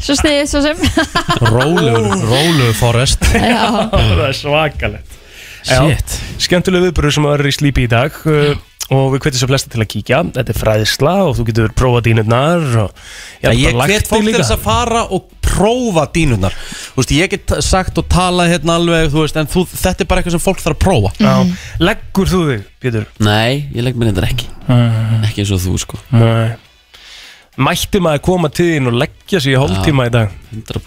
[SPEAKER 3] svo sniðið svo sem
[SPEAKER 8] (laughs)
[SPEAKER 2] Rólegur, rólegur forest
[SPEAKER 3] Já.
[SPEAKER 4] Það er svakalegt
[SPEAKER 2] Shit.
[SPEAKER 4] Skemmtileg viðbúru sem verður í slípi í dag uh, og við hvetjum svo flesta til að kíkja Þetta er fræðisla og þú getur prófað dýnurnar og
[SPEAKER 2] Já, ég
[SPEAKER 4] bara lagt
[SPEAKER 2] hvet
[SPEAKER 4] þig
[SPEAKER 2] fólk til
[SPEAKER 4] líka.
[SPEAKER 2] þess að fara og prófa dýnurnar Þú veist, ég get sagt og talað hérna alveg Þú veist, en þú, þetta er bara eitthvað sem fólk þarf að prófa
[SPEAKER 8] Mm.
[SPEAKER 4] Já, leggur þú þig, Pétur?
[SPEAKER 8] Nei, ég legg mér þetta ekki ekki eins og þú sko
[SPEAKER 4] Nei Mætti maður koma til þín og leggja sig í hálftíma í dag
[SPEAKER 8] 100%
[SPEAKER 4] Er það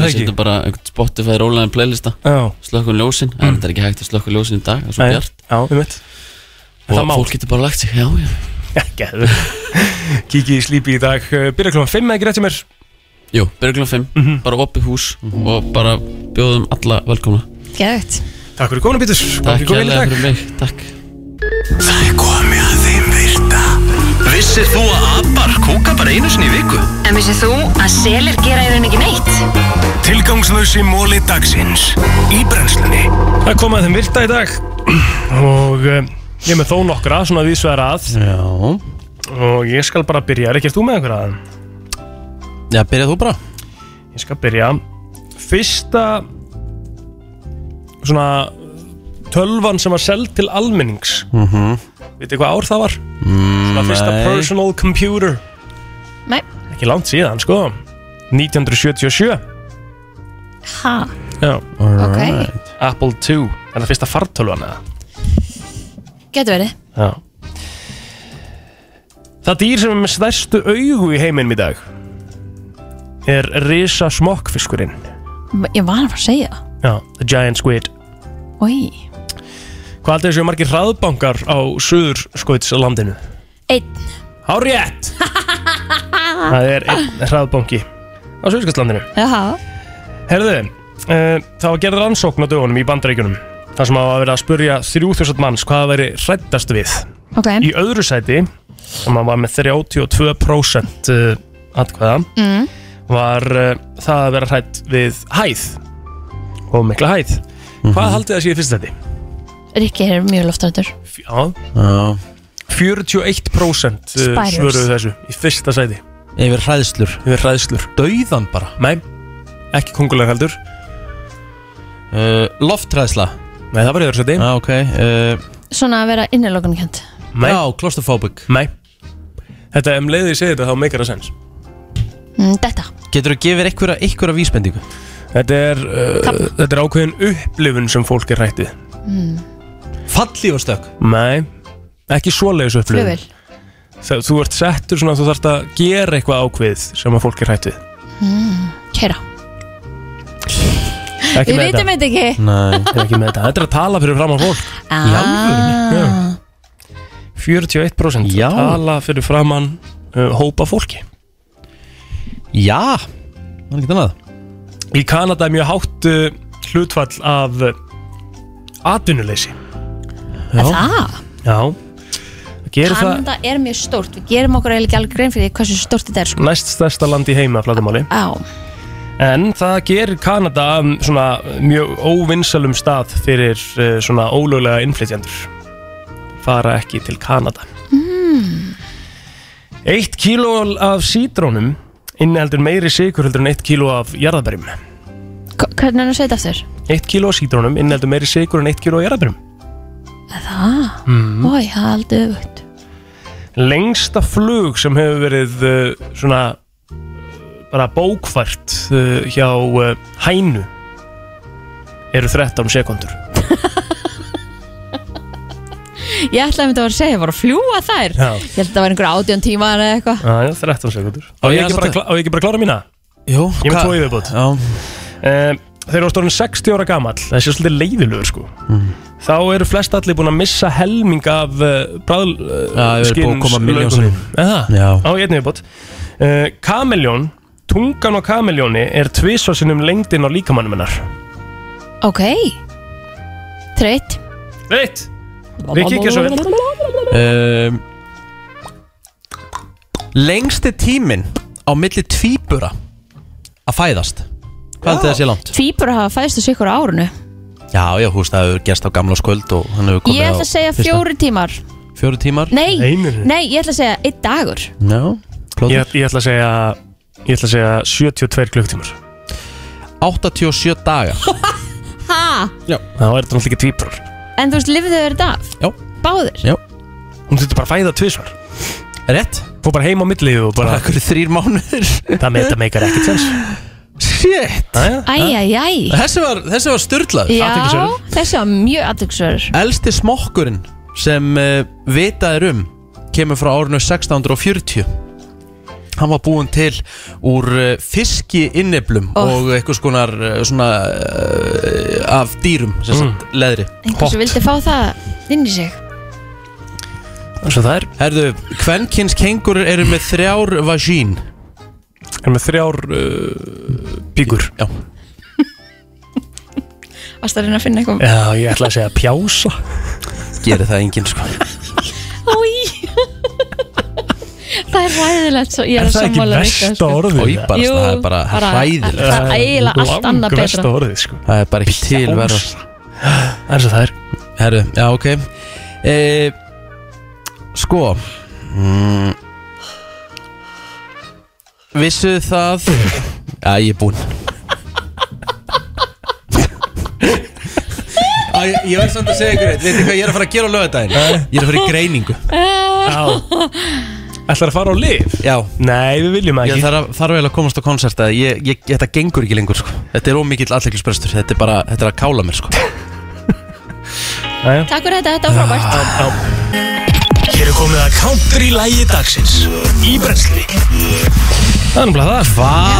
[SPEAKER 8] Við
[SPEAKER 4] ekki?
[SPEAKER 8] setjum bara einhvern Spotify rólaðin playlista
[SPEAKER 4] Já.
[SPEAKER 8] slökkum um ljósin, en þetta er ekki hægt að slökkum ljósin í dag, það er svo
[SPEAKER 4] Mm. Nei,
[SPEAKER 8] bjart
[SPEAKER 4] Já, við mitt En það
[SPEAKER 8] og
[SPEAKER 4] má. (laughs)
[SPEAKER 8] fólk getur bara lagt sig, já, já
[SPEAKER 4] Gæðu Kikið í slípi í dag uh, Byrja klokkan 5 eða greitt hjá mér
[SPEAKER 8] Jú, byrjum 5,
[SPEAKER 4] Mhm.
[SPEAKER 8] bara opið hús og bara bjóðum alla velkomna
[SPEAKER 3] Geðvægt
[SPEAKER 4] Takk fyrir kominu Pétur
[SPEAKER 8] Takk kærlega fyrir mig, takk
[SPEAKER 12] Það er komið að þeim virta Vissir þú að abar kúka bara einu sinni í viku?
[SPEAKER 14] En vissið þú að selir gera í raun ekki neitt?
[SPEAKER 12] Tilgangslösi móli dagsins Í brennslunni
[SPEAKER 4] Það er komið að þeim virta í dag Og uh, ég er með þó nokkra Svona viðsvegar að
[SPEAKER 2] Já
[SPEAKER 4] Og ég skal bara byrja Er ekki þú með einhverja að?
[SPEAKER 2] Já, byrjað þú bara
[SPEAKER 4] Ég skal byrja Fyrsta Svona Tölvan sem var seld til almennings
[SPEAKER 2] Mhm.
[SPEAKER 4] Vitið hvað ár það var?
[SPEAKER 2] Svona
[SPEAKER 4] Svona fyrsta personal computer
[SPEAKER 3] Nei.
[SPEAKER 4] Ekki langt síðan sko 1977
[SPEAKER 3] Ha,
[SPEAKER 4] Já
[SPEAKER 3] Alright.
[SPEAKER 4] Apple II Er það fyrsta fartölvan eða?
[SPEAKER 3] getur verið
[SPEAKER 4] Já Það dýr sem er með stærstu augu í heiminum í dag Er risa smokkfiskurinn
[SPEAKER 3] Ég var að fara að segja það
[SPEAKER 4] Já, the giant squid
[SPEAKER 3] Oj.
[SPEAKER 4] Hvað aldrei séu margir hraðbankar á suður skoitslandinu?
[SPEAKER 3] Einn
[SPEAKER 4] Hárétt! Það er einn hraðbanki á suður skoitslandinu
[SPEAKER 3] Já,
[SPEAKER 4] Herðu, uh, það var gerð rannsókn á dögunum í bandaríkjunum þar sem hafa verið að spurja 3000 manns hvað það væri hrættast við
[SPEAKER 3] ok
[SPEAKER 4] Í öðru sæti, sem að var með 32% uh, atkvæða
[SPEAKER 3] Mm.
[SPEAKER 4] var uh, það að vera hrætt við hæð og mikla hæð Hvað haldið það sé í fyrst sæti?
[SPEAKER 3] Rikki er mjög loftrættur
[SPEAKER 4] Já, 41% uh,
[SPEAKER 3] Spiders.
[SPEAKER 4] svöruðu þessu í fyrsta sæti
[SPEAKER 2] Yfir hræðslur
[SPEAKER 4] Yfir hræðslur
[SPEAKER 2] Dauðan bara
[SPEAKER 4] Nei, ekki kongulega heldur
[SPEAKER 2] uh, Loftræðsla
[SPEAKER 4] Nei, það var yfir sæti
[SPEAKER 2] ah, okay. uh,
[SPEAKER 3] Svona að vera innilokunkjönd
[SPEAKER 4] Nei.
[SPEAKER 2] Já, claustrophobic
[SPEAKER 4] Nei Þetta, um leiðið ég segi þetta, þá meikar það sens
[SPEAKER 3] mm, Þetta,
[SPEAKER 2] Getur þú gefið einhverja, einhverja vísbendingu?
[SPEAKER 4] Þetta er, uh, þetta er ákveðin upplifun sem fólk er hrættið
[SPEAKER 2] Fallífastök
[SPEAKER 4] Nei, ekki svoleiðis upplifun
[SPEAKER 3] flugvel
[SPEAKER 4] Þegar þú ert settur svona að þú þarft að gera eitthvað ákveðið sem að fólk er hrætt við
[SPEAKER 3] mm, Kæra Við
[SPEAKER 4] Ekki með
[SPEAKER 3] vitum þetta ekki
[SPEAKER 4] Nei, ég er ekki með þetta Þetta er að tala fyrir fram á fólk
[SPEAKER 3] Ah,
[SPEAKER 4] Í alvörunni? Já. 41% Já. tala fyrir framann uh, hópa fólki Já, það er ekki annað Í Kanada er mjög hátt uh, hlutfall af uh, atvinnuleysi
[SPEAKER 3] Er það?
[SPEAKER 4] Já Það gerir
[SPEAKER 3] Kanada er mjög stórt, við gerum okkur eiginlega ekki alveg grein fyrir því hversu stórt þetta er sko.
[SPEAKER 4] það næst stærsta land í heima flatumáli
[SPEAKER 3] Já,
[SPEAKER 4] En það gerir Kanada um, svona mjög óvinnsalum stað fyrir uh, svona ólöglega innflytjendur fara ekki til Kanada Eitt kíló af sítrónum inniheldur meiri sigur heldur en eitt kíló af jarðabærim.
[SPEAKER 3] K- hvernig er það að segja þetta aftur?
[SPEAKER 4] Eitt kíló af sítrónum inniheldur meiri sigur en eitt kíló af jarðabærim.
[SPEAKER 3] Er Það?
[SPEAKER 4] Mm.
[SPEAKER 3] Ói, það er aldrei öfugt
[SPEAKER 4] Lengsta flug sem hefur verið uh, svona uh, bara bókfært uh, hjá uh, hænu eru 13 sekundur.
[SPEAKER 3] Ég ætlaði að mynda að segja, ég var að fljúa þær
[SPEAKER 4] Já.
[SPEAKER 3] Ég held að það var einhver átjón tíma eða eitthvað
[SPEAKER 4] Já, já, 13 sekundur. Á ég ekki bara að klá- á ég ekki bara að klára mína?
[SPEAKER 2] Jú,
[SPEAKER 4] Ég með
[SPEAKER 2] hvað-
[SPEAKER 4] tvo yfirbútt uh, Þeir eru stórnum 60 ára gamall Þessi er svolítið leiðilegur sko Þá eru flest allir búin að missa helming af uh, bræðl
[SPEAKER 2] Já,
[SPEAKER 4] uh,
[SPEAKER 2] þau eru búin að koma milljón sinnum.
[SPEAKER 4] Eða,
[SPEAKER 2] Já.
[SPEAKER 4] á ég yfirbútt uh, Kameljón, tungan á kameljóni er tvisvarsinnum lengdin á líkamannum hennar
[SPEAKER 3] Ok Þreitt
[SPEAKER 4] Veit, Rikki, ekki svo vel
[SPEAKER 2] um, Lengsti tíminn á milli tvíbura að fæðast Hvað heldur það sé langt?
[SPEAKER 3] Tvíbur hafa fæðst þessu ykkur á árunu
[SPEAKER 2] Já, já, þú veist, það hefur gerst á gamla sköld og hann hefur komið
[SPEAKER 3] Ég ætla
[SPEAKER 2] á
[SPEAKER 3] að segja
[SPEAKER 2] fyrsta-
[SPEAKER 3] fjóri tímar
[SPEAKER 2] Fjóri tímar?
[SPEAKER 3] Nei, nei, ég ætla að segja einn dagur
[SPEAKER 2] no,
[SPEAKER 4] ég, ég ætla að segja Ég ætla að segja 72 klukktímar
[SPEAKER 2] 87 daga
[SPEAKER 3] Ha?
[SPEAKER 2] Já
[SPEAKER 4] Þá er þetta náttúrulega ekki tvíbrar
[SPEAKER 3] En þú veist, lifðu þau þetta af?
[SPEAKER 2] Já
[SPEAKER 3] Báðir?
[SPEAKER 2] Já
[SPEAKER 4] Hún þurfti bara að fæða tvisvar
[SPEAKER 2] Rétt
[SPEAKER 4] Fór bara heim á millið og
[SPEAKER 3] (laughs)
[SPEAKER 4] bara
[SPEAKER 2] Akkur þrýr mánuður
[SPEAKER 4] Það með þetta meikar ekkert sens
[SPEAKER 2] (laughs) Shit
[SPEAKER 3] Æ, æ, æ
[SPEAKER 4] (laughs)
[SPEAKER 2] Þessi var, þessi var styrlaður
[SPEAKER 3] Já, þessi var mjög aðtöksverður
[SPEAKER 2] Elsti smokkurinn sem uh, vitað er um kemur frá árinu 1640 Hann var búinn til úr uh, fiski inneblum og eitthvað skonar uh, svona uh, af dýrum sem sagt leðri
[SPEAKER 3] Einhversu vildi fá það inn í sig
[SPEAKER 4] Svo það er
[SPEAKER 2] Herðu, kvenkins kengurur eru með þrjár vagín
[SPEAKER 4] Eru með þrjár uh, píkur
[SPEAKER 2] Já
[SPEAKER 3] Varst að reyna að finna eitthvað
[SPEAKER 4] Já, ég ætla að segja pjása
[SPEAKER 2] Gerir það enginn sko
[SPEAKER 3] Æ Það er ræðilegt svo, ég er,
[SPEAKER 2] Er
[SPEAKER 3] að
[SPEAKER 2] það ekki
[SPEAKER 3] sammála
[SPEAKER 2] versta
[SPEAKER 3] Rikka, sko.
[SPEAKER 2] orðið? Oj, bara,
[SPEAKER 3] Jú,
[SPEAKER 2] það er bara hræðilegt.
[SPEAKER 3] Það er eiginlega allt annað betra
[SPEAKER 4] orðið sko
[SPEAKER 2] Það er bara ekki til verða
[SPEAKER 4] Það er svo það er
[SPEAKER 2] Herru, já ok e, Sko mm, Vissu það Já, ég er búinn Á, ég, ég verð samt að segja ykkur eitt Veitir hvað ég er að fara að gera á lögadaginn Ég er að fara í greiningu
[SPEAKER 3] (laughs)
[SPEAKER 4] Já Ætlar að fara á lif?
[SPEAKER 2] Já
[SPEAKER 4] Nei, við viljum
[SPEAKER 2] ekki Ég þarf þar eiginlega að komast á konsert að ég, ég, Þetta gengur ekki lengur sko Þetta er ómikill alleglisbrestur Þetta er bara, þetta er að kála mér sko
[SPEAKER 4] Jæja
[SPEAKER 3] Takk fyrir þetta, þetta var frábært
[SPEAKER 12] Hér er komið að counter í lægi dagsins Í brensli
[SPEAKER 4] Það er náttúrulega það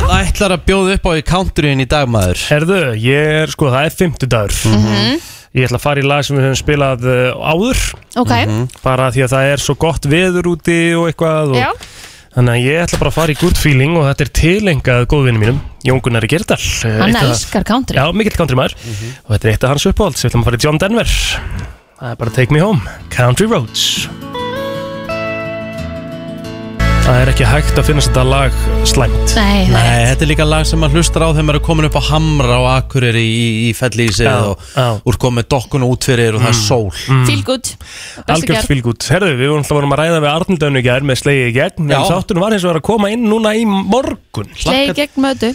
[SPEAKER 2] Hvað ætlar að bjóða upp á í countryin í dag maður?
[SPEAKER 4] Herðu, ég er sko, það er fimmtudagur
[SPEAKER 3] Mhm.
[SPEAKER 4] Ég ætla að fara í lag sem við höfum spilað uh, áður
[SPEAKER 3] Ok. Mhm.
[SPEAKER 4] Bara því að það er svo gott veður úti og eitthvað og
[SPEAKER 3] Já.
[SPEAKER 4] Þannig að ég ætla bara að fara í good feeling og þetta er tilengað góðvinni mínum, Jón Gunnar Gerdal
[SPEAKER 3] Hann elskar country
[SPEAKER 4] Já, mikill country maður
[SPEAKER 2] Mhm.
[SPEAKER 4] Og þetta er eitt af hans uppáhalds, við ætlum að fara í John Denver Það er bara Take Me Home, Country Roads Það er ekki hægt að finna þetta lag slæmt
[SPEAKER 3] Nei,
[SPEAKER 2] Mm.
[SPEAKER 3] það er
[SPEAKER 2] þetta er líka lag sem maður hlustar á þegar maður er komin upp á hamra og akkurir í, í, í fellísið
[SPEAKER 4] Já, Mm.
[SPEAKER 2] og úr komið dokkun út fyrir og það er sól
[SPEAKER 3] Feel good Bestu
[SPEAKER 4] Algjörð
[SPEAKER 3] gerð.
[SPEAKER 4] fylgút, herðu, við vorum alltaf vorum að ræða við Arnildöfnu í gerð með slegið í gegn
[SPEAKER 2] Já.
[SPEAKER 4] En þáttunum var hins vegar að koma inn núna í morgun
[SPEAKER 3] Slegi gegn mötu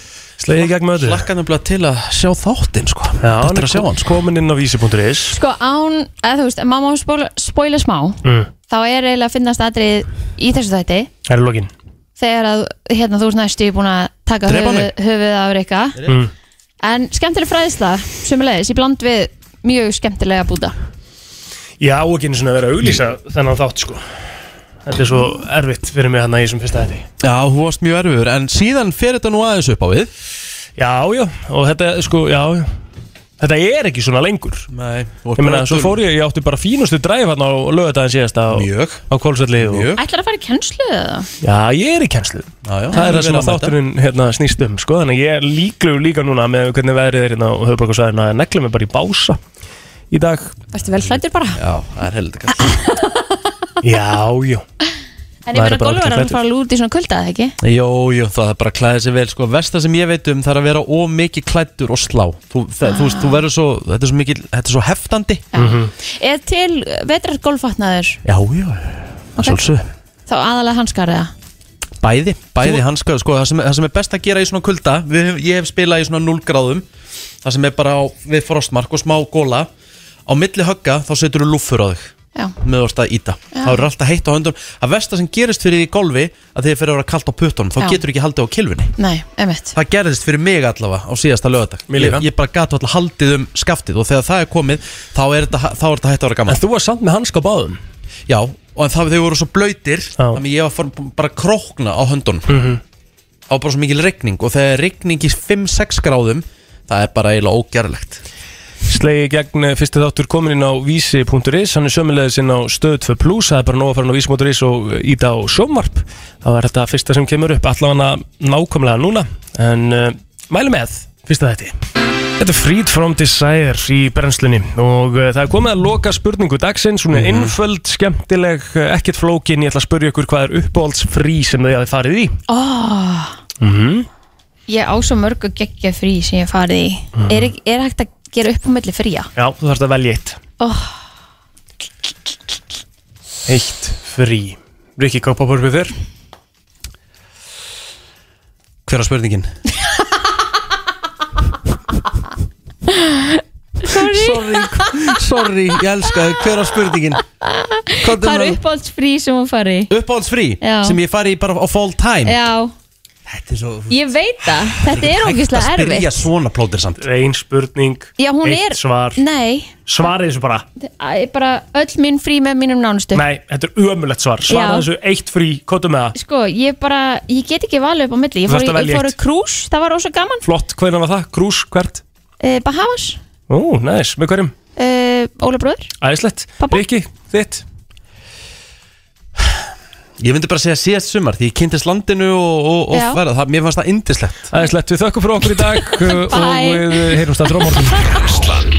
[SPEAKER 4] Slegið í gegn mötu
[SPEAKER 2] Slakka nefnilega til að sjá þáttinn sko
[SPEAKER 4] Já, hann
[SPEAKER 2] er að sjá hann,
[SPEAKER 4] sko Komin inn á vísi.is
[SPEAKER 3] Sko án, eða þú veist, ef mamma spóla, spóla smá
[SPEAKER 4] mm.
[SPEAKER 3] Þá er eiginlega að finnast aðrið í þessu þætti
[SPEAKER 4] Það er lokin
[SPEAKER 3] Þegar að, hérna, þú ert næstu búin að taka
[SPEAKER 4] Drepa
[SPEAKER 3] höfuð,
[SPEAKER 4] mig.
[SPEAKER 3] höfuð af Rikka
[SPEAKER 4] mm.
[SPEAKER 3] En skemmtileg fræðisla, sömulegis, í bland við mjög skemmtilega búta.
[SPEAKER 4] Ég á ekki einu svona að vera að auglýsa þennan þátt sko Þetta er svo erfitt fyrir mig hann í þessum fyrsta þetta
[SPEAKER 2] Já, þú varst mjög erfiður en síðan fer þetta nú aðeins upp á við
[SPEAKER 4] Já, já, og þetta, sko, já, já Þetta er ekki svona lengur
[SPEAKER 2] Nei,
[SPEAKER 4] Ég meina, svo fór ég, ég átti bara fínustu dræf hérna á lögadaginn síðast á, á Kólsvelli og,
[SPEAKER 3] Ætlar að fara í kennslu eða?
[SPEAKER 4] Já, ég er í kennslu
[SPEAKER 2] já.
[SPEAKER 4] Það er
[SPEAKER 2] Vel
[SPEAKER 4] það
[SPEAKER 2] að
[SPEAKER 4] sem að
[SPEAKER 2] mæta.
[SPEAKER 4] þátturinn hérna, snýst um sko. Þannig að ég er líklegur líka núna með hvernig veðrið er hérna á höfbökkarsvæðinu að negla mig bara í bása í dag
[SPEAKER 3] Varstu vel flættur bara?
[SPEAKER 2] Já, það er heldur kannski
[SPEAKER 4] Já, já
[SPEAKER 3] En ég
[SPEAKER 2] Maður
[SPEAKER 3] meina
[SPEAKER 2] er bara
[SPEAKER 3] golfur
[SPEAKER 2] aldrei
[SPEAKER 3] að fara út í svona kulda, eða ekki?
[SPEAKER 2] Jó, jó, það er bara að klæða sig vel sko, Vesta sem ég veit um, það er að vera ómikið klættur og slá Þú, það, þú veist, þú verður svo, þetta er svo mikið, þetta er svo heftandi
[SPEAKER 3] Er til vetrar golfvatnaður
[SPEAKER 2] Já, já,
[SPEAKER 3] Ok.
[SPEAKER 2] okay. svolsög
[SPEAKER 3] þá aðalega hanskar eða?
[SPEAKER 2] Bæði, bæði þú... hanska, sko, það sem, það sem er best að gera í svona kulda við, höfum- Ég hef spilað í svona 0 gráðum Það sem er bara á, við frostmark og smá góla Á milli högga, þá setur þú lúffur á þig
[SPEAKER 3] Já.
[SPEAKER 2] Með þú ert að íta
[SPEAKER 3] Já.
[SPEAKER 2] Það eru alltaf heitt á höndum Að versta sem gerist fyrir því í golfi Að þið fyrir að vera kalt á puttunum Þá
[SPEAKER 3] Já.
[SPEAKER 2] getur ekki haldið á kilfinni
[SPEAKER 3] Nei, emitt
[SPEAKER 2] Það gerðist fyrir mig allavega á síðasta lögadag
[SPEAKER 4] Mér
[SPEAKER 2] ég,
[SPEAKER 4] líka.
[SPEAKER 2] ég bara gata alltaf haldið um skaftið Og þegar það er komið Þá er þetta, þá er þetta hægt að vera gaman
[SPEAKER 4] En þú var samt með hanska á báðum
[SPEAKER 2] Já, og en það þau voru svo blöytir Þannig ég var farin bara að krókna á höndunum Það var bara svo mikil regning Og þegar er regning í 5-6 gráðum Það er bara eiginlega ógerlegt
[SPEAKER 4] Slegi í gegn eh, fyrsti þáttur komin inn á vísi.is Hann er sömulegðis inn á stöð 2 plus Það er bara nóg að fara inn á vísi.is og íta á sjómarp Það var þetta fyrsta sem kemur upp allavega nákvæmlega núna En uh, mælu með fyrsta þetta Þetta er Freed from Desire í brennslunni og uh, það er komið að loka spurningu dagsins, hún er einföld, skemmtileg, eh, ekkert flókin, ég ætla að spurja ykkur hvað er uppáhaldsfrí sem þið hafið farið í?
[SPEAKER 3] oh,
[SPEAKER 4] Mm
[SPEAKER 2] Mhm.
[SPEAKER 3] Ég á svo mörgu geggja frí sem ég hef farið í
[SPEAKER 4] Mhm.
[SPEAKER 3] er, ekki- er hægt að gera upp á milli fría?
[SPEAKER 4] Já, þú þarfst að velja eitt.
[SPEAKER 3] Oh,
[SPEAKER 4] Eitt frí. Rikki, hvað poppar upp í þér?
[SPEAKER 2] Hver er spurningin?
[SPEAKER 3] sorry
[SPEAKER 2] Sorry, sorry, ég elska þau Hver er spurningin?
[SPEAKER 3] Hvað er uppáhaldsfrí sem hún farið í?
[SPEAKER 2] Uppáhaldsfrí
[SPEAKER 3] Já.
[SPEAKER 2] sem ég fari í bara á full time
[SPEAKER 3] Já,
[SPEAKER 2] Þetta er svo
[SPEAKER 3] ég veit það Þetta
[SPEAKER 2] Hægt
[SPEAKER 3] er ógeðslega
[SPEAKER 2] að spyrja
[SPEAKER 3] erfitt
[SPEAKER 2] svona plótir samt
[SPEAKER 4] Ein spurning,
[SPEAKER 3] Já, hún er Nei,
[SPEAKER 4] Svarið þessu bara.
[SPEAKER 3] Æ, bara öll mín frí með mínum nánustu
[SPEAKER 4] Nei, þetta er ömulegt svar. Svara
[SPEAKER 3] Já.
[SPEAKER 4] þessu eitt frí, kóta með það.
[SPEAKER 3] Sko, ég bara, ég get ekki valið upp á milli Ég fór,
[SPEAKER 4] Þú
[SPEAKER 3] í- ég
[SPEAKER 4] þarft að velja
[SPEAKER 3] fór
[SPEAKER 4] eitt.
[SPEAKER 3] í krús, það var ósa gaman
[SPEAKER 4] Flott, hvernig var það? Krús, hvert?
[SPEAKER 3] eh, Bahamas,
[SPEAKER 4] Ó, næs, með hverjum?
[SPEAKER 3] eh, Óla bróður
[SPEAKER 4] Æðislegt. Rikki, þitt?
[SPEAKER 2] Ég myndi bara segja síðast sumar Því ég kynntist landinu og, og,
[SPEAKER 3] Já.
[SPEAKER 2] og verða það, Mér fannst það indislegt
[SPEAKER 3] (laughs)
[SPEAKER 4] Æðislegt, við þökkum fyrir okkur í dag uh, og
[SPEAKER 3] Bye.
[SPEAKER 4] við uh, heyrumst að drómortum.
[SPEAKER 1] Brennslan